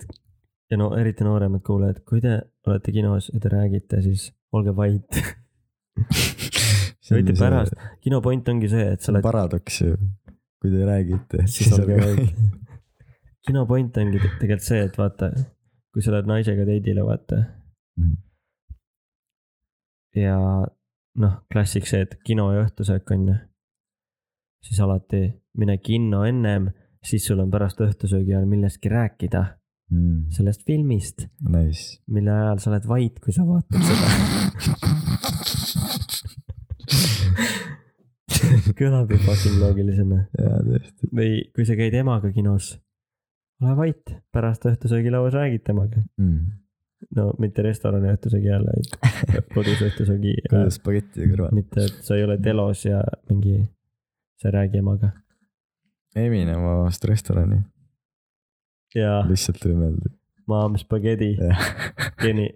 [SPEAKER 1] ja no eriti nooremad kuulajad , kui te olete kinos ja te räägite , siis olge vait . võite pärast- . kino point ongi see , et sa
[SPEAKER 2] see on
[SPEAKER 1] oled ,
[SPEAKER 2] paradoks ju , kui te räägite ,
[SPEAKER 1] siis olge vait . kino point ongi te- tegelikult see , et vaata , kui sa lähed naisega date'ile , vaata
[SPEAKER 2] Mhm. .
[SPEAKER 1] ja noh , klassik see , et kino ja õhtusöök on ju . siis alati mine kinno ennem , siis sul on pärast õhtusöögi ajal millestki rääkida ,
[SPEAKER 2] mm, .
[SPEAKER 1] sellest filmist ,
[SPEAKER 2] Nice .
[SPEAKER 1] mille ajal sa oled vait , kui sa vaatad seda . kõlab ju fucking loogilisena .
[SPEAKER 2] jaa , tõesti .
[SPEAKER 1] või kui sa käid emaga kinos , ole vait , pärast õhtusöögilauas räägid temaga .
[SPEAKER 2] Mm,
[SPEAKER 1] no mitte restorani õhtusöögi ajal , vaid kodus õhtusöögi ajal .
[SPEAKER 2] kuidas spagetti kõrval .
[SPEAKER 1] mitte , et sa ei ole telos ja mingi , sa ei räägi emaga .
[SPEAKER 2] Eminem avast restorani ,
[SPEAKER 1] ja
[SPEAKER 2] lihtsalt tuli meelde .
[SPEAKER 1] maam spagedi , geni ,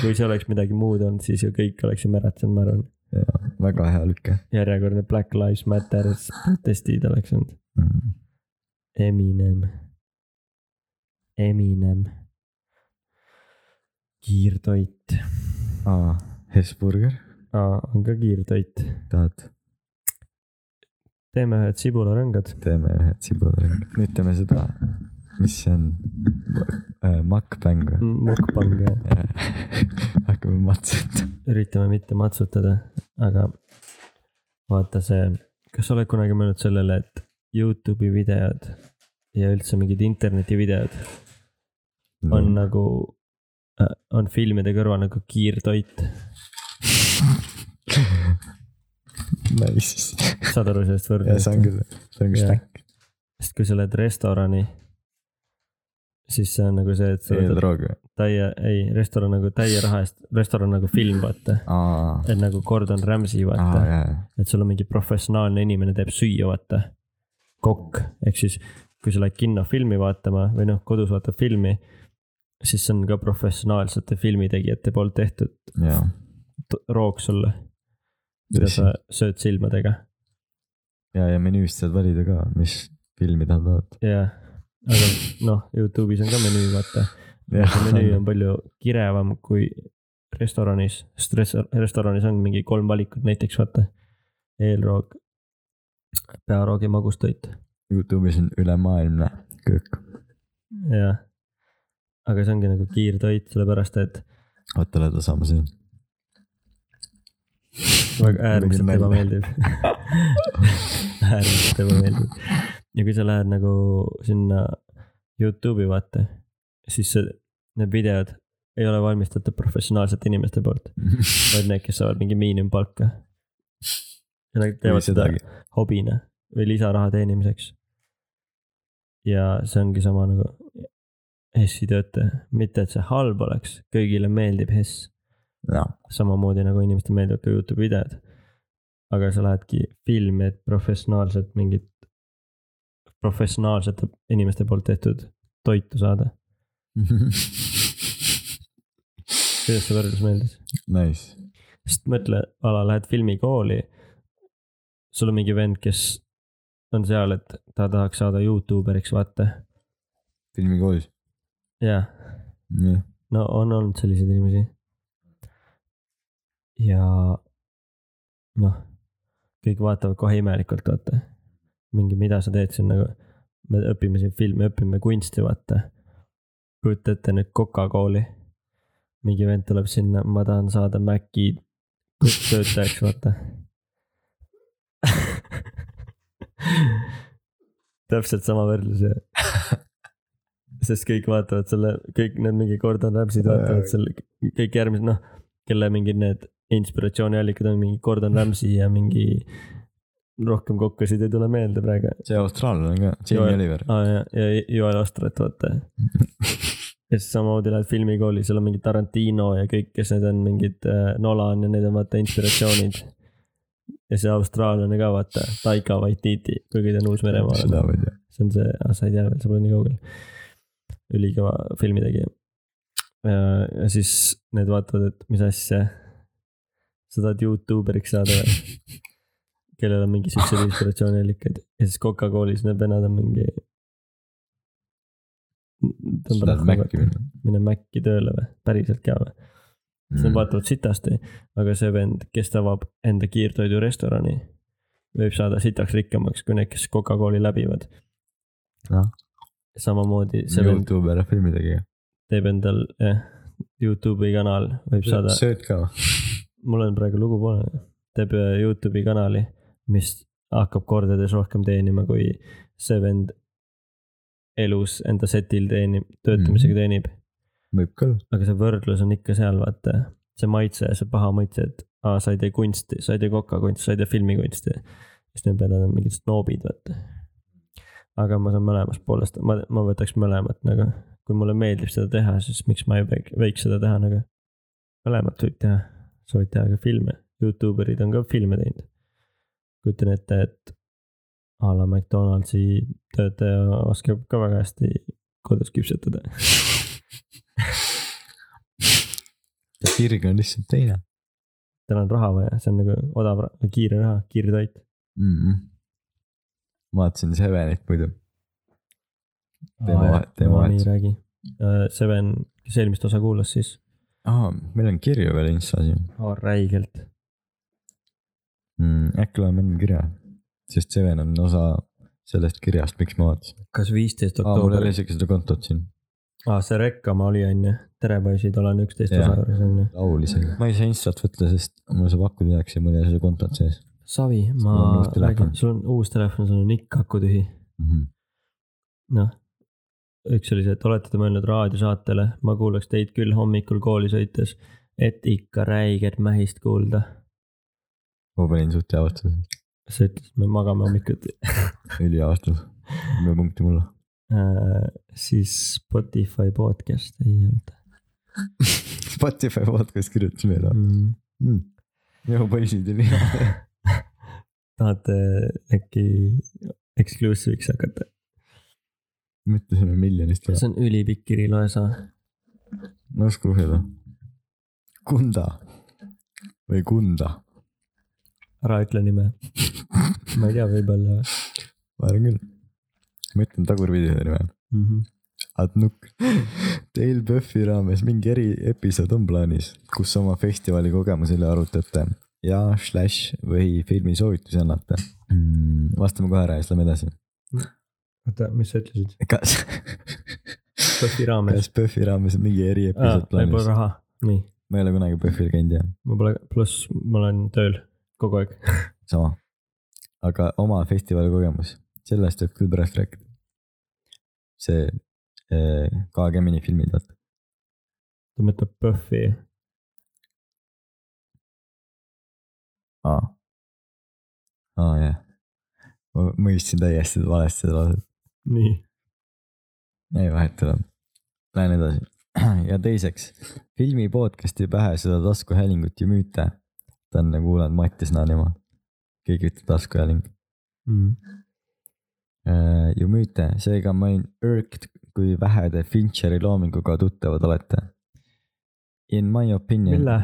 [SPEAKER 1] kui see oleks midagi muud olnud , siis ju kõik oleksime äratsenud , ma arvan .
[SPEAKER 2] väga hea lüke
[SPEAKER 1] järjekordne Black Lives Matter protestid oleks olnud .
[SPEAKER 2] mm. .
[SPEAKER 1] Eminem . Eminem . kiirtoit .
[SPEAKER 2] aa , Hesburger ,
[SPEAKER 1] aa , on ka kiirtoit .
[SPEAKER 2] tahad ?
[SPEAKER 1] teeme ühed sibularõngad .
[SPEAKER 2] teeme ühed sibularõngad , nüüd teeme seda , mis see on , äh, makkbäng või ?
[SPEAKER 1] mukbang ja
[SPEAKER 2] hakkame matsutama .
[SPEAKER 1] üritame mitte matsutada , aga vaata see , kas sa oled kunagi mõelnud sellele , et Youtube'i videod ja üldse mingid internetivideod on nagu , on filmide kõrval nagu kiirtoit ,
[SPEAKER 2] Nice .
[SPEAKER 1] saad aru sellest
[SPEAKER 2] ja see
[SPEAKER 1] võrdlusest ?
[SPEAKER 2] on küll , see on küll
[SPEAKER 1] Jaa.
[SPEAKER 2] stack .
[SPEAKER 1] sest kui sa oled restorani , siis see on nagu see , et sa
[SPEAKER 2] see ei ole
[SPEAKER 1] võtad
[SPEAKER 2] droog või ?
[SPEAKER 1] täie , ei , restoran nagu täie raha eest , restoran nagu film , vaata .
[SPEAKER 2] aa ,
[SPEAKER 1] et nagu Gordon Ramsay ,
[SPEAKER 2] aa
[SPEAKER 1] vaata ,
[SPEAKER 2] jaa ,
[SPEAKER 1] et sul on mingi professionaalne inimene teeb süüa , vaata . kokk , ehk siis kui sa lähed kinno filmi vaatama või noh , kodus vaatad filmi , siis see on ka professionaalsete filmitegijate poolt tehtud
[SPEAKER 2] jaa .
[SPEAKER 1] t- roog sulle , mida sa sööd silmadega
[SPEAKER 2] ja , ja menüüst saad valida ka , mis filmi tahad vaadata .
[SPEAKER 1] jah , aga noh , Youtube'is on ka menüü , vaata . menüü on palju kirevam kui restoranis , sest res- restoranis on mingi kolm valikut näiteks , vaata . eelroog , pearoog ja magustoit ,
[SPEAKER 2] Youtube'is on ülemaailmne köök .
[SPEAKER 1] jah . aga see ongi nagu kiirtoit , sellepärast et
[SPEAKER 2] vaata , oled Osama siin .
[SPEAKER 1] väga äärmiselt . ebameeldiv . äärmiselt ebameeldiv . ja kui sa lähed nagu sinna Youtube'i vaata , siis see, need videod ei ole valmistatud professionaalsete inimeste poolt , vaid need , kes saavad mingi miinimumpalka . ja nad teevad seda
[SPEAKER 2] sedagi .
[SPEAKER 1] hobina või lisaraha teenimiseks . ja see ongi sama nagu Hessi töötaja , mitte et see halb oleks , kõigile meeldib Hess
[SPEAKER 2] jah ,
[SPEAKER 1] samamoodi nagu inimestele meeldivad ka Youtube videod . aga sa lähedki filmi , et professionaalselt mingit , professionaalsete inimeste poolt tehtud toitu saada . kuidas see võrdlus meeldis ?
[SPEAKER 2] nice .
[SPEAKER 1] sest mõtle , ala lähed filmikooli , sul on mingi vend , kes on seal , et ta tahaks saada Youtuberiks , vaata .
[SPEAKER 2] filmikoolis .
[SPEAKER 1] jah ,
[SPEAKER 2] jah ,
[SPEAKER 1] no on olnud selliseid inimesi . ja noh , kõik vaatavad kohe imelikult , vaata . mingi , mida sa teed siin nagu , me õpime siin filmi , õpime kunsti , vaata . kujuta ette nüüd Coca-Cooli . mingi vend tuleb sinna , ma tahan saada Maci töötajaks , vaata täpselt sama võrdlus ju . sest kõik vaatavad selle , kõik need mingi Gordon Ramsay'd vaatavad selle , kõik järgmised , noh , kelle mingid need inspiratsiooniallikad on mingi Gordon Ramsay ja mingi rohkem kokkasid ei tule meelde praegu .
[SPEAKER 2] see austraallane ka , Jamie
[SPEAKER 1] Joel-
[SPEAKER 2] Oliver .
[SPEAKER 1] aa ja , ja Joel Ostrat , vaata . ja siis samamoodi lähed filmikooli , seal on mingi Tarantino ja kõik , kes need on , mingid äh, Nolan ja need on vaata inspiratsioonid . ja see austraallane ka vaata , Taika Waititi , kuigi ta on Uus-Meremaal .
[SPEAKER 2] seda ma ei tea .
[SPEAKER 1] see on see , sa ei tea veel , sa pole nii kaugel . ülikõva filmitegija . ja siis need vaatavad , et mis asja . sa tahad Youtuberiks saada või ? kellel on mingi siukseid inspiratsiooniallikaid ja siis Coca-Colis need vennad on mingi .
[SPEAKER 2] sa tahad Maci minna ?
[SPEAKER 1] mine Maci tööle või , päriselt ka või ? siis
[SPEAKER 2] Mm.
[SPEAKER 1] nad vaatavad sitasti , aga see vend , kes ta avab enda kiirtoidurestorani , võib saada sitaks rikkamaks kui need , kes Coca-Cooli läbivad .
[SPEAKER 2] Jah.
[SPEAKER 1] samamoodi see vend
[SPEAKER 2] Youtube ära filmidega .
[SPEAKER 1] teeb endal jah , Youtube'i kanal võib saada ,
[SPEAKER 2] sööd ka ?
[SPEAKER 1] mul on praegu lugu pooleli , teeb äh, Youtube'i kanali , mis hakkab kordades rohkem teenima , kui see vend elus enda setil teenib , töötamisega teenib .
[SPEAKER 2] võib küll .
[SPEAKER 1] aga see võrdlus on ikka seal , vaata , see maitse , see paha maitse , et aa , sa ei tee kunsti , sa ei tee kokakunsti , sa ei tee filmikunsti . siis need peavad olema mingid snoobid , vaata . aga ma saan mõlemast poolest , ma , ma võtaks mõlemat nagu , kui mulle meeldib seda teha , siis miks ma ei peaks- võiks seda teha nagu . mõlemat võib teha , sa võid teha ka filme , Youtube erid on ka filme teinud . kujutan ette , et a la McDonaldsi töötaja oskab ka väga hästi kodus küpsetada .
[SPEAKER 2] kirg on lihtsalt teine
[SPEAKER 1] tal on raha vaja , see on nagu odav , kiire raha , kiire toit .
[SPEAKER 2] mm . -hmm. vaatasin Sevenit muidu . Teeme vahet- teeme vahet.
[SPEAKER 1] nii räägi . Seven , kes eelmist osa kuulas , siis
[SPEAKER 2] aa , Ah, meil on kirju veel Instas ju
[SPEAKER 1] oh, räigelt .
[SPEAKER 2] mm, . äkki loeme enne kirja , sest Seven on osa sellest kirjast , miks ma vaatasin .
[SPEAKER 1] kas viisteist
[SPEAKER 2] aa , mul ei
[SPEAKER 1] oktoober
[SPEAKER 2] ole ? isegi seda kontot siin ,
[SPEAKER 1] aa , see Rekkama oli onju , Tere poisid , olen üksteist
[SPEAKER 2] Jah.
[SPEAKER 1] osa juures onju .
[SPEAKER 2] laul isegi . ma ei saa Instat võtta , sest mul see pakku tehakse ja mul ei ole seda kontot sees
[SPEAKER 1] Savi ,
[SPEAKER 2] Sul on
[SPEAKER 1] ma
[SPEAKER 2] uus telefon.
[SPEAKER 1] räägin , sul on uus telefon , sul on ikka aku tühi .
[SPEAKER 2] mm . -hmm.
[SPEAKER 1] noh , üks oli see , et olete te mõelnud raadiosaatele , ma kuulaks teid küll hommikul kooli sõites , et ikka räiget mähist kuulda .
[SPEAKER 2] ma panin suht hea vastuse ,
[SPEAKER 1] sa ütlesid , me magame hommikuti .
[SPEAKER 2] ülihea vastus . kümme punkti mulle .
[SPEAKER 1] Äh, siis Spotify podcast ei olnud
[SPEAKER 2] Spotify podcast kirjutas meile
[SPEAKER 1] mm. .
[SPEAKER 2] mm. . joo , poisid ja mina .
[SPEAKER 1] tahate äh, äkki exclusive'iks hakata ?
[SPEAKER 2] mõtlesime miljonist ära .
[SPEAKER 1] see on ülipikk kiri , loe sa .
[SPEAKER 2] ma ei oska lugeda . Kunda või Kunda ,
[SPEAKER 1] ära ütle nime . ma ei tea , võib-olla
[SPEAKER 2] ma arvan küll . ma ütlen tagurpidi selle nime .
[SPEAKER 1] mm . -hmm.
[SPEAKER 2] Adnuk , teil PÖFFi raames mingi eriepisood on plaanis , kus oma festivali kogemuse üle arutate ja slaš või filmi soovitusi annate mm, . vastame kohe ära ja siis lähme edasi .
[SPEAKER 1] oota , mis sa ütlesid ?
[SPEAKER 2] kas ,
[SPEAKER 1] Spotify raames .
[SPEAKER 2] kas PÖFFi raames on mingi
[SPEAKER 1] aa
[SPEAKER 2] eriepisood ,
[SPEAKER 1] meil pole
[SPEAKER 2] plaanis ?
[SPEAKER 1] raha . nii ,
[SPEAKER 2] ma ei ole kunagi PÖFFil käinud jah ,
[SPEAKER 1] ma pole , pluss ma olen tööl kogu aeg .
[SPEAKER 2] sama . aga oma festivali kogemus , sellest võib küll pärast rääkida . see eh, Kaagemini filmid , vaata .
[SPEAKER 1] ta mõtleb PÖFFi .
[SPEAKER 2] aa . aa jah , ma mõistsin täiesti valesti seda lauset .
[SPEAKER 1] nii .
[SPEAKER 2] ei vahet ei ole . Lähen edasi . ja teiseks , filmi podcast'i pähe seda taskuhäälingut ju müüte . ta on nagu kuulanud Mattias Naanimaa . keegi ütleb taskuhääling .
[SPEAKER 1] Mm.
[SPEAKER 2] ju müüte , seega ma olin irked , kui vähe te Fincheri loominguga tuttavad olete . In my opinion .
[SPEAKER 1] Mille?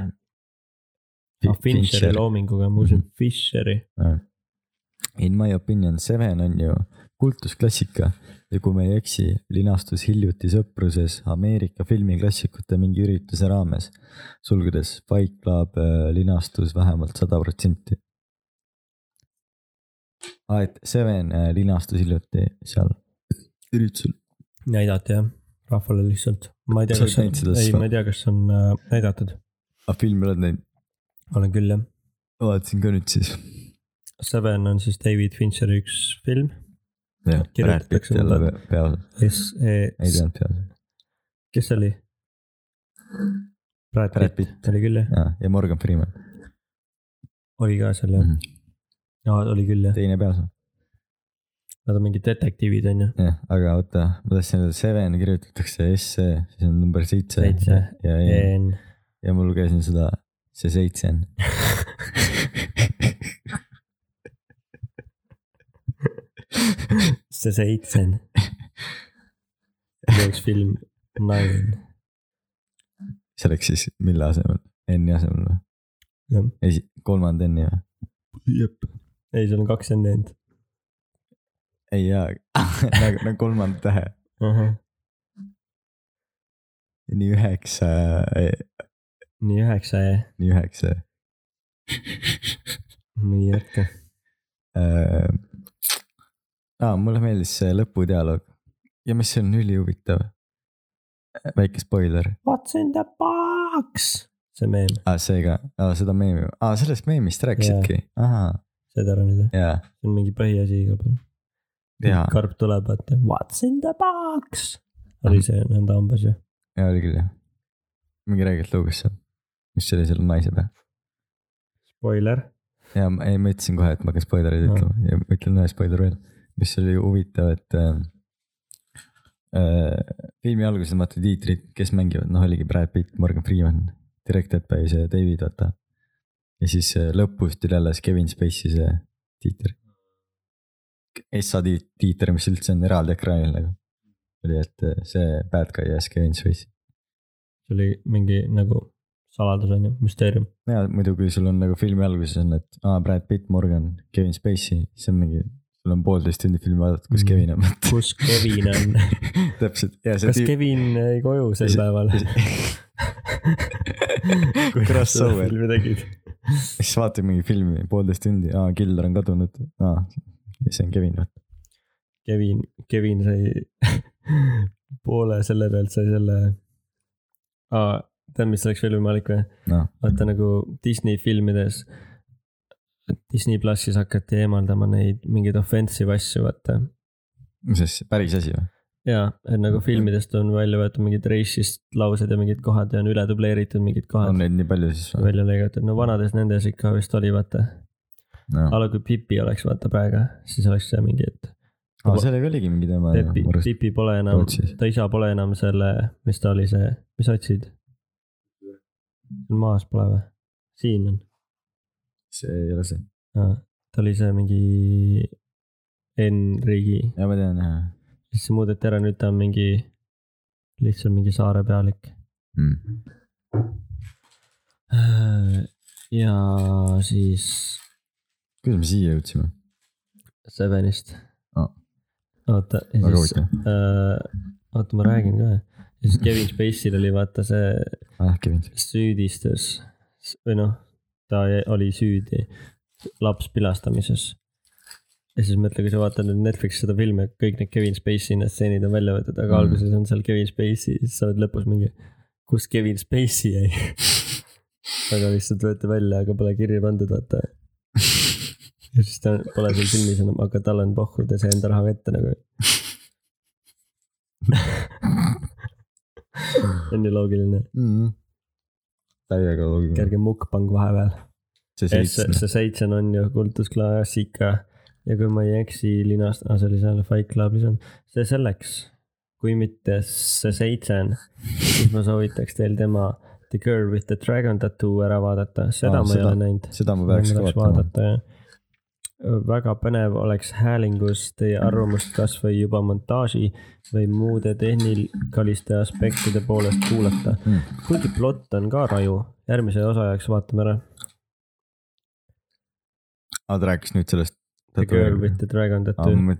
[SPEAKER 1] Ah, Fincheri Mhm. loominguga , ma usun Fisheri .
[SPEAKER 2] In my opinion , Seven on ju kultusklassika ja kui ma ei eksi , linastus hiljuti sõpruses Ameerika filmiklassikute mingi ürituse raames . sulgudes Fight Club äh, linastus vähemalt sada protsenti . aa , et Seven äh, linastus hiljuti seal üritusel .
[SPEAKER 1] näidati jah , rahvale lihtsalt . ma ei tea ,
[SPEAKER 2] Sa
[SPEAKER 1] kas
[SPEAKER 2] oled
[SPEAKER 1] on ,
[SPEAKER 2] näinud seda
[SPEAKER 1] ei ,
[SPEAKER 2] siis
[SPEAKER 1] ma ei tea , kas on äh, näidatud .
[SPEAKER 2] aga Ah, filmi oled näinud ?
[SPEAKER 1] olen küll jah .
[SPEAKER 2] vaatasin ka nüüd siis .
[SPEAKER 1] Seven on siis David Fincheri üks film .
[SPEAKER 2] jah , Brad Pitt
[SPEAKER 1] Kirjutatakse
[SPEAKER 2] jälle
[SPEAKER 1] mulle-
[SPEAKER 2] pe- peaosas ,
[SPEAKER 1] S E
[SPEAKER 2] ei
[SPEAKER 1] S ,
[SPEAKER 2] teadnud peaosas .
[SPEAKER 1] kes see oli ? Brad
[SPEAKER 2] Brad
[SPEAKER 1] Pitt
[SPEAKER 2] Pitt
[SPEAKER 1] oli küll jah ,
[SPEAKER 2] ja , Ah, ja Morgan Freeman ,
[SPEAKER 1] oli ka seal jah
[SPEAKER 2] Mhm. ,
[SPEAKER 1] aa oli küll jah ,
[SPEAKER 2] teine peaosa .
[SPEAKER 1] nad on mingid detektiivid on ju .
[SPEAKER 2] jah , aga oota , ma tahtsin öelda , seven kirjutatakse SE , siis on number seitse .
[SPEAKER 1] Seitse.
[SPEAKER 2] ja , ja ,
[SPEAKER 1] N ,
[SPEAKER 2] ja ma lugesin seda , see seitse on .
[SPEAKER 1] see seitse on . üks film , Nine ,
[SPEAKER 2] see oleks siis mille asemel , N-i asemel või ?
[SPEAKER 1] jah .
[SPEAKER 2] esi- , kolmanda N-i või ?
[SPEAKER 1] jep . ei , seal on kaks enne end
[SPEAKER 2] ei jaa , nagu , nagu kolmanda tähe .
[SPEAKER 1] uh . -huh.
[SPEAKER 2] nii üheksa ,
[SPEAKER 1] nii üheksa E. ja
[SPEAKER 2] nii üheksa .
[SPEAKER 1] nii jätka .
[SPEAKER 2] Äh, aa , mulle meeldis see lõpudialoog ja mis on ülihuvitav . väike spoiler .
[SPEAKER 1] What's in the box ? see meem ,
[SPEAKER 2] aa , seega , aa seda meemi , aa sellest meemist rääkisidki yeah. , ahaa ,
[SPEAKER 1] saad aru nüüd või ?
[SPEAKER 2] jaa ,
[SPEAKER 1] see on mingi põhiasi igal pool .
[SPEAKER 2] jaa ,
[SPEAKER 1] karp tuleb , vaata , what's in the box ? oli see nõnda umbes ju .
[SPEAKER 2] jaa oli küll jah . mingi räägid lugus seal , mis see oli seal naise peal .
[SPEAKER 1] Spoiler .
[SPEAKER 2] ja ma , ei ma ütlesin kohe , et ma hakkan spoilereid
[SPEAKER 1] Aa.
[SPEAKER 2] ütlema ja ma ütlen ühe spoileri veel , mis oli huvitav , et äh, . Äh, filmi alguses vaata tiitrid , kes mängivad , noh oligi Brad Pitt , Morgan Freeman , Directed by see David , vaata . ja siis äh, lõpus tuli alles Kevin Spacey see tiiter . Essa tiit- tiiter , mis üldse on eraldi ekraanil nagu . oli , et äh, see bad guy ja siis Kevin Spacey .
[SPEAKER 1] see oli mingi nagu saladus on ju , müsteerium .
[SPEAKER 2] ja muidu , kui sul on nagu filmi alguses on , et aa , Brad Pitt , Morgan , Kevin Spacey , siis on mingi , sul on poolteist tundi filmi vaadata , kus
[SPEAKER 1] Mhm.
[SPEAKER 2] mm. Kevin on .
[SPEAKER 1] Kus Kevin on? ?
[SPEAKER 2] täpselt ja see
[SPEAKER 1] kas
[SPEAKER 2] tiib-
[SPEAKER 1] Kevin jäi koju sel
[SPEAKER 2] see-
[SPEAKER 1] päeval ?
[SPEAKER 2] Crossover.
[SPEAKER 1] filmi tegid .
[SPEAKER 2] siis vaatab mingi filmi poolteist tundi , aa , Killer on kadunud , aa , see on Kevin , vaata .
[SPEAKER 1] Kevin , Kevin sai poole selle pealt sai selle . tead , mis oleks veel võimalik või ?
[SPEAKER 2] noh ,
[SPEAKER 1] vaata nagu Disney filmides , Disney plussis hakati eemaldama neid mingeid offensive asju , vaata .
[SPEAKER 2] mis asi , päris asi või ?
[SPEAKER 1] ja , et nagu
[SPEAKER 2] Mhm.
[SPEAKER 1] filmidest on välja võetud mingid racist laused ja mingid kohad ja on üle dubleeritud mingid
[SPEAKER 2] on
[SPEAKER 1] kohad
[SPEAKER 2] neid nii palju siis või ?
[SPEAKER 1] välja lõigatud , no vanades nendes ikka vist oli , vaata .
[SPEAKER 2] noh ,
[SPEAKER 1] aga kui Pipi oleks vaata praegu , siis oleks see mingi , et
[SPEAKER 2] aa , sellega oligi mingi teema .
[SPEAKER 1] Pepi , Pipi pole enam
[SPEAKER 2] Rootsis. ,
[SPEAKER 1] ta isa pole enam selle , mis ta oli see , mis sa otsid ? maas pole või ? siin on
[SPEAKER 2] see ei ole see .
[SPEAKER 1] ah, . ta oli see mingi N-riigi ,
[SPEAKER 2] jaa , ma tean jah
[SPEAKER 1] siis see muudeti ära , nüüd ta on mingi , lihtsalt mingi saare pealik .
[SPEAKER 2] mm. .
[SPEAKER 1] Hmm. Äh, ja siis
[SPEAKER 2] kuidas me siia jõudsime ?
[SPEAKER 1] Sevenist
[SPEAKER 2] Aa. .
[SPEAKER 1] oota , ja
[SPEAKER 2] Ah. väga
[SPEAKER 1] siis ,
[SPEAKER 2] huvitav .
[SPEAKER 1] oota ma räägin ka . ja siis Kevin Spacey'l oli vaata see
[SPEAKER 2] ah , Kevin .
[SPEAKER 1] süüdistus s- või noh , ta jä- oli süüdi lapspilastamises . ja siis mõtle , kui sa vaatad nüüd Netflixi seda filmi , kõik need Kevin Spacey need stseenid on välja võetud , aga
[SPEAKER 2] Mm.
[SPEAKER 1] mm. alguses on seal Kevin Spacey , siis sa oled lõpus mingi , kus Kevin Spacey jäi . aga lihtsalt võeti välja , aga pole kirja pandud , vaata . ja siis ta pole seal filmis enam , aga tal on pohhu , ta sai enda raha kätte nagu . on ju loogiline ,
[SPEAKER 2] Mhm. täiega loogiline .
[SPEAKER 1] kerge mukk-pang vahepeal .
[SPEAKER 2] see
[SPEAKER 1] Ja see ,
[SPEAKER 2] seitsme .
[SPEAKER 1] see seitsen on ju kultusklassika ja kui ma ei eksi , linast- , see oli seal Fight Clubis on , see selleks , kui mitte see seitsen , siis ma soovitaks teil tema The Girl with the Dragon Tattoo ära vaadata , seda
[SPEAKER 2] Aa,
[SPEAKER 1] ah, ma ei
[SPEAKER 2] seda-
[SPEAKER 1] ole näinud .
[SPEAKER 2] seda ma
[SPEAKER 1] ma
[SPEAKER 2] peaks
[SPEAKER 1] tahaks
[SPEAKER 2] vaatama .
[SPEAKER 1] vaadata ja väga põnev oleks häälingus teie arvamust kasvõi juba montaaži või muude tehnikaliste aspektide poolest kuulata
[SPEAKER 2] Mm.
[SPEAKER 1] mm. . kuigi plott on ka raju , järgmise osa jaoks vaatame ära
[SPEAKER 2] aa , ta rääkis nüüd sellest .
[SPEAKER 1] The Girl with the Dragon Tattoo .
[SPEAKER 2] tattoo .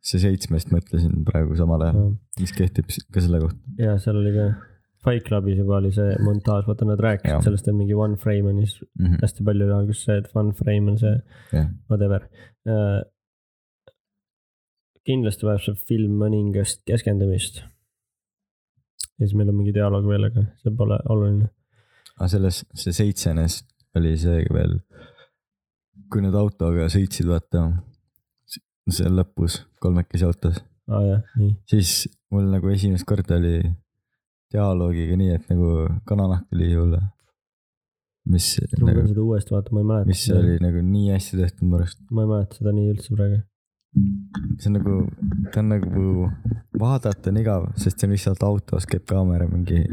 [SPEAKER 2] see seitsmest mõtlesin praegu samal ajal , mis kehtib s- ka selle kohta .
[SPEAKER 1] ja seal oli ka Fight Clubis juba oli see montaaž , vaata nad
[SPEAKER 2] Jah.
[SPEAKER 1] rääkisid sellest , et mingi one frame on siis hästi palju oli alguses see , et one frame on see
[SPEAKER 2] Jah.
[SPEAKER 1] whatever . kindlasti vajab see film mõningast keskendumist . ja siis meil on mingi dialoog veel , aga see pole oluline .
[SPEAKER 2] aga selles , see seitsenes oli see veel , kui nad autoga sõitsid , vaata , seal lõpus , kolmekesi autos ,
[SPEAKER 1] aa Ah, jah , nii .
[SPEAKER 2] siis mul nagu esimest korda oli dialoogiga nii , et nagu kananahk tuli hulle . mis
[SPEAKER 1] ma pean
[SPEAKER 2] nagu ,
[SPEAKER 1] seda uuesti vaatama , ma ei
[SPEAKER 2] mis see
[SPEAKER 1] mäleta .
[SPEAKER 2] oli nagu nii hästi tehtud mu arust ,
[SPEAKER 1] ma ei mäleta seda nii üldse praegu .
[SPEAKER 2] see on nagu , ta on nagu , vaadata on igav , sest see on lihtsalt autos käib kaamera mingi ,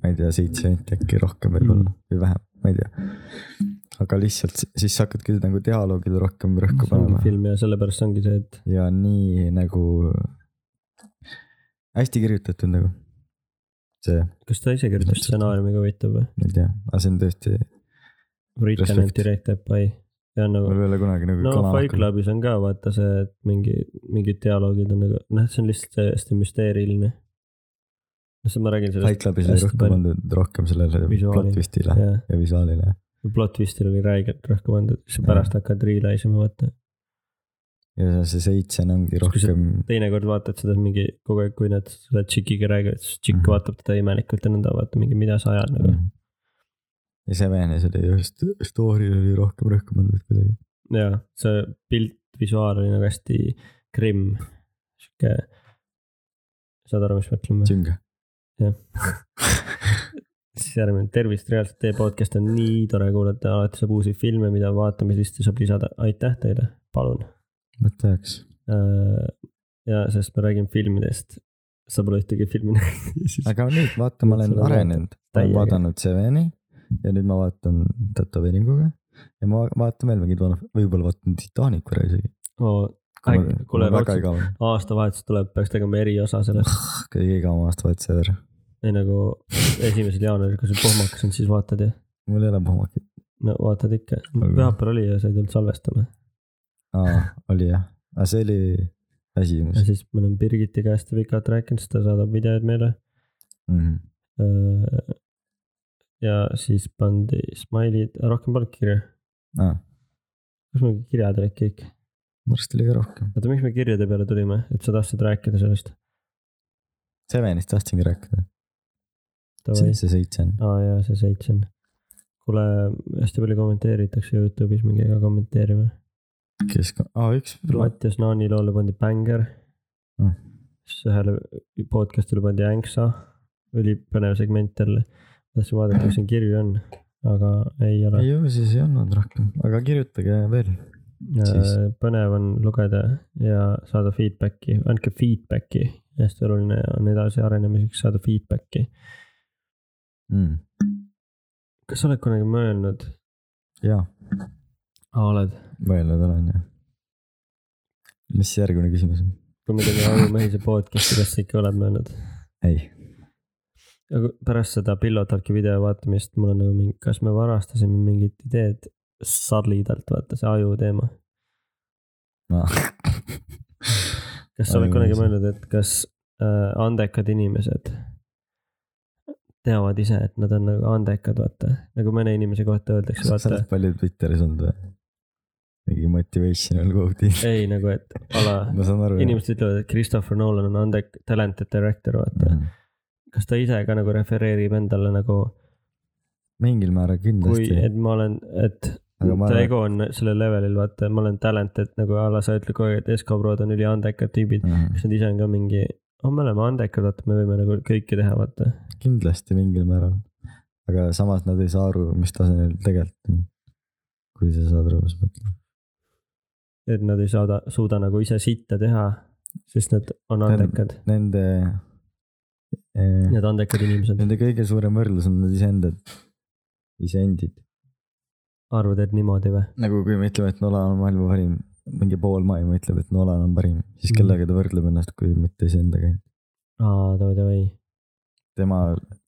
[SPEAKER 2] ma ei tea , seitse senti äkki rohkem võib-olla
[SPEAKER 1] Mm.
[SPEAKER 2] või vähem , ma ei tea . aga lihtsalt s- siis sa hakkadki nagu dialoogile rohkem rõhku
[SPEAKER 1] see ongi
[SPEAKER 2] panema
[SPEAKER 1] film ja sellepärast ongi see , et
[SPEAKER 2] ja nii nagu hästi kirjutatud nagu . see ,
[SPEAKER 1] kas ta ise kirjutas
[SPEAKER 2] Täpselt.
[SPEAKER 1] stsenaariumi ka huvitav või ?
[SPEAKER 2] ma ei tea , aga see on tõesti ,
[SPEAKER 1] Written and
[SPEAKER 2] Respekt.
[SPEAKER 1] directed by . see on nagu
[SPEAKER 2] mul , ei ole kunagi nagu
[SPEAKER 1] no Fight . Clubis on ka vaata see , et mingi , mingid dialoogid on nagu , noh , see on lihtsalt hästi müsteeriline . no see , ma räägin
[SPEAKER 2] Fight
[SPEAKER 1] sellest ,
[SPEAKER 2] Clubis oli
[SPEAKER 1] hästi
[SPEAKER 2] rõhku
[SPEAKER 1] palju.
[SPEAKER 2] pandud rohkem sellele
[SPEAKER 1] Visuaali.
[SPEAKER 2] plot twist'ile ja.
[SPEAKER 1] jaa .
[SPEAKER 2] ja visuaalile .
[SPEAKER 1] plot twist'il oli räigelt rõhku pandud , siis sa pärast hakkad realize ima , vaata .
[SPEAKER 2] ja see seitse ongi
[SPEAKER 1] Kui sa-
[SPEAKER 2] rohkem ,
[SPEAKER 1] teinekord vaatad seda mingi kogu aeg , kui nad selle tšikiga räägivad , siis tšikk
[SPEAKER 2] Mhm.
[SPEAKER 1] vaatab teda imelikult ja nõnda , vaata mingi , mida sa ajad nagu .
[SPEAKER 2] ja see Venes oli just , story oli rohkem rõhku pandud kuidagi .
[SPEAKER 1] jaa , see pilt , visuaal oli nagu hästi krimm , sihuke . saad aru , mis ma ütlen või ?
[SPEAKER 2] Tšinga .
[SPEAKER 1] siis järgmine tervist reaalselt teie podcast on nii tore kuulata , alati saab uusi filme , mida vaatamislisti saab lisada , aitäh teile , palun .
[SPEAKER 2] vot tahaks .
[SPEAKER 1] ja sest ma räägin filmidest , sa pole ühtegi filmi näinud , siis
[SPEAKER 2] aga nüüd vaata , ma olen
[SPEAKER 1] Sa oled
[SPEAKER 2] arenenud , ma olen
[SPEAKER 1] täiega.
[SPEAKER 2] vaadanud Seveni ja nüüd ma vaatan tätoveeringuga ja ma vaatan veel mingeid vana , võib-olla vaatan Titanicu ära isegi .
[SPEAKER 1] oh, Äkki- kuule,
[SPEAKER 2] väga
[SPEAKER 1] raudselt-
[SPEAKER 2] igav ,
[SPEAKER 1] aastavahetus tuleb , peaks tegema eriosa sellest ,
[SPEAKER 2] kõige igavam aastavahetus ever .
[SPEAKER 1] ei nagu esimesel jaanuaril , kui sul pohmakas on , siis vaatad ju ,
[SPEAKER 2] mul ei ole pohmakit .
[SPEAKER 1] no vaatad ikka ,
[SPEAKER 2] Aga-
[SPEAKER 1] pühapäeval oli ja sa ei tulnud salvestama
[SPEAKER 2] aa , oli jah , aga see oli väsimus
[SPEAKER 1] ja siis me oleme Birgitiga hästi pikalt rääkinud , siis ta saadab videoid meile
[SPEAKER 2] mm. .
[SPEAKER 1] Öö, ja siis pandi smile'id , rohkem polnud kirja
[SPEAKER 2] aa ,
[SPEAKER 1] kus meil kirjad olid kõik ?
[SPEAKER 2] minu arust oli ka rohkem .
[SPEAKER 1] oota , miks me kirjade peale tulime , et sa tahtsid rääkida sellest ?
[SPEAKER 2] Sevenist tahtsingi rääkida ,
[SPEAKER 1] Davai
[SPEAKER 2] see , see seitse on .
[SPEAKER 1] aa jaa , see seitse on . kuule , hästi palju kommenteeritakse Youtube'is , minge ka kommenteerima .
[SPEAKER 2] kes , aa üks .
[SPEAKER 1] Mattias Naani loole pandi Bänger
[SPEAKER 2] Mm.
[SPEAKER 1] mm. , siis ühele podcast'ile pandi Änksa , ülipõnev segment jälle . tahtsin vaadata , kas siin kirju on , aga ei ole .
[SPEAKER 2] ju siis ei olnud rohkem , aga kirjutage veel Siis-
[SPEAKER 1] Äh, põnev on lugeda ja saada feedback'i , andke feedback'i , hästi oluline on edasi arenemiseks saada feedback'i .
[SPEAKER 2] mm. .
[SPEAKER 1] kas sa oled kunagi mõelnud ,
[SPEAKER 2] jaa ,
[SPEAKER 1] oled ,
[SPEAKER 2] mõelnud olen jah . mis see järgmine küsimus on ?
[SPEAKER 1] kui me teeme ajumehise podcast'i , kas sa ikka oled mõelnud ?
[SPEAKER 2] ei ,
[SPEAKER 1] aga pärast seda Pillotarki video vaatamist mul on nagu mingi , kas me varastasime mingit ideed Sarlidalt , vaata see aju teema .
[SPEAKER 2] ma .
[SPEAKER 1] kas sa oled kunagi mõelnud , et kas äh, andekad inimesed teavad ise , et nad on nagu andekad , vaata , nagu mõne inimese kohta öeldakse ,
[SPEAKER 2] sa
[SPEAKER 1] vaata
[SPEAKER 2] oled , palju Twitteris olnud või ? mingi motivational quote'i .
[SPEAKER 1] ei nagu , et ala ,
[SPEAKER 2] ma saan aru .
[SPEAKER 1] inimesed ütlevad , et Christopher Nolan on andek- , talented director , vaata .
[SPEAKER 2] Mm.
[SPEAKER 1] kas ta ise ka nagu refereerib endale nagu ,
[SPEAKER 2] mingil määral
[SPEAKER 1] kui ,
[SPEAKER 2] kindlasti ,
[SPEAKER 1] et ma olen , et
[SPEAKER 2] aga ma
[SPEAKER 1] ta
[SPEAKER 2] arvan ,
[SPEAKER 1] ego on sellel levelil , vaata , ma olen talented nagu ala , sa ütled kogu aeg , et Esko Brod on üliandekad tüübid .
[SPEAKER 2] et
[SPEAKER 1] kas nad ise on ka mingi , oh me oleme andekad , vaata , me võime nagu kõike teha , vaata .
[SPEAKER 2] kindlasti mingil määral . aga samas nad ei saa aru , mis tasemel tegelikult on . kui sa saad aru , mis ma mõtlen .
[SPEAKER 1] et nad ei saada , suuda nagu ise sitta teha , sest nad on andekad ,
[SPEAKER 2] Nende eh, ,
[SPEAKER 1] need andekad inimesed
[SPEAKER 2] nende kõige suurem võrdlus on nad iseendad , iseendid .
[SPEAKER 1] arvavad , et niimoodi või ?
[SPEAKER 2] nagu kui me ütleme , et Nolan on maailma parim , mingi pool maailma ütleb , et Nolan on parim , siis
[SPEAKER 1] Mhm.
[SPEAKER 2] kellega ta võrdleb ennast , kui mitte iseendaga .
[SPEAKER 1] aa , davai-davai .
[SPEAKER 2] tema ,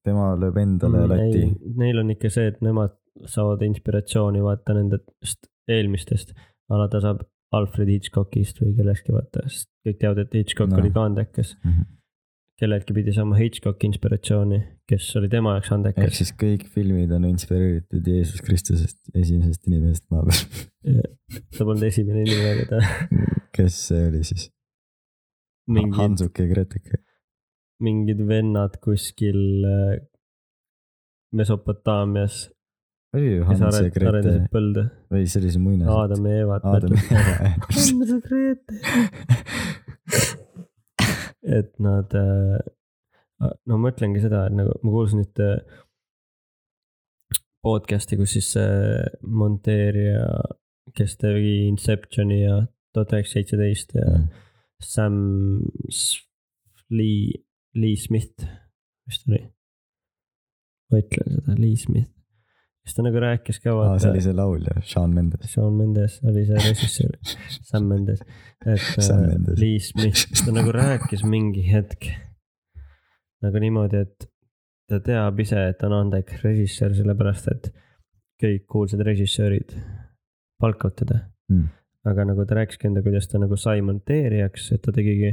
[SPEAKER 2] tema lööb endale mm, lati .
[SPEAKER 1] Neil on ikka see , et nemad saavad inspiratsiooni vaata nendest eelmistest , ala ta saab Alfred Hitchcockist või kellestki vaata , sest kõik teavad , et Hitchcock
[SPEAKER 2] Noh.
[SPEAKER 1] no. oli ka andekas .
[SPEAKER 2] Mhm.
[SPEAKER 1] kelleltki pidi saama Hitchcocki inspiratsiooni , kes oli tema jaoks
[SPEAKER 2] ehk
[SPEAKER 1] andekas .
[SPEAKER 2] siis kõik filmid on inspireeritud Jeesus Kristusest , esimesest inimesest maa peal .
[SPEAKER 1] ta polnud esimene inimene , aga ta
[SPEAKER 2] kes see oli siis ?
[SPEAKER 1] mingid ,
[SPEAKER 2] Hansuke ja Gretuke .
[SPEAKER 1] mingid vennad kuskil äh, Mesopotaamias ,
[SPEAKER 2] oli ju
[SPEAKER 1] kes
[SPEAKER 2] Hans ja
[SPEAKER 1] are-
[SPEAKER 2] Grete
[SPEAKER 1] arendasid põlde ,
[SPEAKER 2] või see oli see muinasjutt .
[SPEAKER 1] Aadam ja Eevat .
[SPEAKER 2] Aadam ja Eeva .
[SPEAKER 1] Andres ja Grete . et nad , no ma mõtlengi seda , et nagu ma kuulsin nüüd äh, podcast'i , kus siis see monteerija , kes tegi Inceptioni ja tuhat üheksasada seitseteist ja
[SPEAKER 2] Mm.
[SPEAKER 1] Sam S- Lee , Lee Smith , mis ta oli ? ma ütlen seda , Lee Smith , siis ta nagu rääkis ka
[SPEAKER 2] aa , Ah, see
[SPEAKER 1] vaata
[SPEAKER 2] oli , see laulja , Sean Mendes .
[SPEAKER 1] Sean Mendes oli see režissöör , Sam Mendes , et
[SPEAKER 2] Sam
[SPEAKER 1] äh,
[SPEAKER 2] Mendes.
[SPEAKER 1] Lee Smith , ta nagu rääkis mingi hetk nagu niimoodi , et ta teab ise , et on andekas režissöör , sellepärast et kõik kuulsad režissöörid palkavad teda
[SPEAKER 2] Mm.
[SPEAKER 1] aga nagu ta rääkiski enda , kuidas ta nagu sai monteerijaks , et ta tegigi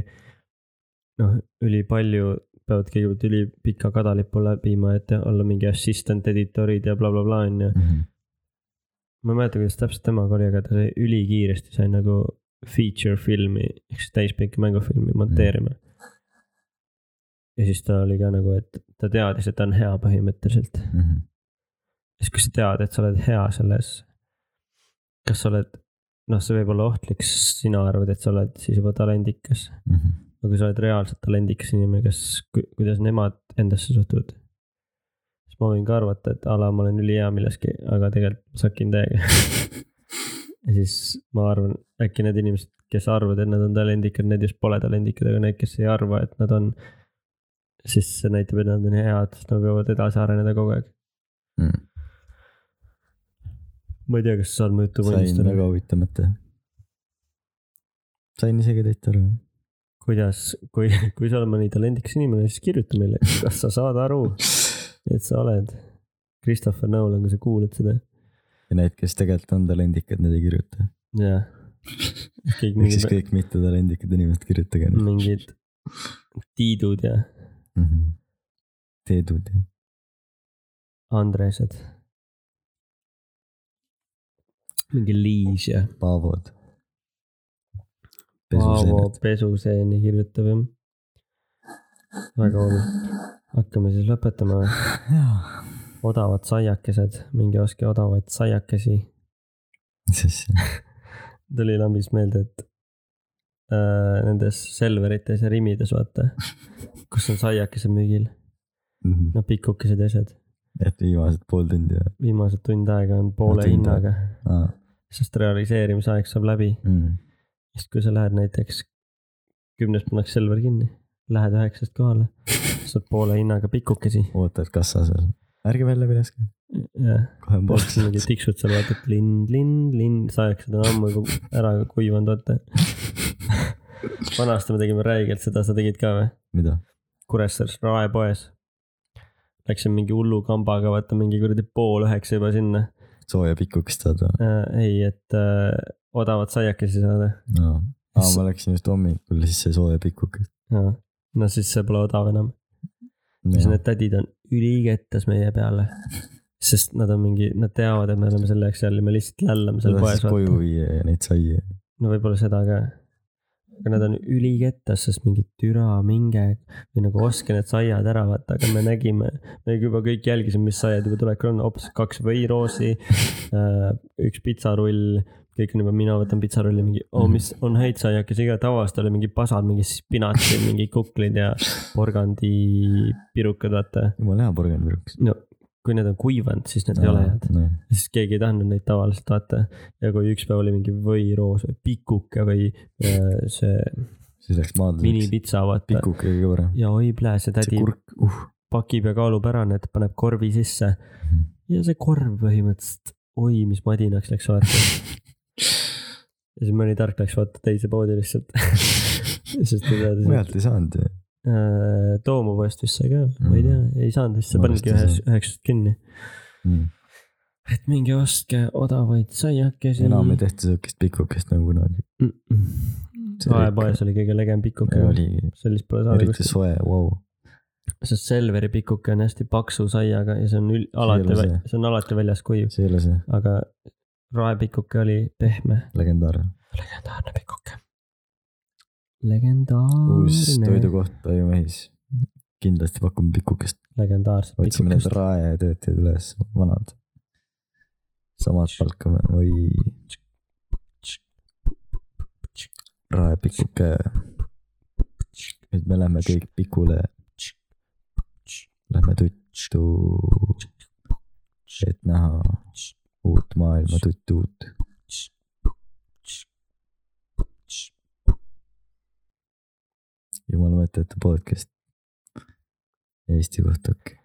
[SPEAKER 1] noh , ülipalju peavad kõigepealt ülipika kadalipu läbima , et olla mingi assistant editorid ja blablabla onju bla, .
[SPEAKER 2] Mhm.
[SPEAKER 1] ma ei mäleta , kuidas täpselt temaga oli , aga ta sai ülikiiresti sai nagu feature filmi ehk siis täispikki mängufilmi monteerima mm. . ja siis ta oli ka nagu , et ta teadis , et ta on hea põhimõtteliselt .
[SPEAKER 2] Mhm.
[SPEAKER 1] siis kui sa tead , et sa oled hea selles , kas sa oled , noh , see võib olla ohtlik , sest sina arvad , et sa oled siis juba talendikas . aga kui sa oled reaalselt talendikas inimene , kas , kuidas nemad endasse suhtuvad ? siis ma võin ka arvata , et ala , ma olen ülihea milleski , aga tegelikult sakin täiega .
[SPEAKER 2] Mm-hmm.
[SPEAKER 1] ja siis ma arvan , äkki need inimesed , kes arvavad , et nad on talendikad , need just pole talendikad , aga need , kes ei arva , et nad on , siis see näitab , et nad on head , sest nad võivad edasi areneda kogu aeg .
[SPEAKER 2] Hmm.
[SPEAKER 1] ma ei tea , kas sa saad mu juttu
[SPEAKER 2] sain
[SPEAKER 1] mõnistada
[SPEAKER 2] väga , huvitav mõte . sain isegi täitsa aru .
[SPEAKER 1] kuidas , kui , kui sa oled mõni talendikas inimene , siis kirjuta meile , kas sa saad aru , et sa oled Christopher Nolan , kui sa kuulad seda .
[SPEAKER 2] ja need , kes tegelikult on talendikad , need ei kirjuta .
[SPEAKER 1] jah . kõik
[SPEAKER 2] ehk siis
[SPEAKER 1] mingid ,
[SPEAKER 2] kõik mittetalendikad inimesed , kirjutage nüüd .
[SPEAKER 1] mingid Tiidud ja
[SPEAKER 2] Mhm. Teedud .
[SPEAKER 1] Andresed . mingi Liis ja
[SPEAKER 2] Paavod .
[SPEAKER 1] Paavo Pesuseeni kirjutab jah . väga oluline . hakkame siis lõpetama .
[SPEAKER 2] jaa ,
[SPEAKER 1] odavad saiakesed , minge ostke odavaid saiakesi .
[SPEAKER 2] mis asja ,
[SPEAKER 1] tuli lambist meelde , et äh, nendes Selverites ja Rimides vaata , kus on saiakesed müügil , no pikukesed ja asjad .
[SPEAKER 2] et viimased Mhm. pool tundi või ?
[SPEAKER 1] viimased tund aega on poole
[SPEAKER 2] tund
[SPEAKER 1] hinnaga . sest realiseerimisaeg saab läbi .
[SPEAKER 2] mm. .
[SPEAKER 1] siis kui sa lähed näiteks , kümnes pannakse Selver kinni , lähed üheksast kohale , saad poole hinnaga pikukesi .
[SPEAKER 2] ootad kassas veel . ärge välja pileske ,
[SPEAKER 1] jah ,
[SPEAKER 2] kohe on
[SPEAKER 1] siis mingi
[SPEAKER 2] pooleks .
[SPEAKER 1] tiksud seal , vaatad linn , linn , linn , sa aeg seda on ammu juba ära kuivanud , vaata . vanasti me tegime räigelt seda , sa tegid ka või ?
[SPEAKER 2] mida ?
[SPEAKER 1] Kuressaares raepoes . Läksin mingi hullu kambaga , vaata mingi kuradi pool üheksa juba sinna
[SPEAKER 2] sooja pikukest saada
[SPEAKER 1] äh, . ei , et äh, odavat saiakesi saada .
[SPEAKER 2] no. ? aa ,
[SPEAKER 1] Sa-
[SPEAKER 2] Noh, ma läksin just hommikul sisse sooja pikukest .
[SPEAKER 1] no siis see pole odav enam .
[SPEAKER 2] Noh,
[SPEAKER 1] siis need tädid on ülikettas meie peale . sest nad on mingi , nad teavad , et me oleme selle jaoks seal ja me lihtsalt lällame seal poes .
[SPEAKER 2] koju viia ja neid saia .
[SPEAKER 1] no võib-olla seda ka . aga nad on ülikettas , sest mingi türa minge või nagu oske need saiad ära vaata , aga me nägime , me juba kõik jälgisime , mis saiad juba tulekul on , hoopis kaks võiroosi , üks pitsarull kõik on juba , mina võtan pitsarulli mingi oh, , mis on häid saiakesi ka , tavaliselt oli mingi pasad , mingi spinatsi , mingi kuklid ja porgandipirukad , vaata .
[SPEAKER 2] jumala hea porgand noh, viruks .
[SPEAKER 1] no kui need on kuivanud , siis need ei ole head .
[SPEAKER 2] no. .
[SPEAKER 1] ja siis keegi ei tahtnud neid tavaliselt vaata . ja kui üks päev oli mingi võiroos või pikuke või äh, see
[SPEAKER 2] siis läks maadluseks .
[SPEAKER 1] minipitsa vaata .
[SPEAKER 2] pikuk oli ka parem .
[SPEAKER 1] ja oi plää , see
[SPEAKER 2] see
[SPEAKER 1] tädi
[SPEAKER 2] kurk , uh .
[SPEAKER 1] pakib ja kaalub ära need , paneb korvi sisse .
[SPEAKER 2] Hmm.
[SPEAKER 1] ja see korv põhimõtteliselt , oi mis madinaks läks vaata . ja siis mõni tark läks vaata teise poodi lihtsalt . sest ta teadis , et
[SPEAKER 2] mujalt ei saanud ju .
[SPEAKER 1] äh, Toomu poest vist sai ka , ma ei tea , ei saanud vist , see
[SPEAKER 2] Hmm. Ma vist
[SPEAKER 1] pannigi
[SPEAKER 2] ei
[SPEAKER 1] ühes
[SPEAKER 2] saanud. ,
[SPEAKER 1] üheksast kinni .
[SPEAKER 2] Mm.
[SPEAKER 1] et minge ostke odavaid saiakesi .
[SPEAKER 2] enam ei tehta siukest pikukest nagu kunagi . See oli
[SPEAKER 1] raepoes oli kõige legem pikuke .
[SPEAKER 2] oligi ,
[SPEAKER 1] sellist pole saada
[SPEAKER 2] eriti
[SPEAKER 1] kuskilt ,
[SPEAKER 2] soe , vau .
[SPEAKER 1] sest Selveri pikuke on hästi paksu saiaga ja see on ül- ,
[SPEAKER 2] ei
[SPEAKER 1] alati
[SPEAKER 2] ole , see.
[SPEAKER 1] see on alati väljas kuiv ,
[SPEAKER 2] see ei ole see
[SPEAKER 1] aga raepikuke oli pehme .
[SPEAKER 2] legendaarne .
[SPEAKER 1] legendaarne pikuke .
[SPEAKER 2] uus
[SPEAKER 1] legendaarne ,
[SPEAKER 2] toidukoht Taimäis . kindlasti pakume pikukest ,
[SPEAKER 1] legendaarset
[SPEAKER 2] otsime need
[SPEAKER 1] pikukest .
[SPEAKER 2] raetöötajad üles , vanad . samad palkame või raepikuke . nüüd me lähme kõik pikule . Lähme tuttu , et näha uut maailma , tuttu uut . jumala mõttetu podcast Eesti kohta , okei .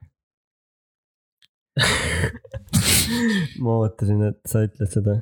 [SPEAKER 1] ma ootasin , et sa ütled seda .